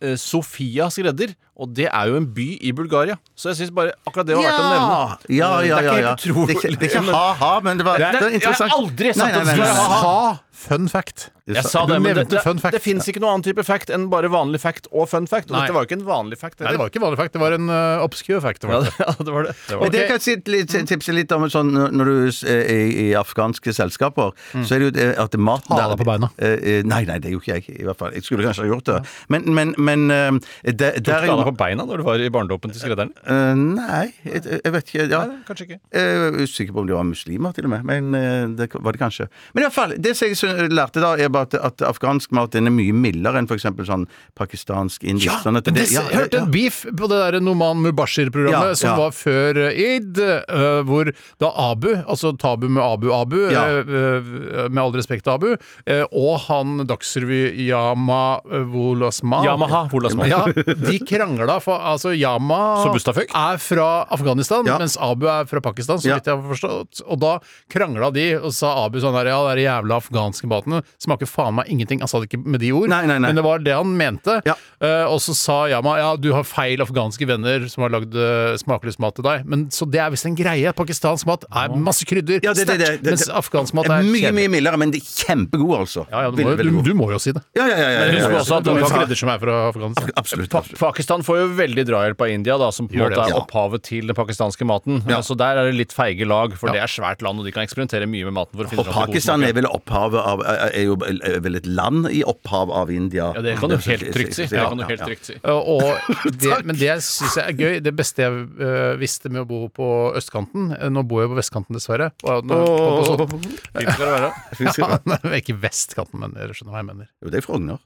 Speaker 5: eh, Sofia Skredder, og det er jo en by i Bulgaria. Så jeg syns bare akkurat det var verdt å nevne.
Speaker 6: Ja, ja, ja, ja, ja.
Speaker 5: Det er ikke helt utrolig.
Speaker 6: Det er ikke- det er ikke ha-ha, men det var, det var
Speaker 5: jeg har
Speaker 6: interessant.
Speaker 5: aldri sagt
Speaker 6: Nei,
Speaker 5: at
Speaker 6: nei,
Speaker 5: det
Speaker 6: nei,
Speaker 5: skulle
Speaker 6: nei,
Speaker 5: være
Speaker 6: nei.
Speaker 5: ha-ha.
Speaker 4: Ha fun fact.
Speaker 5: Jeg sa
Speaker 4: Du
Speaker 5: det, men det,
Speaker 4: nevnte
Speaker 5: det,
Speaker 4: fun fact.
Speaker 5: det fins ikke noe annen type fact enn bare vanlig fact og fun fact. Og
Speaker 4: Nei.
Speaker 5: dette var jo ikke en vanlig fact.
Speaker 4: Nei, det var ikke vanlig fact. Det var en uh, obscure fact. det
Speaker 5: <laughs> ja,
Speaker 4: Var det.
Speaker 5: det, ja, det var det. det, var
Speaker 6: Men
Speaker 5: det.
Speaker 6: det kan jeg si litt,
Speaker 5: Mm.
Speaker 6: tipse litt om sånn, Når du s- er i, i afghanske selskaper,
Speaker 5: Mm.
Speaker 6: så er det jo det at maten
Speaker 4: Ha deg på beina.
Speaker 6: Eh, eh, Nei, nei, det gjorde ikke jeg. i hvert fall Jeg skulle kanskje ha gjort det. Men, men, men eh, det, der er
Speaker 5: Tok du deg
Speaker 6: jo
Speaker 5: på beina når du var i barnedåpen til skredderen?
Speaker 6: Eh, Nei, jeg, jeg vet ikke. Ja.
Speaker 5: Nei, kanskje ikke.
Speaker 6: Jeg er Eh, usikker på om de var muslimer, til og med. Men eh, det var det kanskje. Men i hvert fall, det som jeg så- lærte da, er bare at, at afghansk mat den er mye mildere enn f.eks. sånn pakistansk, indisk sånn at
Speaker 4: Men
Speaker 6: det-
Speaker 4: det, jeg hørte en beef på det der Noman Mubashir-programmet
Speaker 6: Ja,
Speaker 4: som
Speaker 6: ja.
Speaker 4: var før eh, id, eh, hvor da Abu, altså Tabu med Abu Abu,
Speaker 6: Ja.
Speaker 4: eh, eh, med all respekt Abu, eh, og han Dagsrevy Yama Wolasma
Speaker 5: Yamaha Wolasma.
Speaker 4: Ja, de krangla, for altså Yama
Speaker 5: Så bustaføkk?
Speaker 4: er fra Afghanistan,
Speaker 6: Ja.
Speaker 4: mens Abu er fra Pakistan, så
Speaker 6: Ja.
Speaker 4: vidt jeg har forstått. Og da krangla de, og sa Abu sånn her, ja, det er de jævla afghanske matene smaker faen meg ingenting. Han sa det ikke med de ord,
Speaker 6: Nei, nei, nei.
Speaker 4: men det var det han mente.
Speaker 6: Ja.
Speaker 4: Eh, og så sa Yama ja, du har feil afghanske venner som har lagd eh, smakløs mat til deg. Men Så det er visst en greie. Pakistansk mat er masse krydder,
Speaker 6: Ja, det- det- det-
Speaker 4: sterkt,
Speaker 6: det-
Speaker 4: mens afghansk mat
Speaker 6: er
Speaker 4: er
Speaker 6: mye,
Speaker 4: kjedelig.
Speaker 6: mye mildere, men de er kjempegode, altså.
Speaker 4: Ja, ja, du, må,
Speaker 6: Veldig,
Speaker 4: jo-
Speaker 6: veldig
Speaker 4: du,
Speaker 6: gode.
Speaker 4: du må jo si det.
Speaker 6: Ja, ja, ja, ja,
Speaker 5: Men
Speaker 6: ja,
Speaker 5: husk på også
Speaker 6: ja.
Speaker 5: at
Speaker 4: Det er
Speaker 5: det
Speaker 4: mange
Speaker 5: var-
Speaker 4: skredder som er fra Afghanistan.
Speaker 6: Absolutt.
Speaker 5: Pa- Pakistan får jo veldig drahjelp av India, da, som på en
Speaker 4: Gjør
Speaker 5: måte
Speaker 4: det,
Speaker 5: er
Speaker 4: ja.
Speaker 5: opphavet til den pakistanske maten.
Speaker 6: Ja.
Speaker 5: Så der er det litt feige lag, for det er svært land, og de kan eksperimentere mye med maten. for å finne
Speaker 6: Og
Speaker 5: fram til god
Speaker 6: Pakistan
Speaker 5: smak.
Speaker 6: er vel, opphavet av, er jo er vel et land i opphav av India.
Speaker 5: Ja, det kan du helt trygt si. Det
Speaker 6: Ja,
Speaker 5: kan du
Speaker 6: ja,
Speaker 5: helt
Speaker 6: ja.
Speaker 5: trygt si.
Speaker 4: Eh,
Speaker 6: <laughs>
Speaker 4: Og det, men det syns jeg er gøy. Det beste jeg eh, visste med å bo på østkanten eh, Nå bor jeg på vestkanten, dessverre. Og, <laughs> nå,
Speaker 5: Fint skal det være.
Speaker 6: <laughs>
Speaker 4: ja, nei, ikke vestkanten, men dere skjønner hva jeg mener.
Speaker 6: Jo, det er Frogner.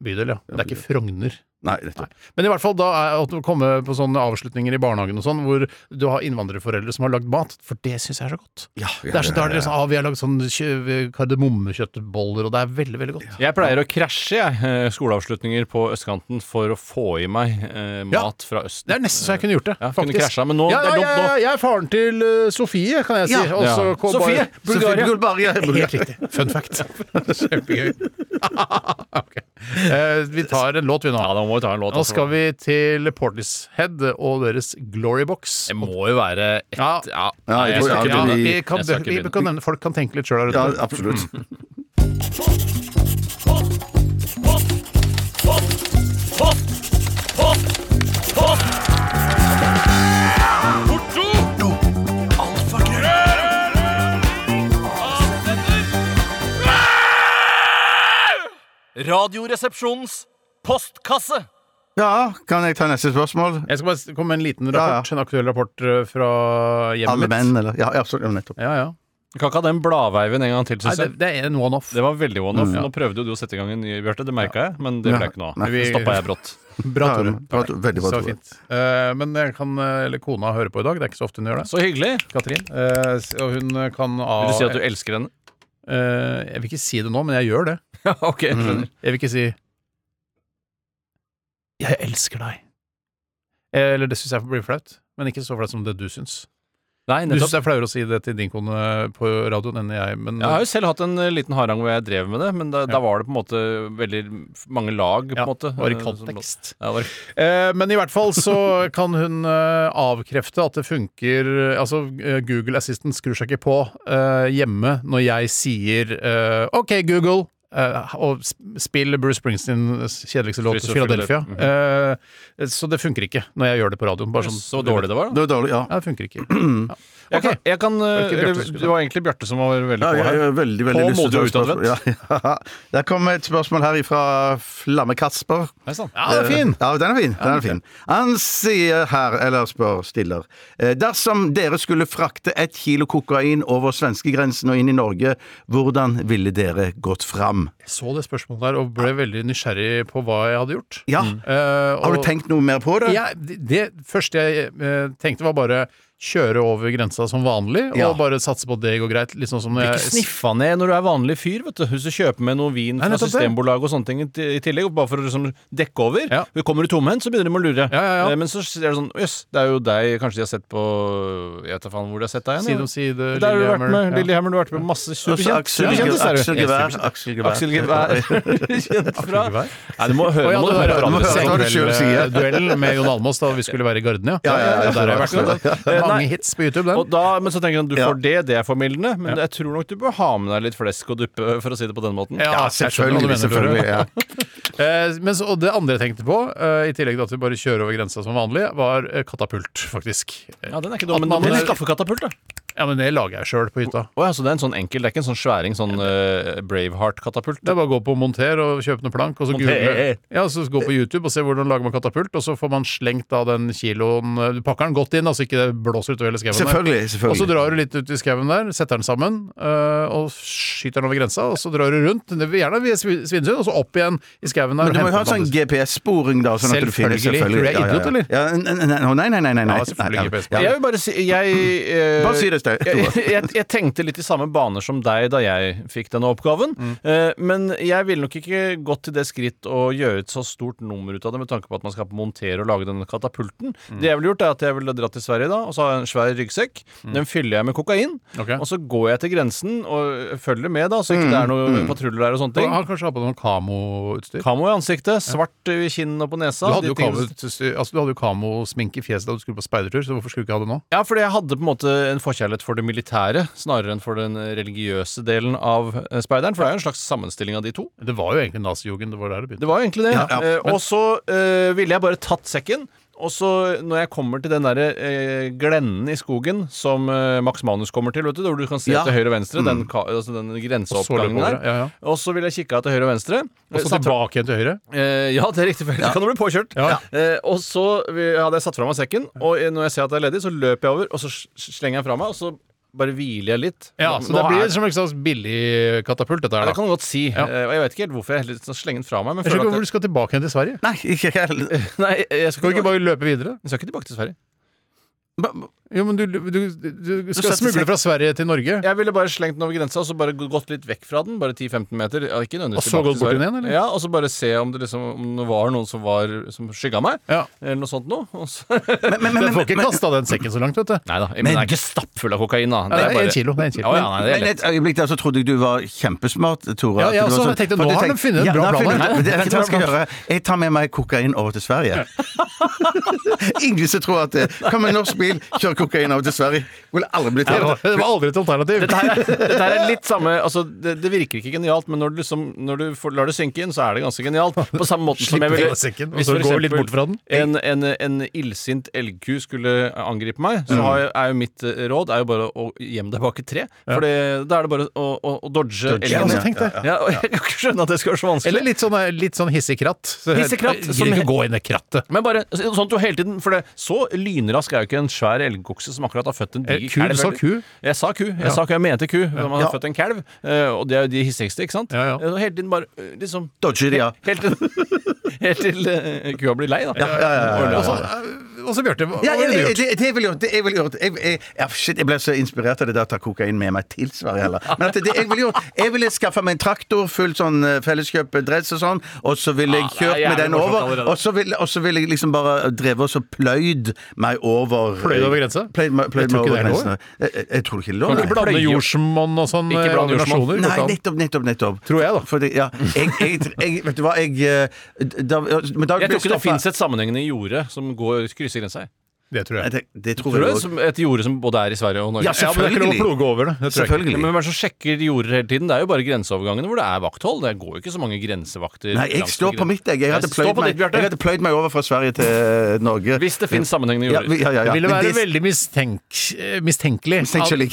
Speaker 4: Bydel, ja. Det er ikke Frogner.
Speaker 6: Nei, nettopp.
Speaker 4: Men i hvert fall da er at å komme på sånne avslutninger i barnehagen og sånn, hvor du har innvandrerforeldre som har lagd mat, for det syns jeg er så godt.
Speaker 6: Ja, ja,
Speaker 4: Det er så, da er det
Speaker 6: ja,
Speaker 4: sånn, ah, vi har lagd sånn kjø- kardemommekjøttboller, og det er veldig, veldig godt.
Speaker 5: Jeg pleier å krasje jeg, eh, skoleavslutninger på østkanten for å få i meg eh,
Speaker 4: Ja.
Speaker 5: mat fra østen.
Speaker 4: Det er nesten så jeg kunne gjort det.
Speaker 5: Ja, kunne
Speaker 4: faktisk.
Speaker 5: krasja, men nå-
Speaker 4: ja,
Speaker 5: det
Speaker 4: ja,
Speaker 5: er dumt
Speaker 4: ja,
Speaker 5: nå.
Speaker 4: ja, jeg er faren til eh, Sofie, kan jeg si.
Speaker 6: Ja.
Speaker 4: Også
Speaker 5: Ja.
Speaker 4: cowboy.
Speaker 5: Sofie,
Speaker 4: Sofie
Speaker 5: Bulgaria.
Speaker 6: Bulgaria.
Speaker 4: Helt riktig. <laughs> Fun fact. Kjempegøy. <laughs> Ok. Eh, vi tar en låt, vi nå.
Speaker 5: Ja, da må vi ta en låt.
Speaker 4: Nå
Speaker 5: altså.
Speaker 4: skal vi til Portishead og deres Glorybox.
Speaker 5: Det må jo være et
Speaker 4: Ja.
Speaker 5: Ja,
Speaker 6: Ja, jeg
Speaker 5: jeg
Speaker 6: tror-
Speaker 5: skal
Speaker 6: ja,
Speaker 5: ikke
Speaker 6: men
Speaker 5: begynne.
Speaker 4: vi kan,
Speaker 5: Jeg skal ikke
Speaker 4: vi
Speaker 5: begynne.
Speaker 4: kan nevne, folk kan tenke litt sjøl der
Speaker 6: ja,
Speaker 4: ute.
Speaker 6: absolutt.
Speaker 3: Radioresepsjonens postkasse.
Speaker 6: Ja, kan jeg ta neste spørsmål?
Speaker 4: Jeg skal bare komme med en liten rapport, en aktuell rapport eh, fra hjemmet
Speaker 6: Alle
Speaker 4: mitt.
Speaker 6: menn, eller? Ja, absolutt. Ja, nettopp.
Speaker 4: Ja, ja.
Speaker 5: Vi kan ikke ha den bladveiven en gang til,
Speaker 4: Nei,
Speaker 5: syns
Speaker 4: det,
Speaker 5: jeg.
Speaker 4: det er en one-off.
Speaker 5: Det var veldig one-off. Nå prøvde jo du å sette i gang en ny, Bjarte, det merka jeg, men det ble ikke noe av. Det
Speaker 4: Vi-
Speaker 5: stoppa jeg brått.
Speaker 4: Bra, Tore.
Speaker 6: Bra, Tore. Veldig bra,
Speaker 4: Så
Speaker 6: Tore.
Speaker 4: fint. Eh, men jeg kan, eh, eller kona hører på i dag. Det er ikke så ofte hun gjør det.
Speaker 5: Så hyggelig.
Speaker 4: Katrin. Eh, s- og hun kan av
Speaker 5: Vil du si at du elsker
Speaker 4: <laughs>
Speaker 5: henne?
Speaker 4: Eh, Jeg vil ikke si det nå, men jeg gjør det.
Speaker 5: Ja, ok, skjønner.
Speaker 4: Jeg vil ikke si 'jeg elsker deg'. Eh, Eller det syns jeg blir flaut. Men ikke så flaut som det du syns.
Speaker 5: Nei,
Speaker 4: Du syns
Speaker 5: nettopp.
Speaker 4: det er flauere å si det til din kone på radioen enn jeg, men
Speaker 5: Jeg har jo selv hatt en eh, liten harang hvor jeg drev med det, men da, da var det på en måte veldig mange lag, på en
Speaker 4: Ja,
Speaker 5: måte.
Speaker 4: det var i
Speaker 5: eh, som lå-
Speaker 4: kontekst.
Speaker 5: Ja, det var i
Speaker 4: Eh, Men i hvert fall så kan hun eh, avkrefte at det funker eh, Altså, eh, Google Assistant skrur seg ikke på eh, hjemme når jeg sier eh, OK, Google, eh, og sp- spill Bruce Springsteens kjedeligste låt
Speaker 5: Fryser og
Speaker 4: Philadelphia. Eh,
Speaker 5: Philade-
Speaker 4: Så det funker ikke når jeg gjør det på radioen. Bare sånn,
Speaker 5: Så dårlig Mhm. det var, da.
Speaker 6: Det var dårlig, ja.
Speaker 4: Ja, det funker
Speaker 5: <clears throat>
Speaker 4: ikke. Ja.
Speaker 5: Jeg
Speaker 4: Ok.
Speaker 5: kan, jeg kan eh,
Speaker 4: ikke Bjarte
Speaker 5: eller,
Speaker 4: som skulle
Speaker 5: Det var egentlig Bjarte som var veldig
Speaker 6: Ja,
Speaker 5: på
Speaker 6: jeg,
Speaker 5: her.
Speaker 6: jeg, har veldig, veldig
Speaker 5: På
Speaker 6: lyst til å ta
Speaker 5: Molde
Speaker 6: et spørsmål. Ja, ja. Der kom et spørsmål her fra Flamme-Kasper. Eh,
Speaker 5: Nei, sant.
Speaker 4: Ja, det er fin!
Speaker 6: Ja, den er fin. Den er fin. Han sier her, eller spør stiller eh, Dersom dere skulle frakte ett kilo kokain over svenskegrensen og inn i Norge, hvordan ville dere gått fram?
Speaker 4: Jeg så det spørsmålet der og ble veldig nysgjerrig på hva jeg hadde gjort.
Speaker 6: Ja.
Speaker 4: Eh,
Speaker 6: Har du
Speaker 4: og-
Speaker 6: tenkt noe mer på det?
Speaker 4: Ja, det, det første jeg eh, tenkte var bare kjøre over grensa som vanlig,
Speaker 6: Ja.
Speaker 4: og bare satse på at det går greit. Litt sånn som
Speaker 5: Ikke sniffa ned når du er vanlig fyr. vet du Husk å kjøpe med noe vin
Speaker 4: Nei,
Speaker 5: fra
Speaker 4: nettopp det.
Speaker 5: Systembolaget og sånne ting i t- i tillegg, bare for å liksom dekke over.
Speaker 4: Ja.
Speaker 5: Kommer du tomhendt, så begynner de å lure.
Speaker 4: Ja, ja, ja.
Speaker 5: Eh, Men så er det sånn Jøss, det er jo deg kanskje de har sett på Jeg vet da faen hvor de har sett deg
Speaker 4: Side
Speaker 5: eller?
Speaker 4: om side,
Speaker 5: Der har du vært
Speaker 4: Lillehammer,
Speaker 5: med
Speaker 4: ja.
Speaker 5: Lillehammer, du har vært med masse
Speaker 6: Også
Speaker 5: superkjent-
Speaker 6: Aksel
Speaker 5: superkjentis. er du.
Speaker 6: Aksel Gevær. Aksel Gevær.
Speaker 5: Aksel Gevær. Kjent fra
Speaker 4: Gevær?
Speaker 5: Nei, du må høre,
Speaker 4: ja,
Speaker 5: må
Speaker 4: du
Speaker 5: du
Speaker 4: hører
Speaker 5: høre
Speaker 4: hva
Speaker 5: hverandre.
Speaker 4: du
Speaker 6: høre hva du
Speaker 4: sier.
Speaker 6: selv sier.
Speaker 4: Duell med Jon Almaas da vi skulle være i Garden, ja.
Speaker 6: ja, ja, ja.
Speaker 4: der har jeg vært med.
Speaker 5: Eh, nei.
Speaker 4: Mange hits på YouTube
Speaker 5: Og
Speaker 4: der.
Speaker 5: da, men så tenker jeg at du
Speaker 6: Ja.
Speaker 5: får det, det er formildende, men jeg tror nok du bør ha med deg litt flesk og duppe, for å si det på den måten.
Speaker 6: Ja,
Speaker 4: jeg skjønner hva du
Speaker 6: selvfølgelig.
Speaker 4: mener, Tore.
Speaker 6: selvfølgelig ja.
Speaker 4: <laughs> Eh, men så, og det andre jeg tenkte på, eh, i tillegg til at vi bare kjører over grensa som vanlig, var eh, katapult, faktisk. Eh,
Speaker 5: Ja, den er ikke
Speaker 4: At
Speaker 5: dum, men
Speaker 4: man-
Speaker 5: du må skaffe katapult, da.
Speaker 4: Ja, men det lager jeg sjøl på hytta.
Speaker 5: Å ja, så det er en sånn enkel, det er ikke en sånn sværing, sånn eh, Braveheart-katapult?
Speaker 4: Det er bare å gå på Monter og kjøpe noen plank, og så
Speaker 5: Monter.
Speaker 4: google. Ja, så gå på YouTube og se hvordan lager man katapult, og så får man slengt da den kiloen eh, Du pakker den godt inn, altså ikke det blåser utover hele skauen. der.
Speaker 6: Selvfølgelig.
Speaker 4: Og så
Speaker 6: selvfølgelig.
Speaker 4: drar du litt ut i skauen der, setter den sammen, øh, og skyter den over grensa, og så drar du rundt, det vil gjerne via Svi- Svinesund, og så opp igjen i skauen der.
Speaker 6: Men du
Speaker 4: og
Speaker 6: må jo ha
Speaker 4: henter den
Speaker 6: sånn
Speaker 4: andre.
Speaker 6: GPS-sporing, da. Sånn at du finner,
Speaker 4: Selvfølgelig. Tror jeg er idiot, eller?
Speaker 6: Ja, ja, ja. Ja, nei, nei, nei. nei, nei.
Speaker 4: Ja, selvfølgelig
Speaker 6: Nei,
Speaker 4: GPS.
Speaker 6: ja.
Speaker 5: Jeg vil bare si Jeg eh,
Speaker 6: Bare si det, Stein.
Speaker 5: jeg, jeg, jeg tenkte litt i samme baner som deg da jeg fikk denne oppgaven. Eh, men jeg ville nok ikke gått til det skritt å gjøre et så stort nummer ut av det med tanke på at man skal montere og lage denne katapulten. Det jeg ville gjort, er at jeg ville dratt til Sverige da, og så har jeg en svær ryggsekk. Den fyller jeg med kokain,
Speaker 4: Ok.
Speaker 5: og så går jeg til grensen og følger med, da, så ikke det er noen patruljer der og sånne ting.
Speaker 4: Han kanskje har på noen kamoutstyr?
Speaker 5: Kamo i ansiktet, svart i kinnet og på nesa.
Speaker 4: Du hadde,
Speaker 5: De
Speaker 4: jo
Speaker 5: tingene-
Speaker 4: kamo, altså, du hadde jo kamosmink i fjeset da du skulle på speidertur, så hvorfor skulle du ikke ha det nå?
Speaker 5: Ja, fordi jeg hadde på en måte en forkjærlighet for det militære snarere enn for den religiøse delen av eh, speideren, for det er jo en slags sammenstilling av de to.
Speaker 4: Det var jo egentlig nazijogen, det var der det begynte.
Speaker 5: Det var jo egentlig det.
Speaker 6: ja,
Speaker 5: Eh, og så eh, ville jeg bare tatt sekken. Og så når jeg kommer til den derre eh, glennen i skogen som eh, Max Manus kommer til, vet du, hvor du kan se
Speaker 6: Ja.
Speaker 5: til høyre og venstre, den, ka, altså den grenseoppgangen
Speaker 4: Mm. Og så
Speaker 5: der.
Speaker 4: løpe over, ja, ja.
Speaker 5: Og så ville jeg kikka til høyre og venstre.
Speaker 4: Og så
Speaker 5: Satt-
Speaker 4: tilbake igjen til høyre.
Speaker 5: Eh, ja, det er riktig. feil. Da kan du bli påkjørt.
Speaker 4: Ja.
Speaker 5: Eh, og så vi- hadde jeg satt fra meg sekken, og eh, når jeg ser at det er ledig, så løper jeg over, og så s- slenger jeg fra meg, og så bare hviler jeg litt.
Speaker 4: Ja,
Speaker 5: Nå-
Speaker 4: så det
Speaker 5: nå er-
Speaker 4: blir som en slags billig katapult, dette
Speaker 5: ja,
Speaker 4: her,
Speaker 5: det
Speaker 4: da.
Speaker 5: kan du godt si.
Speaker 4: Ja.
Speaker 5: Eh, og jeg vet ikke helt hvorfor jeg heller slenger den fra meg. Men
Speaker 4: Jeg skjønner ikke
Speaker 5: føler at
Speaker 4: hvorfor du skal tilbake igjen til Sverige.
Speaker 6: Nei, ikke helt
Speaker 5: jeg, nei, jeg skal,
Speaker 4: Skal du
Speaker 5: ikke
Speaker 4: ikke bare løpe videre?
Speaker 5: jeg skal ikke tilbake til Sverige.
Speaker 6: Ba-
Speaker 4: Jo, men du, du, du, du skal
Speaker 6: setter
Speaker 4: smugle
Speaker 6: seg-
Speaker 4: fra Sverige til Norge.
Speaker 5: Jeg ville bare slengt den over grensa og så bare gått litt vekk fra den. Bare 10-15 meter. Ja, ikke nødvendigvis
Speaker 4: Og så
Speaker 5: tilbake
Speaker 4: gått
Speaker 5: til
Speaker 4: bort
Speaker 5: Sverige.
Speaker 4: igjen, eller?
Speaker 5: Ja, og så bare se om det liksom om det var noen som, var- som skygga meg,
Speaker 4: Ja.
Speaker 5: eller noe sånt noe. Og så
Speaker 6: Men, men,
Speaker 4: Du får
Speaker 6: men, men,
Speaker 4: ikke kasta den sekken så langt, vet du.
Speaker 5: <laughs> Nei da, men den er ikke stappfull av kokain, da.
Speaker 4: det er en kilo, det er en kilo.
Speaker 5: Ja, ja, nei, det er
Speaker 6: men
Speaker 5: lett.
Speaker 6: et øyeblikk der så trodde jeg du var kjempesmart, Tore.
Speaker 4: Ja, jeg
Speaker 6: at du var
Speaker 4: også
Speaker 6: sånn-
Speaker 4: tenkte,
Speaker 6: for
Speaker 4: nå
Speaker 6: jeg
Speaker 4: har de
Speaker 6: tenkte-
Speaker 4: funnet en
Speaker 6: Ja,
Speaker 4: bra
Speaker 6: nå har de
Speaker 4: plan
Speaker 6: funnet
Speaker 4: her.
Speaker 6: ut- Det er det jeg skal gjøre. Jeg tar med meg kokain over til Sverige.
Speaker 4: <laughs>
Speaker 6: Ingen som tror at det Kommer en norsk bil, kjører kokain over til Sverige. Ville aldri blitt
Speaker 4: Det var,
Speaker 6: tatt.
Speaker 4: det var aldri et alternativ.
Speaker 5: Dette her, er- dette her er litt samme altså, det, det virker ikke genialt, men når du, liksom, når du får, lar det synke inn, så er det ganske genialt. På samme måte som jeg
Speaker 4: Slipp
Speaker 5: ville
Speaker 4: hele sekken, og
Speaker 5: hvis
Speaker 4: så
Speaker 5: for
Speaker 4: gå
Speaker 5: eksempel
Speaker 4: litt bort fra den.
Speaker 5: En, en, en illsint elgku skulle angripe meg,
Speaker 4: Mm.
Speaker 5: så har jeg, er jo mitt eh, råd er jo bare å gjemme deg bak et tre. For det- da er det bare å, å, å
Speaker 4: <laughs>
Speaker 5: dodge
Speaker 4: Ja,
Speaker 5: elgen.
Speaker 4: men
Speaker 5: Ja,
Speaker 4: tenk det.
Speaker 5: og jeg kan ikke skjønne at det skal være så vanskelig.
Speaker 4: Eller litt sånn, litt sånn hissig kratt. Så-
Speaker 5: Hissig kratt,
Speaker 4: Jeg
Speaker 5: som-
Speaker 4: Gidder ikke å gå inn i krattet.
Speaker 5: altså, Men bare sånn at du hele tiden For det, så lynrask er jo ikke en svær elgokse som akkurat har født en
Speaker 4: Eh,
Speaker 5: diger
Speaker 4: ku, du sa
Speaker 5: eller-
Speaker 4: ku?
Speaker 5: Jeg sa ku. Jeg sa ku, jeg mente ku. For man har født en kalv, eh, og det er jo de hissigste, ikke sant?
Speaker 4: Ja, ja.
Speaker 5: Og hele tiden bare eh, liksom
Speaker 6: Dodger, ja.
Speaker 5: Helt til, <laughs> helt til eh, kua blir lei, da.
Speaker 4: Og så, eh, og så Bjarte, hva, hva
Speaker 6: Ja,
Speaker 4: ville
Speaker 6: jeg,
Speaker 4: du
Speaker 6: jeg,
Speaker 4: gjort?
Speaker 6: det, det ville gjort, det jeg ville gjort jeg, jeg, ja, Shit, jeg ble så inspirert av det der å ta kokain med meg til Sverige heller. Men at det, jeg ville gjort Jeg ville skaffa meg en traktor, full sånn eh, felleskjøpdress og sånn, og så ville jeg
Speaker 5: Ah, det er
Speaker 6: kjørt med
Speaker 5: jævlig
Speaker 6: den
Speaker 5: morsomt
Speaker 6: over,
Speaker 5: allerede.
Speaker 6: og så ville, og så ville jeg liksom bare drevet og så pløyd meg over eh,
Speaker 4: Pløyd over grensa?
Speaker 6: Pløyd, meg-
Speaker 4: Jeg
Speaker 6: pløyd
Speaker 4: tror
Speaker 6: meg
Speaker 4: ikke
Speaker 6: over
Speaker 4: det er lov.
Speaker 6: grensen. Jeg, jeg, jeg tror ikke det
Speaker 4: Kan
Speaker 6: er lov.
Speaker 4: ikke
Speaker 6: nei.
Speaker 4: blande jordsmonn og sånn?
Speaker 5: Ikke
Speaker 4: eh,
Speaker 5: blande jordsmonn.
Speaker 4: organisasjoner,
Speaker 6: Nei,
Speaker 4: går ikke an.
Speaker 6: nettopp, nettopp, nettopp.
Speaker 4: Tror jeg, da.
Speaker 6: Fordi, ja, jeg, jeg, jeg, vet du hva, jeg eh, da, men da
Speaker 5: Jeg tror ikke det
Speaker 6: stoppet-
Speaker 5: fins et sammenhengende jorde som går krysser grensa. her.
Speaker 4: Det tror
Speaker 6: Nei,
Speaker 4: jeg.
Speaker 6: Det, det tror
Speaker 5: Tror du
Speaker 6: jeg
Speaker 5: det?
Speaker 6: også.
Speaker 5: Som Et jorde som både er i Sverige og Norge.
Speaker 6: Ja,
Speaker 4: Ja, men det er ikke lov å
Speaker 6: selvfølgelig.
Speaker 4: ploge over det. det tror jeg ikke.
Speaker 5: Ja,
Speaker 6: Selvfølgelig.
Speaker 5: Men hvem er det som sjekker jorder hele tiden? Det er jo bare grenseovergangene hvor det er vakthold. Det går jo ikke så mange grensevakter.
Speaker 6: Nei, jeg
Speaker 5: langs
Speaker 6: står
Speaker 5: med gren-
Speaker 6: på mitt, jeg. Jeg
Speaker 5: Nei,
Speaker 6: hadde,
Speaker 5: stå
Speaker 6: pløyd
Speaker 5: på
Speaker 6: meg,
Speaker 5: ditt, Bjarte.
Speaker 6: jeg hadde pløyd meg over fra Sverige til eh, Norge.
Speaker 5: Hvis det finnes sammenhengende
Speaker 6: ja,
Speaker 5: jorder.
Speaker 6: ja, ja, ja.
Speaker 4: Det ville
Speaker 6: Men
Speaker 4: være
Speaker 6: det-
Speaker 4: veldig mistenk, eh, mistenkelig.
Speaker 6: Mistenkelig.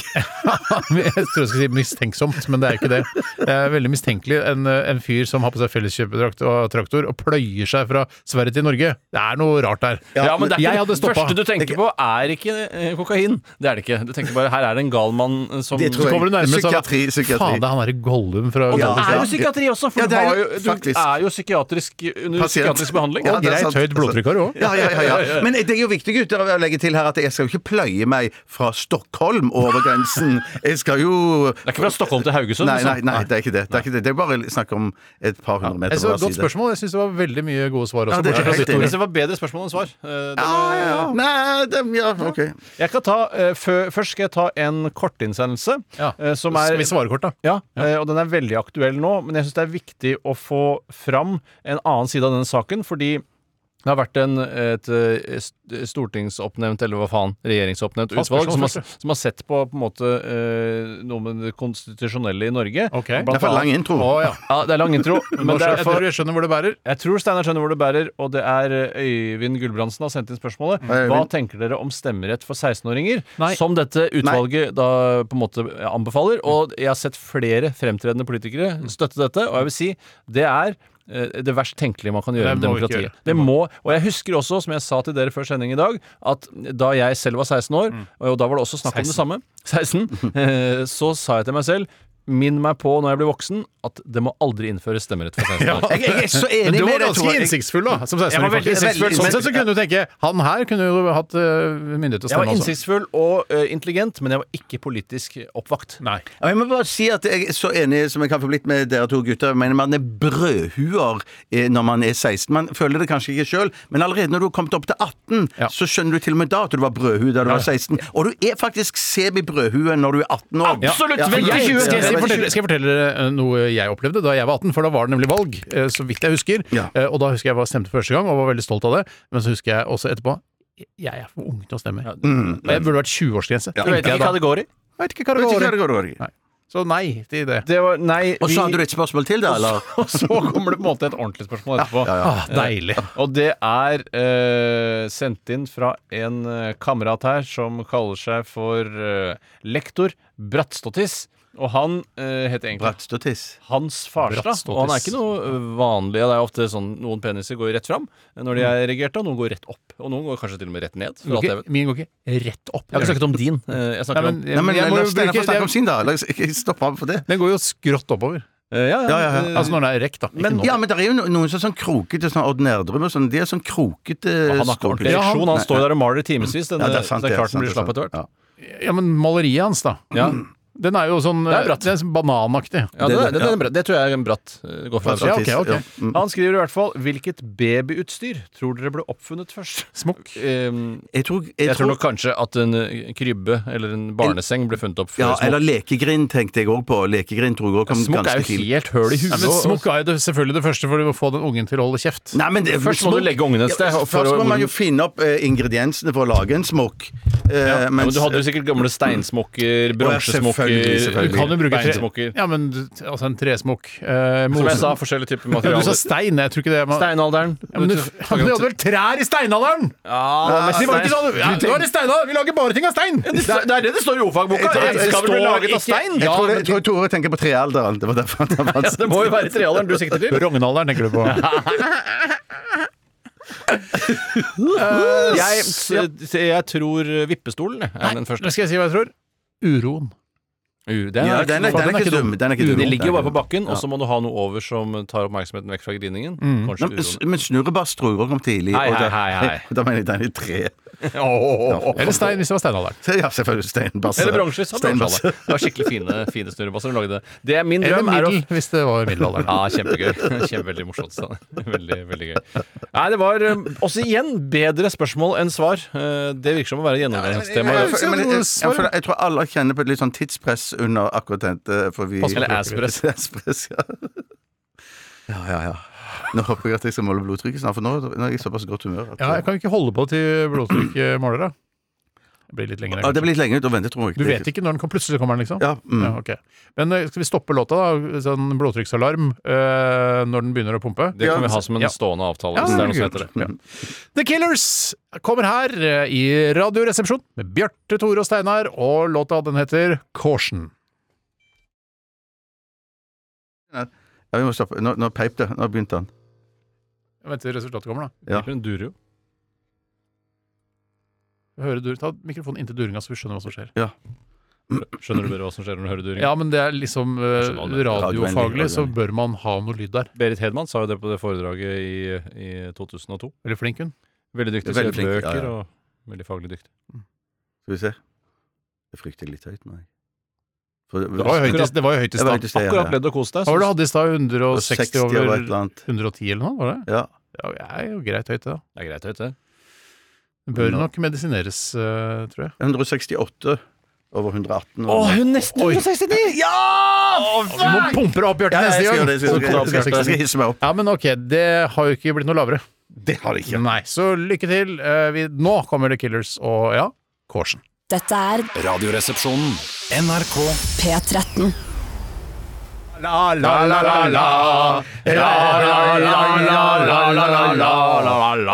Speaker 4: Av- <laughs> jeg tror jeg skal si mistenksomt, men det er ikke det. Det er veldig mistenkelig en, eh, en fyr som har på seg felleskjøpedrakt og traktor og pløyer seg fra Sverige til Norge. Det er noe rart der.
Speaker 5: Ja, men det er
Speaker 4: jeg
Speaker 5: ikke,
Speaker 4: hadde
Speaker 5: det
Speaker 4: stoppa.
Speaker 5: første du tenker på, er ikke eh, kokain. Det er det ikke. Du tenker bare her er det en gal mann eh, som
Speaker 6: Det tror
Speaker 4: Så
Speaker 6: jeg.
Speaker 4: kommer du nærmere sånn at,
Speaker 6: Psykiatri, psykiatri.
Speaker 4: Faen, det er han derre Gollum fra
Speaker 5: Og det
Speaker 6: Ja,
Speaker 5: er
Speaker 6: ja.
Speaker 5: jo psykiatri også, for
Speaker 6: Ja,
Speaker 5: du,
Speaker 6: det er
Speaker 5: har
Speaker 6: jo-
Speaker 5: jo, du
Speaker 6: faktisk.
Speaker 5: er jo psykiatrisk under
Speaker 6: Pasient.
Speaker 5: psykiatrisk behandling.
Speaker 6: Ja,
Speaker 5: Og
Speaker 6: det er
Speaker 4: greit
Speaker 6: sant.
Speaker 4: høyt blodtrykk har du òg.
Speaker 6: Ja, ja,
Speaker 4: <laughs>
Speaker 6: ja, ja. Men det er jo viktig gutter, å legge til her at jeg skal jo ikke pløye meg fra Stockholm over grensen. Jeg skal jo
Speaker 5: Det er ikke fra Stockholm til Haugesund.
Speaker 6: Nei, nei,
Speaker 5: liksom.
Speaker 6: nei, det er ikke det. Det er, ikke det. det er bare snakk om et par hundre meter
Speaker 4: Jeg så,
Speaker 6: hver
Speaker 4: godt
Speaker 6: side.
Speaker 4: spørsmål. Jeg syns det var veldig mye gode svar også.
Speaker 6: Ja, det er
Speaker 4: bortsett fra
Speaker 6: helt
Speaker 4: ditt, Tore.
Speaker 5: Jeg
Speaker 6: enig.
Speaker 5: synes Det var bedre spørsmål enn svar. Eh,
Speaker 6: Ja, ja, Ah, ja. Nei, det, ja, ok.
Speaker 5: Jeg kan ta, eh, fø- Først skal jeg ta en kortinnsendelse.
Speaker 4: Ja.
Speaker 5: eh, som er,
Speaker 4: Vi svarer kort, da.
Speaker 5: ja, eh, og den er veldig aktuell nå, men jeg syns det er viktig å få fram en annen side av denne saken, fordi det har vært en, et eh, st- stortingsoppnevnt, eller hva faen, regjeringsoppnevnt
Speaker 4: Fast
Speaker 5: utvalg
Speaker 4: person,
Speaker 5: som har,
Speaker 4: kanskje.
Speaker 5: som har sett på på en måte eh, noe med det konstitusjonelle i Norge.
Speaker 4: Ok.
Speaker 6: Det
Speaker 5: Blant
Speaker 6: er for lang
Speaker 5: annet-
Speaker 6: intro.
Speaker 4: Å ja.
Speaker 5: Ja, det er lang
Speaker 6: <laughs>
Speaker 5: intro. men
Speaker 4: Nå
Speaker 5: det
Speaker 4: skjø-
Speaker 5: er
Speaker 4: Jeg
Speaker 5: for,
Speaker 4: tror jeg skjønner hvor det bærer.
Speaker 5: jeg tror Steinar skjønner hvor det bærer, og det er eh, Øyvind Gulbrandsen har sendt inn spørsmålet.
Speaker 6: Hei,
Speaker 5: Hva
Speaker 6: Øyvind.
Speaker 5: tenker dere om stemmerett for 16-åringer,
Speaker 4: Nei.
Speaker 5: som dette utvalget da på en måte anbefaler? Og jeg har sett flere fremtredende politikere
Speaker 4: Mm.
Speaker 5: støtte dette, og jeg vil si det er eh, det verst tenkelige man kan gjøre
Speaker 4: Det må
Speaker 5: med
Speaker 4: vi ikke
Speaker 5: demokratiet.
Speaker 4: gjøre.
Speaker 5: Det må, og jeg husker også, som jeg sa til dere før sending i dag, at da jeg selv var 16 år,
Speaker 4: Mm.
Speaker 5: og da var det også snakk om det samme,
Speaker 4: <laughs>
Speaker 5: 16, eh, så sa jeg til meg selv Minn meg på når jeg blir voksen at det må aldri innføres stemmerett for 16 år.
Speaker 6: Jeg, jeg er så
Speaker 4: Men
Speaker 6: enig
Speaker 4: du
Speaker 6: med
Speaker 4: var
Speaker 6: deg,
Speaker 4: ganske
Speaker 6: Tore. Jeg-
Speaker 4: innsiktsfull da, som
Speaker 5: Jeg
Speaker 4: 16-åring.
Speaker 5: var veldig
Speaker 4: faktisk.
Speaker 5: innsiktsfull.
Speaker 4: Sånn sett så kunne du tenke han her kunne jo hatt øh, myndighet til å
Speaker 5: Jeg
Speaker 4: stemme
Speaker 5: var
Speaker 4: også.
Speaker 5: innsiktsfull og eh, intelligent, men jeg var ikke politisk oppvakt.
Speaker 4: Nei.
Speaker 6: Ja, Jeg må bare si at jeg er så enig som jeg kan få blitt med dere to gutter. Men man er brødhuer eh, når man er 16. Man føler det kanskje ikke sjøl, men allerede når du har kommet opp til 18,
Speaker 4: Ja.
Speaker 6: så skjønner du til og med da at du var brødhue da du var 16. Og du er faktisk semi-brødhue når du er 18 år.
Speaker 5: Absolutt,
Speaker 6: Ja.
Speaker 5: veldig
Speaker 6: Ja,
Speaker 4: Jeg,
Speaker 5: tjue.
Speaker 4: skal, jeg si,
Speaker 6: veldig
Speaker 4: fortelle,
Speaker 6: tjue.
Speaker 4: skal jeg fortelle dere eh, noe jeg opplevde da jeg var 18? For da var det nemlig valg, eh, så vidt jeg husker.
Speaker 6: Ja.
Speaker 4: Eh, Og da husker jeg jeg var stemte første gang og var veldig stolt av det. Men så husker jeg også etterpå jeg er for ung til å stemme. Og jeg burde vært 20-årsgrense.
Speaker 5: Du vet
Speaker 4: tenkte jeg
Speaker 5: ikke
Speaker 4: da.
Speaker 5: hva det går i?
Speaker 4: Vet ikke hva
Speaker 6: Vet
Speaker 4: det
Speaker 6: ikke hva
Speaker 4: går i.
Speaker 6: det går over i.
Speaker 4: Nei. Så nei til det.
Speaker 5: Det var, nei,
Speaker 6: Og
Speaker 5: vi-
Speaker 6: så
Speaker 5: <laughs>
Speaker 6: hadde du et spørsmål til, da? eller?
Speaker 5: Og så kommer det på en måte et ordentlig spørsmål etterpå.
Speaker 4: Ah, deilig.
Speaker 5: Og det er eh, sendt inn fra en eh, kamerat her som kaller seg for eh, lektor Brattståttis. Og han eh, heter egentlig
Speaker 6: Brattstå tiss.
Speaker 5: Hans Farstad.
Speaker 4: Brattståttis.
Speaker 5: Og han er ikke noe eh, vanlig. Det er ofte sånn noen peniser går rett fram når de er erigerte, og noen går rett opp. Og noen går kanskje til og med rett ned. For alt Mm. jeg
Speaker 4: Går
Speaker 5: vet.
Speaker 4: ikke- Min går ikke rett opp.
Speaker 5: Jeg har ikke snakket om din. eh,
Speaker 4: Nei,
Speaker 5: Jeg snakker
Speaker 4: men,
Speaker 5: om
Speaker 6: Nei, men
Speaker 4: jeg må
Speaker 6: la
Speaker 4: jo
Speaker 6: Steinar få
Speaker 4: bruke-
Speaker 6: snakke om sin, da. La oss ikke stoppe ham for det.
Speaker 4: Den går jo skrått oppover.
Speaker 5: Eh, ja,
Speaker 6: Ja, ja, ja.
Speaker 5: eh,
Speaker 4: Altså når den er rekt, da. Ikke
Speaker 5: Men-
Speaker 4: nå.
Speaker 6: Ja, men det er jo no- noen som er sånn krokete, sånn Odd Nerdrum og sånn. De er sånn krokete
Speaker 5: Han har ikke ordentlig
Speaker 6: ståpusser.
Speaker 4: Ja, han-
Speaker 5: ereksjon. Han står jo der og maler i timevis. Den,
Speaker 6: Ja,
Speaker 5: det er så det er klart den blir slapp
Speaker 6: sant, Mm.
Speaker 5: etter
Speaker 6: det
Speaker 5: hvert.
Speaker 6: er sant.
Speaker 4: Ja, men maleriet hans, da.
Speaker 5: Ja.
Speaker 4: Den er jo sånn
Speaker 5: Det er bratt.
Speaker 4: den er sånn bananaktig.
Speaker 5: Ja, det, det, det, det, det tror jeg er en bratt eh, går for en bratt.
Speaker 4: ok, ok.
Speaker 6: Ja. Mm.
Speaker 5: Han skriver i hvert fall Hvilket babyutstyr tror dere ble oppfunnet <laughs> først?
Speaker 4: Smokk.
Speaker 5: Ehm,
Speaker 6: Jeg tror, jeg
Speaker 5: jeg tror
Speaker 6: tror-
Speaker 5: nok kanskje at en eh, krybbe eller en barneseng ble funnet opp før
Speaker 6: Ja,
Speaker 5: smokk.
Speaker 6: eller lekegrind tenkte jeg òg på. Lekegrind tror jeg òg kom
Speaker 5: smokk er
Speaker 6: ganske
Speaker 5: jo
Speaker 6: tidlig.
Speaker 5: helt høl i
Speaker 4: Nei,
Speaker 5: huet.
Speaker 4: men
Speaker 5: og-
Speaker 4: Smokk er jo det, selvfølgelig det første for å få den ungen til å holde kjeft.
Speaker 6: Nei, men det,
Speaker 5: Først må du legge ungen et sted, og for
Speaker 6: først
Speaker 5: å-
Speaker 6: må man jo finne opp eh, ingrediensene for å lage en smokk. Eh,
Speaker 5: Ja, men
Speaker 6: mens-
Speaker 5: du hadde jo sikkert gamle steinsmokker,
Speaker 6: selvfølgelig,
Speaker 5: bronsesmokker,
Speaker 6: selvfølgelig.
Speaker 4: Du kan jo bruke tre,
Speaker 5: beinsmokker.
Speaker 4: ja, men, du- altså en tresmokk. Eh,
Speaker 5: Som
Speaker 4: mose-
Speaker 5: jeg sa, forskjellige typer
Speaker 4: ja, du sa
Speaker 5: materialer.
Speaker 4: stein, jeg tror ikke det. Man,
Speaker 5: Steinalderen.
Speaker 4: Ja, men du, ja, men du hadde vel trær i steinalderen!
Speaker 5: Ja,
Speaker 6: Ah,
Speaker 4: De var ikke
Speaker 5: stein.
Speaker 4: sånn, ja, det var i steinalderen, vi lager bare ting av stein!
Speaker 5: Det er det er det det står i ordfagboka!
Speaker 6: Jeg tror- jeg-
Speaker 5: Redskaper
Speaker 6: det
Speaker 5: ble
Speaker 6: står
Speaker 5: laget av
Speaker 6: ikke-
Speaker 5: stein!
Speaker 6: Jeg
Speaker 5: Ja,
Speaker 6: tror,
Speaker 5: men
Speaker 6: jeg tror Tore tenker på trealderen. Det
Speaker 5: <laughs>
Speaker 6: var derfor det var
Speaker 5: det må jo være trealderen du sikter til.
Speaker 4: Rognalderen tenker du på.
Speaker 5: Jeg, s- jeg tror vippestolen jeg, er den første.
Speaker 4: Nå skal jeg si hva jeg tror. Uroen.
Speaker 5: Ur, den
Speaker 6: Ja,
Speaker 5: er,
Speaker 6: den er, den er ikke dum. Den er ikke dum.
Speaker 5: Det ligger jo bare på bakken, og så må du ha noe over som tar oppmerksomheten vekk fra griningen. Kanskje
Speaker 6: Men,
Speaker 5: uroen.
Speaker 6: men snurrebass tror jeg også kom tidlig.
Speaker 5: Hei,
Speaker 6: og da-
Speaker 5: hei, hei, hei.
Speaker 6: <laughs> Da mener jeg den i tre.
Speaker 4: Eller stein, hvis det var steinalderen.
Speaker 6: Ja, selvfølgelig. Steinbass.
Speaker 5: Eller bronse. sånn sa
Speaker 6: Steinbass.
Speaker 5: bronsealder. Det var skikkelig fine, fine snurrebasser hun lagde. Det er min
Speaker 4: Eller
Speaker 5: drøm er å
Speaker 4: middel, hvis det var middelalderen.
Speaker 5: Ja, kjempegøy. <laughs> Kjempe, veldig morsomt. Sanne. Veldig, veldig gøy. Nei, det var eh, også igjen bedre spørsmål enn svar. Eh, Det virker som å være gjennomgangstema.
Speaker 6: Jeg,
Speaker 5: der.
Speaker 6: føler- men jeg, jeg, jeg, føler- jeg tror alle kjenner på et litt sånn tidspress under akkurat dette. For vi,
Speaker 5: Pass på, eller asspress.
Speaker 6: Asspress, ja. ja, ja, ja. Nå håper jeg at jeg skal måle blodtrykket snart, for nå, nå er jeg i såpass godt humør. At,
Speaker 4: Ja, jeg kan ikke holde på til blodtrykket måler, da. Det blir litt lenger.
Speaker 6: Ja, det
Speaker 4: kanskje.
Speaker 6: blir litt lenge ut å vente, tror jeg.
Speaker 4: Du vet ikke når den kom, plutselig kommer den, liksom?
Speaker 6: Ja, mm.
Speaker 4: Ja, ok. Men eh, skal vi stoppe låta, da? Sånn blodtrykksalarm eh, når den begynner å pumpe?
Speaker 5: Det kan vi ha som en
Speaker 4: Ja.
Speaker 5: stående avtale.
Speaker 4: Ja,
Speaker 5: hvis det er
Speaker 4: det
Speaker 5: noe som
Speaker 4: blir
Speaker 6: Mm.
Speaker 5: heter det.
Speaker 4: kult. Ja. The Killers kommer her eh, i Radioresepsjonen med Bjarte, Tore og Steinar, og låta den heter Caution.
Speaker 6: Ja, vi må stoppe. Nå, nå peip det. Nå begynte han.
Speaker 4: Vent til resultatet kommer, da.
Speaker 6: Ja.
Speaker 5: Men Duro.
Speaker 4: Vi hører dur Ta mikrofonen inntil duringa, så vi skjønner hva som skjer.
Speaker 5: Skjønner du bedre hva som skjer når du hører during?
Speaker 4: Ja, men det er liksom eh,
Speaker 5: Skjønner
Speaker 4: radiofaglig,
Speaker 6: Radiovennlig,
Speaker 4: så bør man ha noe lyd der.
Speaker 5: Berit Hedman sa jo det på det foredraget i, i 2002.
Speaker 4: Veldig flink hun.
Speaker 5: Veldig dyktig.
Speaker 6: Veldig
Speaker 5: Veldig
Speaker 6: flink,
Speaker 5: bøker
Speaker 6: ja, ja.
Speaker 5: og veldig faglig dyktig.
Speaker 6: Skal vi se. Jeg frykter litt høyt, men jeg. For-
Speaker 4: Det var jo høyt i- det var jo høyt i
Speaker 6: Jeg var
Speaker 4: stad.
Speaker 6: høyt i sted, ja, ja.
Speaker 5: Akkurat ledd og kost deg.
Speaker 4: Hva var det du
Speaker 5: så-
Speaker 4: hadde i stad? 160
Speaker 6: 60
Speaker 4: over
Speaker 6: over et eller annet.
Speaker 4: 110 eller noe? var det?
Speaker 6: Ja.
Speaker 4: Ja, det er jo greit høyt, det. da.
Speaker 5: Det er greit høyt, det.
Speaker 4: Det Bør nok medisineres, eh, tror jeg.
Speaker 6: 168 over 118.
Speaker 5: hun nesten 169! Ja!
Speaker 4: Du må pumpe deg opp, Bjarte,
Speaker 6: ja, jeg skal gjøre det. Jeg
Speaker 4: neste
Speaker 6: skal,
Speaker 4: gang!
Speaker 6: jeg skal, jeg skal hisse meg opp.
Speaker 4: Ja, men ok, det har jo ikke blitt noe lavere.
Speaker 6: Det har det ikke.
Speaker 4: Nei, så lykke til. Eh, Vi, nå kommer The Killers og ja, Caution.
Speaker 1: Dette er
Speaker 2: Radioresepsjonen. NRK
Speaker 1: P13.
Speaker 4: La, la, la, la, la. Åh,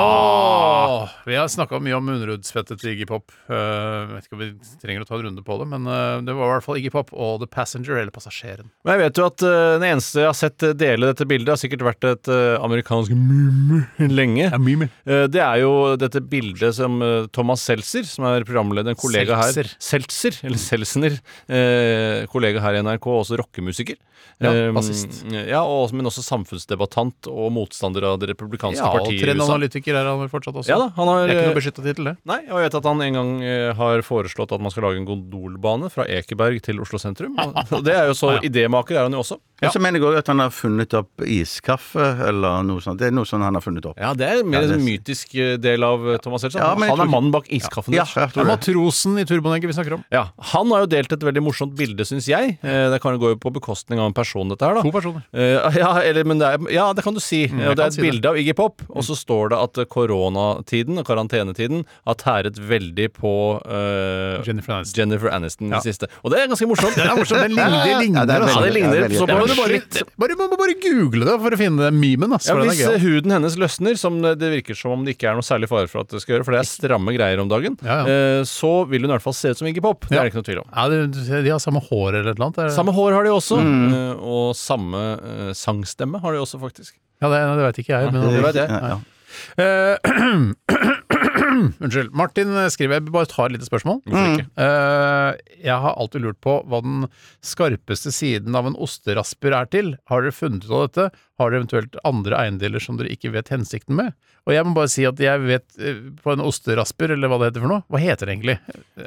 Speaker 4: Ah, vi har snakka mye om munnrudsfettet til Iggy Pop. Eh, vet ikke om vi trenger å ta en runde på det, men eh, det var i hvert fall Iggy Pop og The Passenger, eller Passasjeren.
Speaker 5: Men jeg vet jo at eh, den eneste jeg har sett eh, dele dette bildet, har sikkert vært et eh, amerikansk meme lenge. Eh, det er jo dette bildet som eh, Thomas Seltzer, som er programleder, en kollega her
Speaker 4: Seltzer.
Speaker 5: Seltzer, eller Seltzner, eh, kollega her i NRK, også rockemusiker.
Speaker 4: Ja,
Speaker 5: Eh,
Speaker 4: bassist.
Speaker 5: ja, og, men også samfunnsdebattant og motstander av det republikanske
Speaker 4: Ja, og
Speaker 5: partiet i USA.
Speaker 4: trendanalytiker er han vel fortsatt også.
Speaker 5: Ja da, han har
Speaker 4: Det er ikke
Speaker 5: eh,
Speaker 4: noe beskytta tittel, det.
Speaker 5: Nei, og jeg vet at han en gang eh, har foreslått at man skal lage en gondolbane fra Ekeberg til Oslo sentrum. Og det er jo så idémaker er han jo også.
Speaker 6: Og så mener jeg også at han har funnet opp iskaffe, eller noe sånt. Det er noe sånt han har funnet opp.
Speaker 5: Ja, det er mer
Speaker 6: Ja, det-
Speaker 5: en mytisk eh, del av eh, Thomas Seltzer.
Speaker 6: Ja, men jeg
Speaker 5: han er
Speaker 6: tror-
Speaker 5: mannen bak iskaffen.
Speaker 6: Ja,
Speaker 5: deres.
Speaker 6: jeg
Speaker 4: Det
Speaker 6: tror
Speaker 4: er
Speaker 6: det.
Speaker 4: matrosen i Turbonegget vi snakker om.
Speaker 5: Ja, Han har jo delt et veldig morsomt bilde, syns jeg. Eh, Det kan jo gå på bekostning av en person, dette her, da.
Speaker 4: To personer. Mm,
Speaker 5: Eh, Ja, eller, men det er, ja, det kan du si.
Speaker 4: jeg
Speaker 5: og det
Speaker 4: kan
Speaker 5: er et
Speaker 4: si det. Mm.
Speaker 5: bilde av Iggy Pop, og så står det at eh, koronatiden og karantenetiden har tæret veldig på eh,
Speaker 4: Jennifer Aniston.
Speaker 5: Jennifer Aniston i det siste. Og det er ganske
Speaker 4: <laughs>
Speaker 5: morsomt.
Speaker 4: Det er morsomt. Det ligner, det ligner,
Speaker 6: Ja, det er
Speaker 4: altså.
Speaker 5: Ja, det
Speaker 6: veldig-
Speaker 5: ligner.
Speaker 6: ja, veldig-
Speaker 5: så
Speaker 4: Da
Speaker 5: bare
Speaker 4: må
Speaker 5: du
Speaker 4: du bare, bare, man må bare google det for å finne den memen. Altså,
Speaker 5: Ja,
Speaker 4: for den er
Speaker 5: hvis
Speaker 4: gøy.
Speaker 5: eh, huden hennes løsner, som det det virker som om det ikke er noe særlig fare for at det skal gjøre, for det er stramme greier om dagen,
Speaker 4: Ja, ja.
Speaker 5: eh, så vil hun i hvert fall se ut som Iggy Pop. Det
Speaker 4: Ja.
Speaker 5: er det ikke noe tvil om.
Speaker 4: Ja, de, de har samme hår eller et eller annet. er det-
Speaker 5: Samme hår har de også, eh, og samme eh, sangstemme har de også, faktisk.
Speaker 4: Ja, det, det veit ikke jeg. Men,
Speaker 5: Det vet jeg.
Speaker 6: Ja, ja.
Speaker 4: Eh, <clears throat> Unnskyld. Martin skriver Jeg bare tar et lite spørsmål. Mm.
Speaker 5: Hvorfor ikke?
Speaker 4: Eh, jeg har alltid lurt på hva den skarpeste siden av en osterasper er til. Har dere funnet ut av dette? Har dere eventuelt andre eiendeler som dere ikke vet hensikten med? Og jeg må bare si at jeg vet eh, på en osterasper, eller hva det heter for noe Hva heter det egentlig?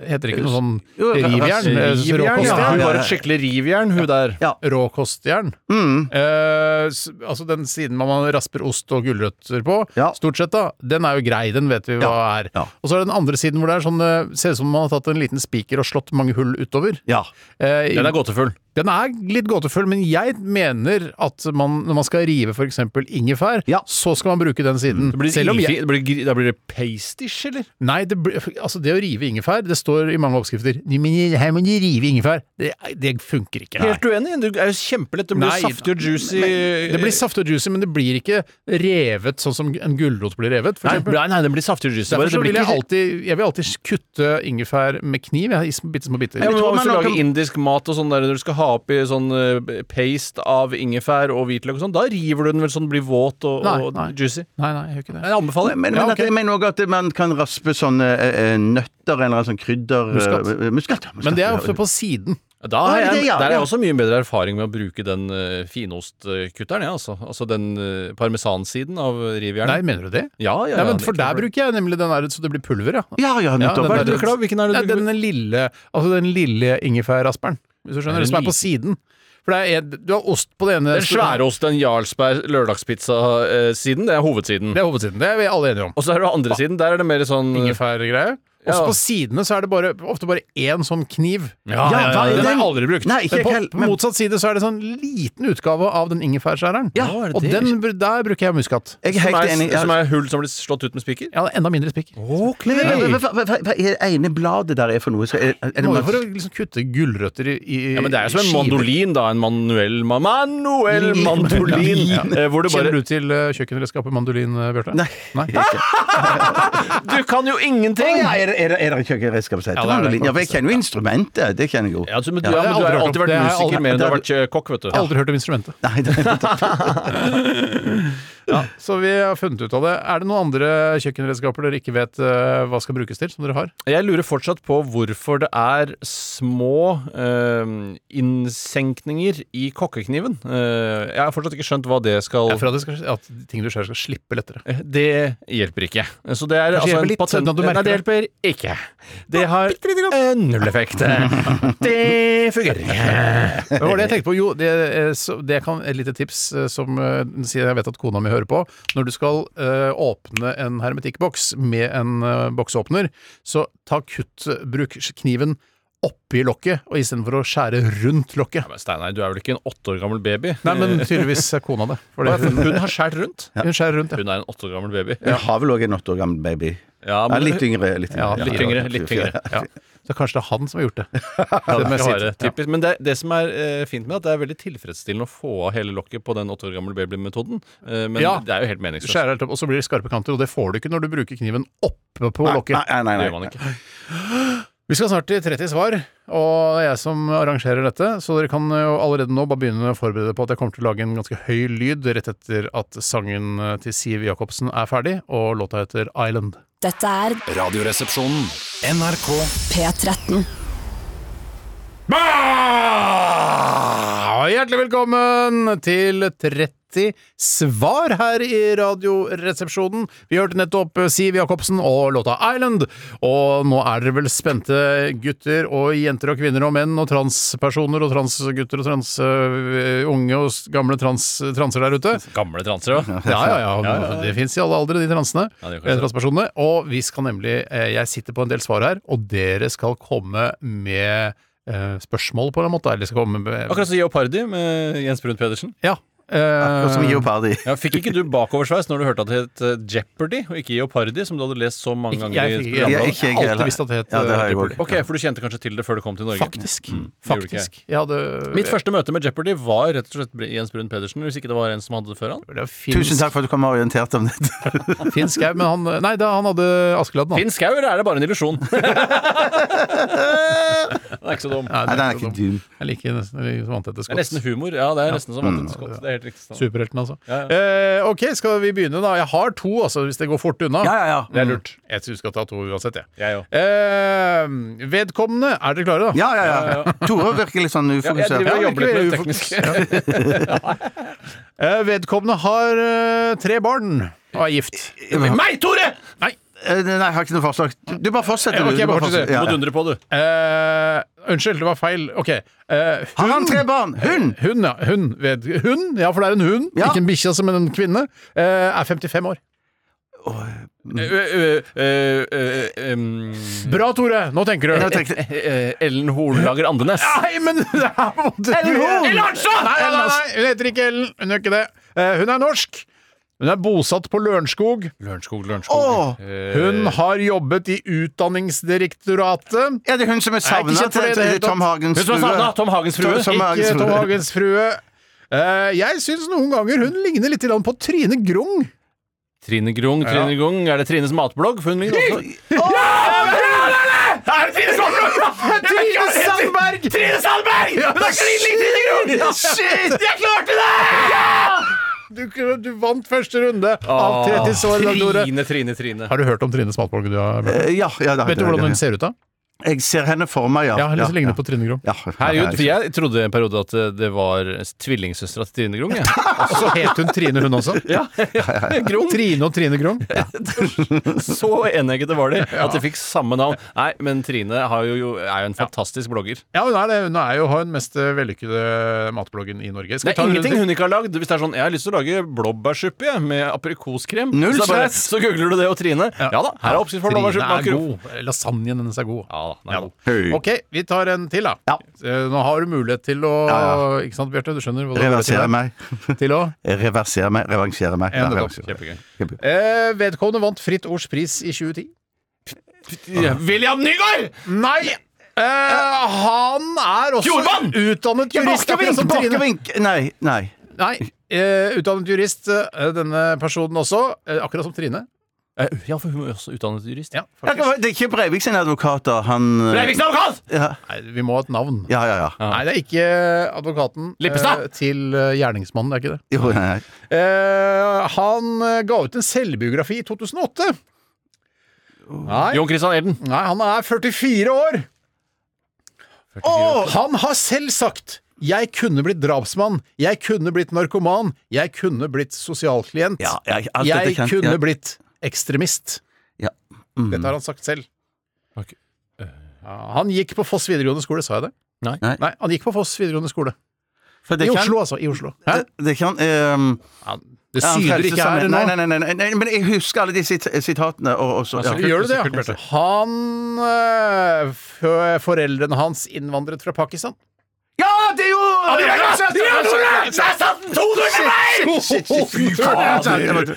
Speaker 4: Heter det ikke noe sånn
Speaker 6: Jo,
Speaker 4: rivjern? Eh,
Speaker 5: Rivjern, ja.
Speaker 4: Råkostjern?
Speaker 5: Hun har et skikkelig rivjern, hun der.
Speaker 6: Ja.
Speaker 4: Råkostjern.
Speaker 6: Mm.
Speaker 4: Eh, s- altså den siden man rasper ost og gulrøtter på,
Speaker 6: Ja.
Speaker 4: stort sett, da, den er jo grei, den vet vi hva er.
Speaker 6: Ja.
Speaker 4: Og så er det den andre siden hvor det er sånn, eh, ser ut som om man har tatt en liten spiker og slått mange hull utover.
Speaker 6: ja.
Speaker 4: Eh,
Speaker 5: Den er gåtefull.
Speaker 4: den er litt gåtefull, men jeg mener at man, når man skal rive f.eks. ingefær,
Speaker 6: Ja.
Speaker 4: så skal man bruke den siden.
Speaker 5: Mm. Det blir,
Speaker 4: Selv om jeg,
Speaker 5: illfin- det blir, gri- da blir det pastish, eller?
Speaker 4: nei, det, blir- altså det å rive ingefær, det står i mange oppskrifter Men her må du rive ingefær. Det, det funker ikke.
Speaker 5: Helt uenig. Det er jo kjempelett. Det blir
Speaker 4: Nei.
Speaker 5: saftig og juicy.
Speaker 4: Det blir saftig og juicy, men det blir ikke revet sånn som en gulrot blir revet. For
Speaker 5: Nei,
Speaker 4: eksempel.
Speaker 5: nei, det blir saftig og juicy.
Speaker 4: Derfor
Speaker 5: Bare,
Speaker 4: så
Speaker 5: det blir
Speaker 4: vil jeg
Speaker 5: ikke-
Speaker 4: alltid Jeg vil alltid kutte ingefær med kniv jeg, i bitte små biter.
Speaker 5: Ja, men
Speaker 6: tror
Speaker 5: Hvis du
Speaker 6: man
Speaker 5: lager
Speaker 6: kan-
Speaker 5: indisk mat og sånn der når du skal ha ha oppi sånn eh, paste av ingefær og hvitløk og sånn, da river du den vel sånn den blir våt og,
Speaker 4: Nei,
Speaker 5: og
Speaker 4: nei.
Speaker 5: juicy.
Speaker 4: Nei, nei, jeg gjør ikke det.
Speaker 5: Jeg anbefaler.
Speaker 6: Men, men
Speaker 5: ja,
Speaker 6: at, jeg mener også at man kan raspe sånne eh, eh, nøtter eller annen sånn krydder
Speaker 4: Muskat.
Speaker 6: eh, muskat, ja, muskat
Speaker 4: Men det er
Speaker 6: ja.
Speaker 4: ofte på siden.
Speaker 5: Da
Speaker 6: Ah,
Speaker 5: har
Speaker 6: er
Speaker 5: jeg,
Speaker 6: det det? Ja,
Speaker 5: der har
Speaker 6: ja.
Speaker 5: jeg også mye bedre erfaring med å bruke den eh, finostkutteren, ja, altså. altså den eh, parmesansiden av
Speaker 4: Nei,
Speaker 5: rivjernet.
Speaker 4: mener du det?
Speaker 5: Ja, ja, ja.
Speaker 4: Nei, men For
Speaker 5: det
Speaker 4: der
Speaker 5: er klart.
Speaker 4: bruker jeg nemlig den der så det blir pulver, ja.
Speaker 6: Ja,
Speaker 4: Ja,
Speaker 6: ja,
Speaker 4: den
Speaker 6: nettopp.
Speaker 5: Hva er det du
Speaker 4: der-
Speaker 5: bruker da? Hvilken er det
Speaker 4: Ja,
Speaker 5: du bruker?
Speaker 4: den, den lille Altså den lille ingefærrasperen, hvis du
Speaker 5: Er
Speaker 4: skjønner. Det
Speaker 5: det
Speaker 4: som er på
Speaker 5: liten?
Speaker 4: siden. For det er, en- du har ost på det ene
Speaker 5: Den svære osten, Jarlsberg lørdagspizza-siden, det er hovedsiden.
Speaker 4: Det er hovedsiden. Det er vi alle enige om.
Speaker 5: Og så er det andre siden, der er det mer sånn
Speaker 4: Ingefærgreie. Også
Speaker 5: Ja.
Speaker 4: på sidene så er det bare, ofte bare én sånn kniv.
Speaker 5: Ja, ja, ja,
Speaker 4: Den
Speaker 6: den-
Speaker 4: er aldri brukt.
Speaker 6: Nei, ikke
Speaker 4: Men på,
Speaker 6: helt,
Speaker 4: på
Speaker 6: men-
Speaker 4: motsatt side så er det sånn liten utgave av den ingefærskjæreren.
Speaker 5: Ja, hva er det
Speaker 4: og
Speaker 5: det?
Speaker 4: den, br- der bruker jeg muskat.
Speaker 6: Jeg er
Speaker 5: som,
Speaker 6: helt
Speaker 5: er,
Speaker 6: enig. Ja.
Speaker 5: som er hull som blir slått ut med spiker.
Speaker 4: Ja, det er enda mindre spikk.
Speaker 6: Men hva- hva- hva- hva- hva- Hva er det ene bladet der er for noe? Så er, er det
Speaker 4: Noe
Speaker 6: noe-
Speaker 4: for å liksom kutte gulrøtter i, i
Speaker 5: Ja, men Det er jo som en
Speaker 4: skiver.
Speaker 5: mandolin, da. En manuell ma Manuell mandolin!
Speaker 4: Ja.
Speaker 5: Eh, Hvor du
Speaker 4: Kjenner
Speaker 5: bare
Speaker 4: du til eh, kjøkkenredskapet mandolin, eh, Bjarte?
Speaker 6: Nei.
Speaker 5: Du kan jo ingenting!
Speaker 6: Ja, er det, er det, er det kjøkkenredskap som
Speaker 4: Ja, det er
Speaker 6: heter
Speaker 4: det,
Speaker 6: mandolin? Ja, for jeg
Speaker 4: faktisk.
Speaker 6: kjenner jo instrumentet. Det kjenner jeg jo.
Speaker 5: Ja, du, men du,
Speaker 4: Ja, det har jeg
Speaker 5: ja, men du
Speaker 4: aldri
Speaker 5: har
Speaker 4: hørt om.
Speaker 5: alltid vært
Speaker 4: Det har jeg
Speaker 5: musiker
Speaker 4: aldri-
Speaker 5: mer enn du har
Speaker 6: det
Speaker 5: vært eh, kokk, vet du.
Speaker 4: Aldri hørt om instrumentet.
Speaker 6: Nei, det,
Speaker 4: Så vi har funnet ut av det. Er det noen andre kjøkkenredskaper dere ikke vet eh, hva skal brukes til, som dere har?
Speaker 5: Jeg lurer fortsatt på hvorfor det er små eh, innsenkninger i kokkekniven. Eh, jeg har fortsatt ikke skjønt hva det skal
Speaker 4: Ja, for at, det skal, at ting du skjærer skal slippe lettere.
Speaker 5: Eh, Det hjelper ikke. Så det er
Speaker 4: Kanskje
Speaker 5: altså
Speaker 4: hjelper
Speaker 5: en
Speaker 4: litt,
Speaker 5: patent...
Speaker 4: uten at du
Speaker 5: Nei,
Speaker 4: merker
Speaker 5: det hjelper ikke. Det har eh, null effekt.
Speaker 4: <laughs>
Speaker 5: Det fungerer ikke.
Speaker 4: Hva var det jeg tenkte på? Jo, det, eh, så, det kan, et lite tips eh, som eh, sier jeg vet at kona mi hører på. Når du skal eh, åpne en hermetikkboks med en eh, boksåpner, så ta kutt, bruk kniven oppi lokket, og istedenfor å skjære rundt lokket.
Speaker 5: Men Steinar, du er vel ikke en åtte år gammel baby?
Speaker 4: Nei, men <laughs> tydeligvis er kona det.
Speaker 5: Hva
Speaker 4: Fordi
Speaker 5: er det
Speaker 4: hun,
Speaker 5: for- Hun har skåret rundt.
Speaker 4: hun skjærer rundt, <laughs> ja.
Speaker 5: Hun er en åtte år gammel baby.
Speaker 6: jeg har vel òg en åtte år gammel baby.
Speaker 5: Ja,
Speaker 6: Ja,
Speaker 5: men-
Speaker 6: litt yngre. Litt yngre.
Speaker 5: Ja, litt yngre, litt yngre.
Speaker 4: ja. Så kanskje det er han som har gjort det.
Speaker 5: Ja, det
Speaker 4: må jeg
Speaker 5: skal
Speaker 4: si
Speaker 5: være
Speaker 4: til.
Speaker 5: typisk. Men det, det som er eh, fint med det, at det er veldig tilfredsstillende å få av hele lokket på den åtte år gamle babymetoden. Eh, men
Speaker 4: Ja.
Speaker 5: det er jo helt
Speaker 4: Du
Speaker 5: meningsløst.
Speaker 4: skjærer helt opp, og så blir det skarpe kanter, og det får du ikke når du bruker kniven oppe på
Speaker 6: Nei,
Speaker 4: lokket.
Speaker 6: nei, nei,
Speaker 5: Det gjør
Speaker 6: nei.
Speaker 5: man ikke.
Speaker 4: <gasps> Vi skal snart til 30 svar, og det er jeg som arrangerer dette, så dere kan jo allerede nå bare begynne å forberede dere på at jeg kommer til å lage en ganske høy lyd rett etter at sangen eh, til Siv Jacobsen er ferdig, og låta heter Island.
Speaker 1: Dette er
Speaker 2: Radioresepsjonen. NRK
Speaker 1: P13.
Speaker 4: Bah! Hjertelig velkommen til 30 svar her i Radioresepsjonen. Vi hørte nettopp Siv Jacobsen og låta Island. Og nå er dere vel spente, gutter og jenter og kvinner og menn og transpersoner og transgutter og trans øh, unge og s- gamle trans, transer der
Speaker 5: <laughs>
Speaker 4: ute.
Speaker 5: Gamle transer òg.
Speaker 4: Ja, ja, ja. Det fins i alle aldre, de transene.
Speaker 5: Ja, det gjør kanskje
Speaker 4: eh, transpersonene. Og vi skal nemlig eh, Jeg sitter på en del svar her, og dere skal komme med eh, spørsmål, på en måte. Eller skal komme med
Speaker 5: Akkurat som Jeopardy med Jens Brun Pedersen.
Speaker 4: Ja. eh,
Speaker 6: Akkurat som Jeopardy.
Speaker 5: Ja, fikk ikke du bakoversveis når du hørte at det het eh, Jeopardy og ikke Jeopardy, som du hadde lest så mange
Speaker 4: Ikke- jeg
Speaker 5: ganger? i
Speaker 4: fikk- jeg-
Speaker 5: programmet?
Speaker 6: Ja, ikke jeg
Speaker 4: Alltid
Speaker 6: heller.
Speaker 4: visst at det het,
Speaker 6: ja, det har jeg
Speaker 4: eh,
Speaker 6: gjort.
Speaker 5: Ok, For du kjente kanskje til det før du kom til Norge?
Speaker 4: faktisk.
Speaker 5: det Mm. gjorde ikke jeg.
Speaker 4: Faktisk. Jeg hadde
Speaker 5: Mitt første møte med Jeopardy var rett og slett Br- Jens Brun Pedersen, hvis ikke det var en som hadde det før han.
Speaker 4: det er finsk,
Speaker 6: Tusen takk for at du kom orientert om dette.
Speaker 4: Finsk jeg, men han Nei, da, han hadde Askeladden. han.
Speaker 5: Finn Skau, eller er det bare en illusjon? Den er ikke så dum.
Speaker 6: Nei, den er ikke
Speaker 4: dum.
Speaker 6: dum.
Speaker 4: Jeg liker nesten jeg liker som vanntette
Speaker 5: Det er nesten
Speaker 4: skott.
Speaker 5: humor. Ja, det er nesten som Vantet Scott. Det er helt riktig. Sånn.
Speaker 4: Superhelten, altså.
Speaker 5: Ja,
Speaker 4: Eh, ok, skal vi begynne, da? Jeg har to, altså, hvis det går fort unna.
Speaker 6: Ja, Mm. ja, ja.
Speaker 4: Det er lurt. Jeg tror vi skal ta to uansett, jeg.
Speaker 5: Jeg òg.
Speaker 4: Eh, vedkommende, er dere klare, da?
Speaker 6: Ja, ja, ja. Tore virker litt sånn
Speaker 5: Ja, jeg
Speaker 6: ufokusert.
Speaker 5: driver og
Speaker 4: Ja,
Speaker 5: jobber litt med det
Speaker 4: virker
Speaker 5: tekniske.
Speaker 4: Eh, vedkommende har eh, tre barn og er gift.
Speaker 5: Meg, Tore!
Speaker 4: Nei!
Speaker 6: Eh, Nei, jeg har ikke noe forslag. Du- Du bare fortsetter,
Speaker 4: Ja,
Speaker 6: du.
Speaker 4: ok,
Speaker 6: Du
Speaker 4: bare
Speaker 6: bare
Speaker 4: fortsett.
Speaker 6: fortsetter. Ja,
Speaker 5: Må
Speaker 6: ja.
Speaker 5: dundre på, du.
Speaker 4: Eh, unnskyld, det var feil. Ok. eh,
Speaker 6: Har han tre barn? Hun!
Speaker 4: Hun, ja. Hun, ved, hun, ja, for det er en hund,
Speaker 6: Ja.
Speaker 4: ikke en bikkje, altså, men en kvinne, eh, er 55 år.
Speaker 5: Ø, ø, ø, ø, ø, um,
Speaker 4: Bra, Tore! Nå tenker
Speaker 6: Jeg
Speaker 4: du.
Speaker 6: tenkte-
Speaker 5: ø,
Speaker 4: eh,
Speaker 5: Ellen Hornlager Andenes.
Speaker 4: Nei, men det er på en måte
Speaker 5: Ellen Arnstad!
Speaker 4: Nei, nei, nei, hun heter ikke Ellen. Hun er ikke det. Eh, hun er norsk. Hun er bosatt på Lørenskog.
Speaker 5: Lørenskog,
Speaker 6: Åh!
Speaker 5: Lørenskog. Eh,
Speaker 4: Hun har jobbet i Utdanningsdirektoratet.
Speaker 6: Er det hun som er
Speaker 4: Nei, ikke
Speaker 6: savna
Speaker 4: kjent for det i det
Speaker 6: til
Speaker 4: hele
Speaker 6: Tom
Speaker 4: tatt.
Speaker 6: Hagens
Speaker 5: Vet du hva jeg savna? Tom Hagens frue.
Speaker 6: Tom- Tom Hagens
Speaker 4: Ikke Tom
Speaker 6: frue.
Speaker 4: Hagens frue. Eh, jeg syns noen ganger hun ligner litt grann på Trine Grung.
Speaker 5: Trine Grung, Trine Grung. Er det Trines matblogg? For hun ligner også
Speaker 4: Trine Sandberg!
Speaker 6: Trine Sandberg! Hun har klin lik Trine Grung! Shit, jeg klarte det!
Speaker 4: Du, du vant første runde av 30 sår. Dag Tore.
Speaker 5: Trine, Trine, Trine.
Speaker 4: Har du hørt om Trine Smaltborg? Du har
Speaker 6: Eh, Ja, ja, det har
Speaker 4: Vet du
Speaker 6: jeg,
Speaker 4: hvordan
Speaker 6: ja,
Speaker 4: hun ser ut, da?
Speaker 6: ja. Jeg ser henne for meg, ja.
Speaker 4: Ja, Hun
Speaker 6: ja,
Speaker 4: ligner
Speaker 6: ja.
Speaker 4: på Trine Grom.
Speaker 6: Ja,
Speaker 5: Herregud, for jeg trodde en periode at eh, det var tvillingsøstera til Trine
Speaker 4: <laughs>
Speaker 5: Grung. jeg.
Speaker 4: Og så het hun Trine, hun også.
Speaker 5: Grung.
Speaker 4: Trine og Trine Grom.
Speaker 5: Så eneggete var de at de fikk samme navn. Nei, men Trine har jo, jo, er jo en fantastisk blogger.
Speaker 4: Ja, hun er det. Hun er jo har den mest eh, vellykkede matbloggen i Norge. Skal
Speaker 5: Det
Speaker 4: vi ta
Speaker 5: er
Speaker 4: en
Speaker 5: ingenting
Speaker 4: runde til?
Speaker 5: hun ikke har lagd. Hvis det er sånn, Jeg har lyst til å lage blåbærsuppe jeg, med aprikoskrem.
Speaker 6: Null
Speaker 5: så, det er bare,
Speaker 6: stress.
Speaker 5: så googler du det og Trine. Ja, da, her er oppskrift for
Speaker 4: Trine er
Speaker 5: blåbærsuppe.
Speaker 4: god. Lasagnen hennes er god.
Speaker 5: Ja, da, den er god.
Speaker 6: Høy.
Speaker 4: Ok, vi tar en til, da.
Speaker 6: Ja.
Speaker 4: Eh, Nå har du mulighet til å
Speaker 6: Ja,
Speaker 4: Ikke sant, Bjarte? Du skjønner hva du har til
Speaker 6: Reverserer
Speaker 4: deg?
Speaker 6: meg.
Speaker 4: Til å
Speaker 6: Reverserer meg. Revansjerer meg.
Speaker 4: Ja,
Speaker 6: Ja,
Speaker 4: nettopp.
Speaker 6: revanserer.
Speaker 5: Kjempegøy.
Speaker 4: eh, Vedkommende vant Fritt Ords pris i 2010.
Speaker 5: William Nygaard!
Speaker 4: Nei! Eh, han er også
Speaker 5: Fjordmann!
Speaker 4: utdannet jurist. akkurat
Speaker 6: Bakkevink!
Speaker 4: som sånn, Trine.
Speaker 6: Bakkevink! Nei, nei.
Speaker 4: Nei, eh, utdannet jurist, eh, denne personen også. Eh, akkurat som Trine.
Speaker 5: Eh, Ja, for hun er også utdannet jurist.
Speaker 4: Ja,
Speaker 6: Det
Speaker 4: faktisk.
Speaker 6: er ikke Breivik sin advokat, da. Han eh,
Speaker 5: Breiviksen advokat!
Speaker 6: Ja,
Speaker 4: Nei, vi må ha et navn.
Speaker 6: ja, ja. ja.
Speaker 4: Nei, det er ikke advokaten eh,
Speaker 5: Lippestad?
Speaker 4: til eh, gjerningsmannen. det er ikke det.
Speaker 6: Jo, nei, nei.
Speaker 4: Eh, han eh, ga ut en selvbiografi i 2008. Nei.
Speaker 5: Jon Christian Elden.
Speaker 4: Nei, han er 44 år. Åh, han har selv sagt jeg kunne blitt drapsmann, jeg kunne blitt narkoman, jeg kunne blitt sosialklient,
Speaker 6: Ja, jeg, alt dette
Speaker 4: jeg
Speaker 6: kjent,
Speaker 4: kunne
Speaker 6: ja.
Speaker 4: blitt ekstremist.
Speaker 6: Ja. Mm.
Speaker 4: Dette har han sagt selv.
Speaker 5: Ok.
Speaker 4: Ja, han gikk på Foss videregående skole, sa jeg det?
Speaker 5: Nei.
Speaker 6: Nei.
Speaker 4: Nei han gikk på Foss videregående skole.
Speaker 6: For det
Speaker 4: I
Speaker 6: kan-
Speaker 4: Oslo, altså. I Oslo. Hæ?
Speaker 6: Det, det kan ehm,
Speaker 4: Det
Speaker 6: ja, han
Speaker 4: syder
Speaker 6: frelser
Speaker 4: ikke
Speaker 6: seg
Speaker 4: her nå.
Speaker 6: med- Nei, nei, nei, nei, nei, men jeg husker alle de sit sitatene. Og, og så, ja.
Speaker 4: Gjør Altså, du det,
Speaker 5: Kult,
Speaker 4: ja? Han eh, f- Foreldrene hans innvandret fra Pakistan.
Speaker 6: ja, det er jo
Speaker 4: Shit, shit, fy faen!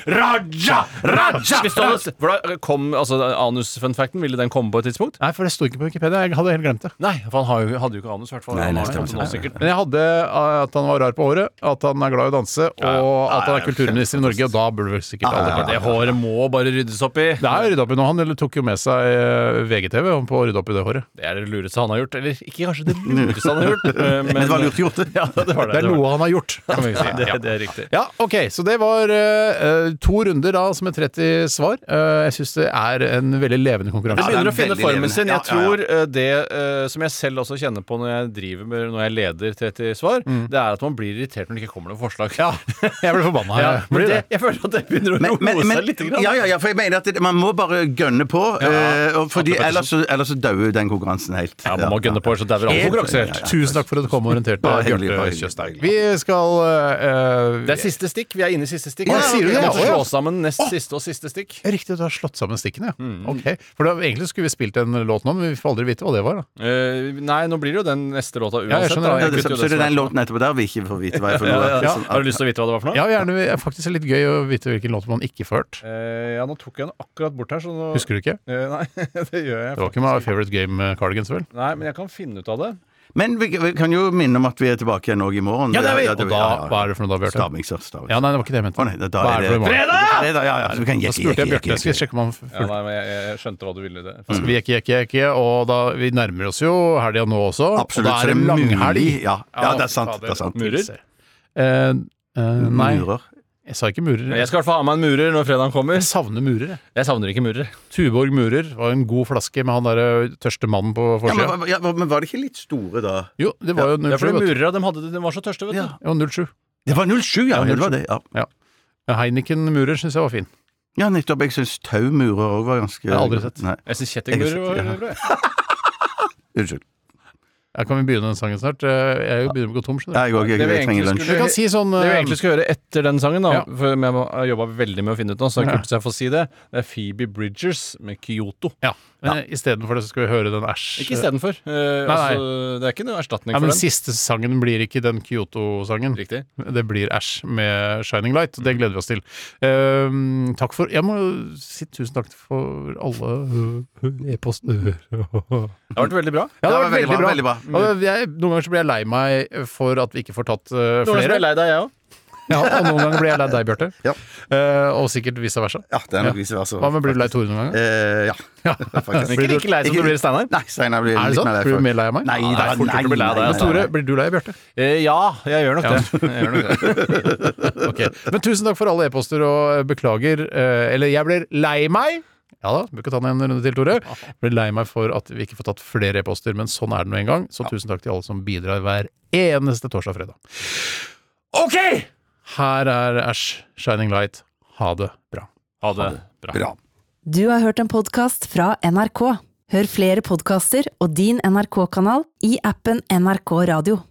Speaker 5: Raja! Raja! For da kom, altså, Anus-funfacten, ville den komme på et tidspunkt?
Speaker 4: Nei, for det sto ikke på Wikipedia. Jeg hadde helt glemt det.
Speaker 5: Nei, for han har jo, hadde jo ikke anus, i hvert fall.
Speaker 6: Nei,
Speaker 5: Han
Speaker 6: nei,
Speaker 5: har
Speaker 6: stemmer,
Speaker 5: jo anus nå,
Speaker 6: stemmer.
Speaker 5: sikkert.
Speaker 4: Men jeg hadde eh, at han var rar på håret, at han er glad i å danse, og at han er kulturminister i Norge. Og da burde vel sikkert alle
Speaker 5: Det håret må bare ryddes opp i.
Speaker 4: Det er jo rydda opp i nå. Han eller tok jo med seg eh, VGTV om på å rydde opp i det håret.
Speaker 5: Det er det lureste han har gjort. Eller ikke kanskje det lureste han har <laughs> gjort, eh, men,
Speaker 6: det var lurt gjort, det.
Speaker 5: Ja, det var det.
Speaker 4: Det er
Speaker 5: det, var
Speaker 4: noe han har gjort, kan vi si.
Speaker 5: det. det, det er riktig.
Speaker 4: Ja, ok, så det var eh, eh, to runder da som er 30 svar. Eh, jeg syns det er en veldig levende
Speaker 5: Jeg
Speaker 4: konkurranse.
Speaker 5: begynner å
Speaker 6: det er
Speaker 5: finne
Speaker 6: veldig
Speaker 5: formen
Speaker 6: levende.
Speaker 5: sin. Jeg
Speaker 6: Ja, ja, ja.
Speaker 5: tror eh, det eh, som jeg selv også kjenner på når jeg driver med Når jeg leder 30 svar, det er at man blir irritert når det ikke kommer noen forslag. Ja,
Speaker 4: Jeg ble forbanna.
Speaker 5: ja,
Speaker 4: jeg.
Speaker 5: men det, jeg føler at det begynner å
Speaker 6: Men,
Speaker 5: roe
Speaker 6: men, men,
Speaker 5: seg litt. Grann.
Speaker 6: ja, ja, ja, for jeg mener at det, man må bare gønne på. eh, og fordi ellers, så- ellers så dauer den konkurransen helt.
Speaker 5: Ja, man må gønne på, så dauer alle konkurranser helt.
Speaker 4: Tusen takk for at du kom og orienterte
Speaker 6: Bare hyggelig, bare
Speaker 4: Bjarte
Speaker 6: hyggelig.
Speaker 4: Tjøstheim. Vi skal eh,
Speaker 5: Det er siste stikk. Vi er inne i siste stikk.
Speaker 4: Ja, sier du det?
Speaker 5: Jeg måtte
Speaker 4: Ja, ja.
Speaker 5: slå sammen nest siste og siste stikk.
Speaker 4: eh, Riktig, du har slått sammen stikkene, ja. Ok. For da, egentlig skulle vi spilt en låt nå, men vi får aldri vite hva det var. da.
Speaker 5: Eh, nei, nå blir det jo den neste låta
Speaker 4: Ja, jeg
Speaker 5: uansett.
Speaker 4: skjønner.
Speaker 5: da.
Speaker 6: Ja,
Speaker 5: Jeg
Speaker 6: det, så,
Speaker 5: kutter jo
Speaker 6: så det
Speaker 5: som
Speaker 6: er den
Speaker 5: er-
Speaker 6: låten etterpå der vi ikke får vite hva jeg får Liksom, noe
Speaker 5: ja. Har du lyst til å vite hva det var for noe?
Speaker 4: Ja, gjerne, det er faktisk litt gøy å vite hvilken låt man ikke får hørt.
Speaker 5: Eh, ja, nå tok jeg den akkurat bort her, så nå
Speaker 4: Husker du ikke? Det
Speaker 5: Eh, nei, <laughs> det gjør jeg
Speaker 4: var ikke med Favorite Game eh, Cardigans, vel?
Speaker 5: Nei, men jeg kan finne ut av det.
Speaker 6: Men vi, vi kan jo minne om at vi er tilbake igjen òg i morgen.
Speaker 4: Og da, hva er det for noe da, Bjarte?
Speaker 6: Stavmikser. stavmikser.
Speaker 4: Ja, nei, det var ikke det jeg mente.
Speaker 6: Å, nei, da- da
Speaker 4: Hva
Speaker 6: er
Speaker 4: er det for i
Speaker 6: det-
Speaker 4: morgen?
Speaker 6: Fredag! Ja, ja, så vi kan
Speaker 4: Da
Speaker 6: jekke,
Speaker 4: spurte jeg
Speaker 6: jekke,
Speaker 4: Bjarte.
Speaker 6: jekke,
Speaker 4: Jeg skal
Speaker 6: jekke.
Speaker 4: sjekke om han
Speaker 5: Ja,
Speaker 4: fulgte
Speaker 5: nei, men jeg, jeg skjønte hva du ville. Det.
Speaker 4: Vi gikk, gikk, gikk, gikk, og da, vi nærmer oss jo helga nå også.
Speaker 6: Absolutt.
Speaker 4: Og da er det
Speaker 6: mulig.
Speaker 4: langhelg.
Speaker 6: Ja. ja, det er sant. Det er sant.
Speaker 5: Murer?
Speaker 4: Eh, eh, nei,
Speaker 6: Murer.
Speaker 4: jeg sa ikke murer.
Speaker 5: Jeg
Speaker 4: Jeg
Speaker 5: skal i hvert fall ha meg en murer når fredagen kommer.
Speaker 4: savner murer. jeg.
Speaker 5: Jeg savner ikke murere.
Speaker 4: Tuborg Murer var en god flaske med han derre tørste mannen på
Speaker 6: Ja, men,
Speaker 4: forsida.
Speaker 6: hva- ja, men var det ikke litt store da?
Speaker 4: Jo, det var jo
Speaker 5: Det er
Speaker 4: 07.
Speaker 5: fordi
Speaker 4: vet du.
Speaker 5: murere de hadde, de var så tørste, vet du.
Speaker 6: Ja.
Speaker 4: Det var 07.
Speaker 6: Det var 07, ja.
Speaker 4: Ja,
Speaker 6: det var det. Ja,
Speaker 4: Ja, Heineken Murer syns jeg var fin.
Speaker 6: ja nettopp. Jeg syns taumurer òg var ganske
Speaker 4: har aldri sett.
Speaker 6: Nei,
Speaker 5: Jeg syns kjettingmurer var
Speaker 6: Ja.
Speaker 5: bra. jeg.
Speaker 6: unnskyld.
Speaker 4: Ja, kan vi begynne den sangen snart? Eh, Jeg begynner å gå tom, skjønner du.
Speaker 6: Jeg òg. Jeg,
Speaker 5: Det vi
Speaker 6: jeg trenger
Speaker 5: egentlig
Speaker 6: lunsj.
Speaker 4: Vi kan si sånn
Speaker 5: Det vi
Speaker 4: eh,
Speaker 5: egentlig skal høre etter den sangen, da,
Speaker 4: Ja.
Speaker 5: for jeg har jobba veldig med å finne ut nå, så det er kult at jeg får si det, det er Phoebe Bridgers med Kyoto.
Speaker 4: Ja, men istedenfor det så skal vi høre den æsj.
Speaker 5: Ikke istedenfor. Uh,
Speaker 4: nei.
Speaker 5: altså, det er ikke noe erstatning
Speaker 4: Ja, men
Speaker 5: for den.
Speaker 4: siste sangen blir ikke den Kyoto-sangen.
Speaker 5: Riktig.
Speaker 4: Det blir Æsj med Shining Light. og Det gleder vi oss til. Ehm, takk for Jeg må jo si tusen takk for alle øh, e-postene. <laughs>
Speaker 5: Det har vært veldig bra.
Speaker 4: Ja, det
Speaker 6: var
Speaker 4: var veldig
Speaker 6: veldig
Speaker 4: bra.
Speaker 6: bra, veldig
Speaker 4: Og jeg, noen ganger så blir jeg lei meg for at vi ikke får tatt øh,
Speaker 5: Noen er
Speaker 4: flere.
Speaker 5: lei deg, jeg òg.
Speaker 4: Ja, og noen ganger blir jeg lei deg, Bjarte.
Speaker 6: Ja.
Speaker 4: Eh, og sikkert vice versa.
Speaker 6: Ja, det er nok vice versa.
Speaker 4: Hva med blir du lei Tore noen ganger?
Speaker 6: Eh, ja.
Speaker 4: <laughs>
Speaker 6: faktisk.
Speaker 5: Blir du ikke lei som du blir Steinar?
Speaker 6: Nei, Steinar blir
Speaker 4: Er det
Speaker 6: litt
Speaker 4: sånn?
Speaker 6: mer
Speaker 4: Blir
Speaker 6: lei
Speaker 4: du
Speaker 6: for-
Speaker 4: mer lei av meg?
Speaker 6: Nei,
Speaker 4: Nei,
Speaker 6: da,
Speaker 5: fort gjort å bli lei av deg.
Speaker 6: nei,
Speaker 4: Men
Speaker 6: nei,
Speaker 4: Tore,
Speaker 6: nei.
Speaker 4: blir du lei Bjarte?
Speaker 5: Eh, ja, jeg gjør nok det. <laughs> Jeg gjør nok det.
Speaker 4: <laughs> Ok. Men tusen takk for alle e-poster og eh, beklager. eh, Eller jeg blir lei meg. Ja da, vi kan ta den en runde til,
Speaker 5: <laughs>
Speaker 4: Tore. Jeg Blir lei meg for at vi ikke får tatt flere e-poster, men sånn er det nå engang. Så tusen takk til alle som bidrar hver eneste torsdag og fredag. OK! Her er Æsj, Shining Light. Ha det bra.
Speaker 5: Ha det bra.
Speaker 6: Bra.
Speaker 1: Du har hørt en podkast fra NRK. Hør flere podkaster og din NRK-kanal i appen NRK Radio.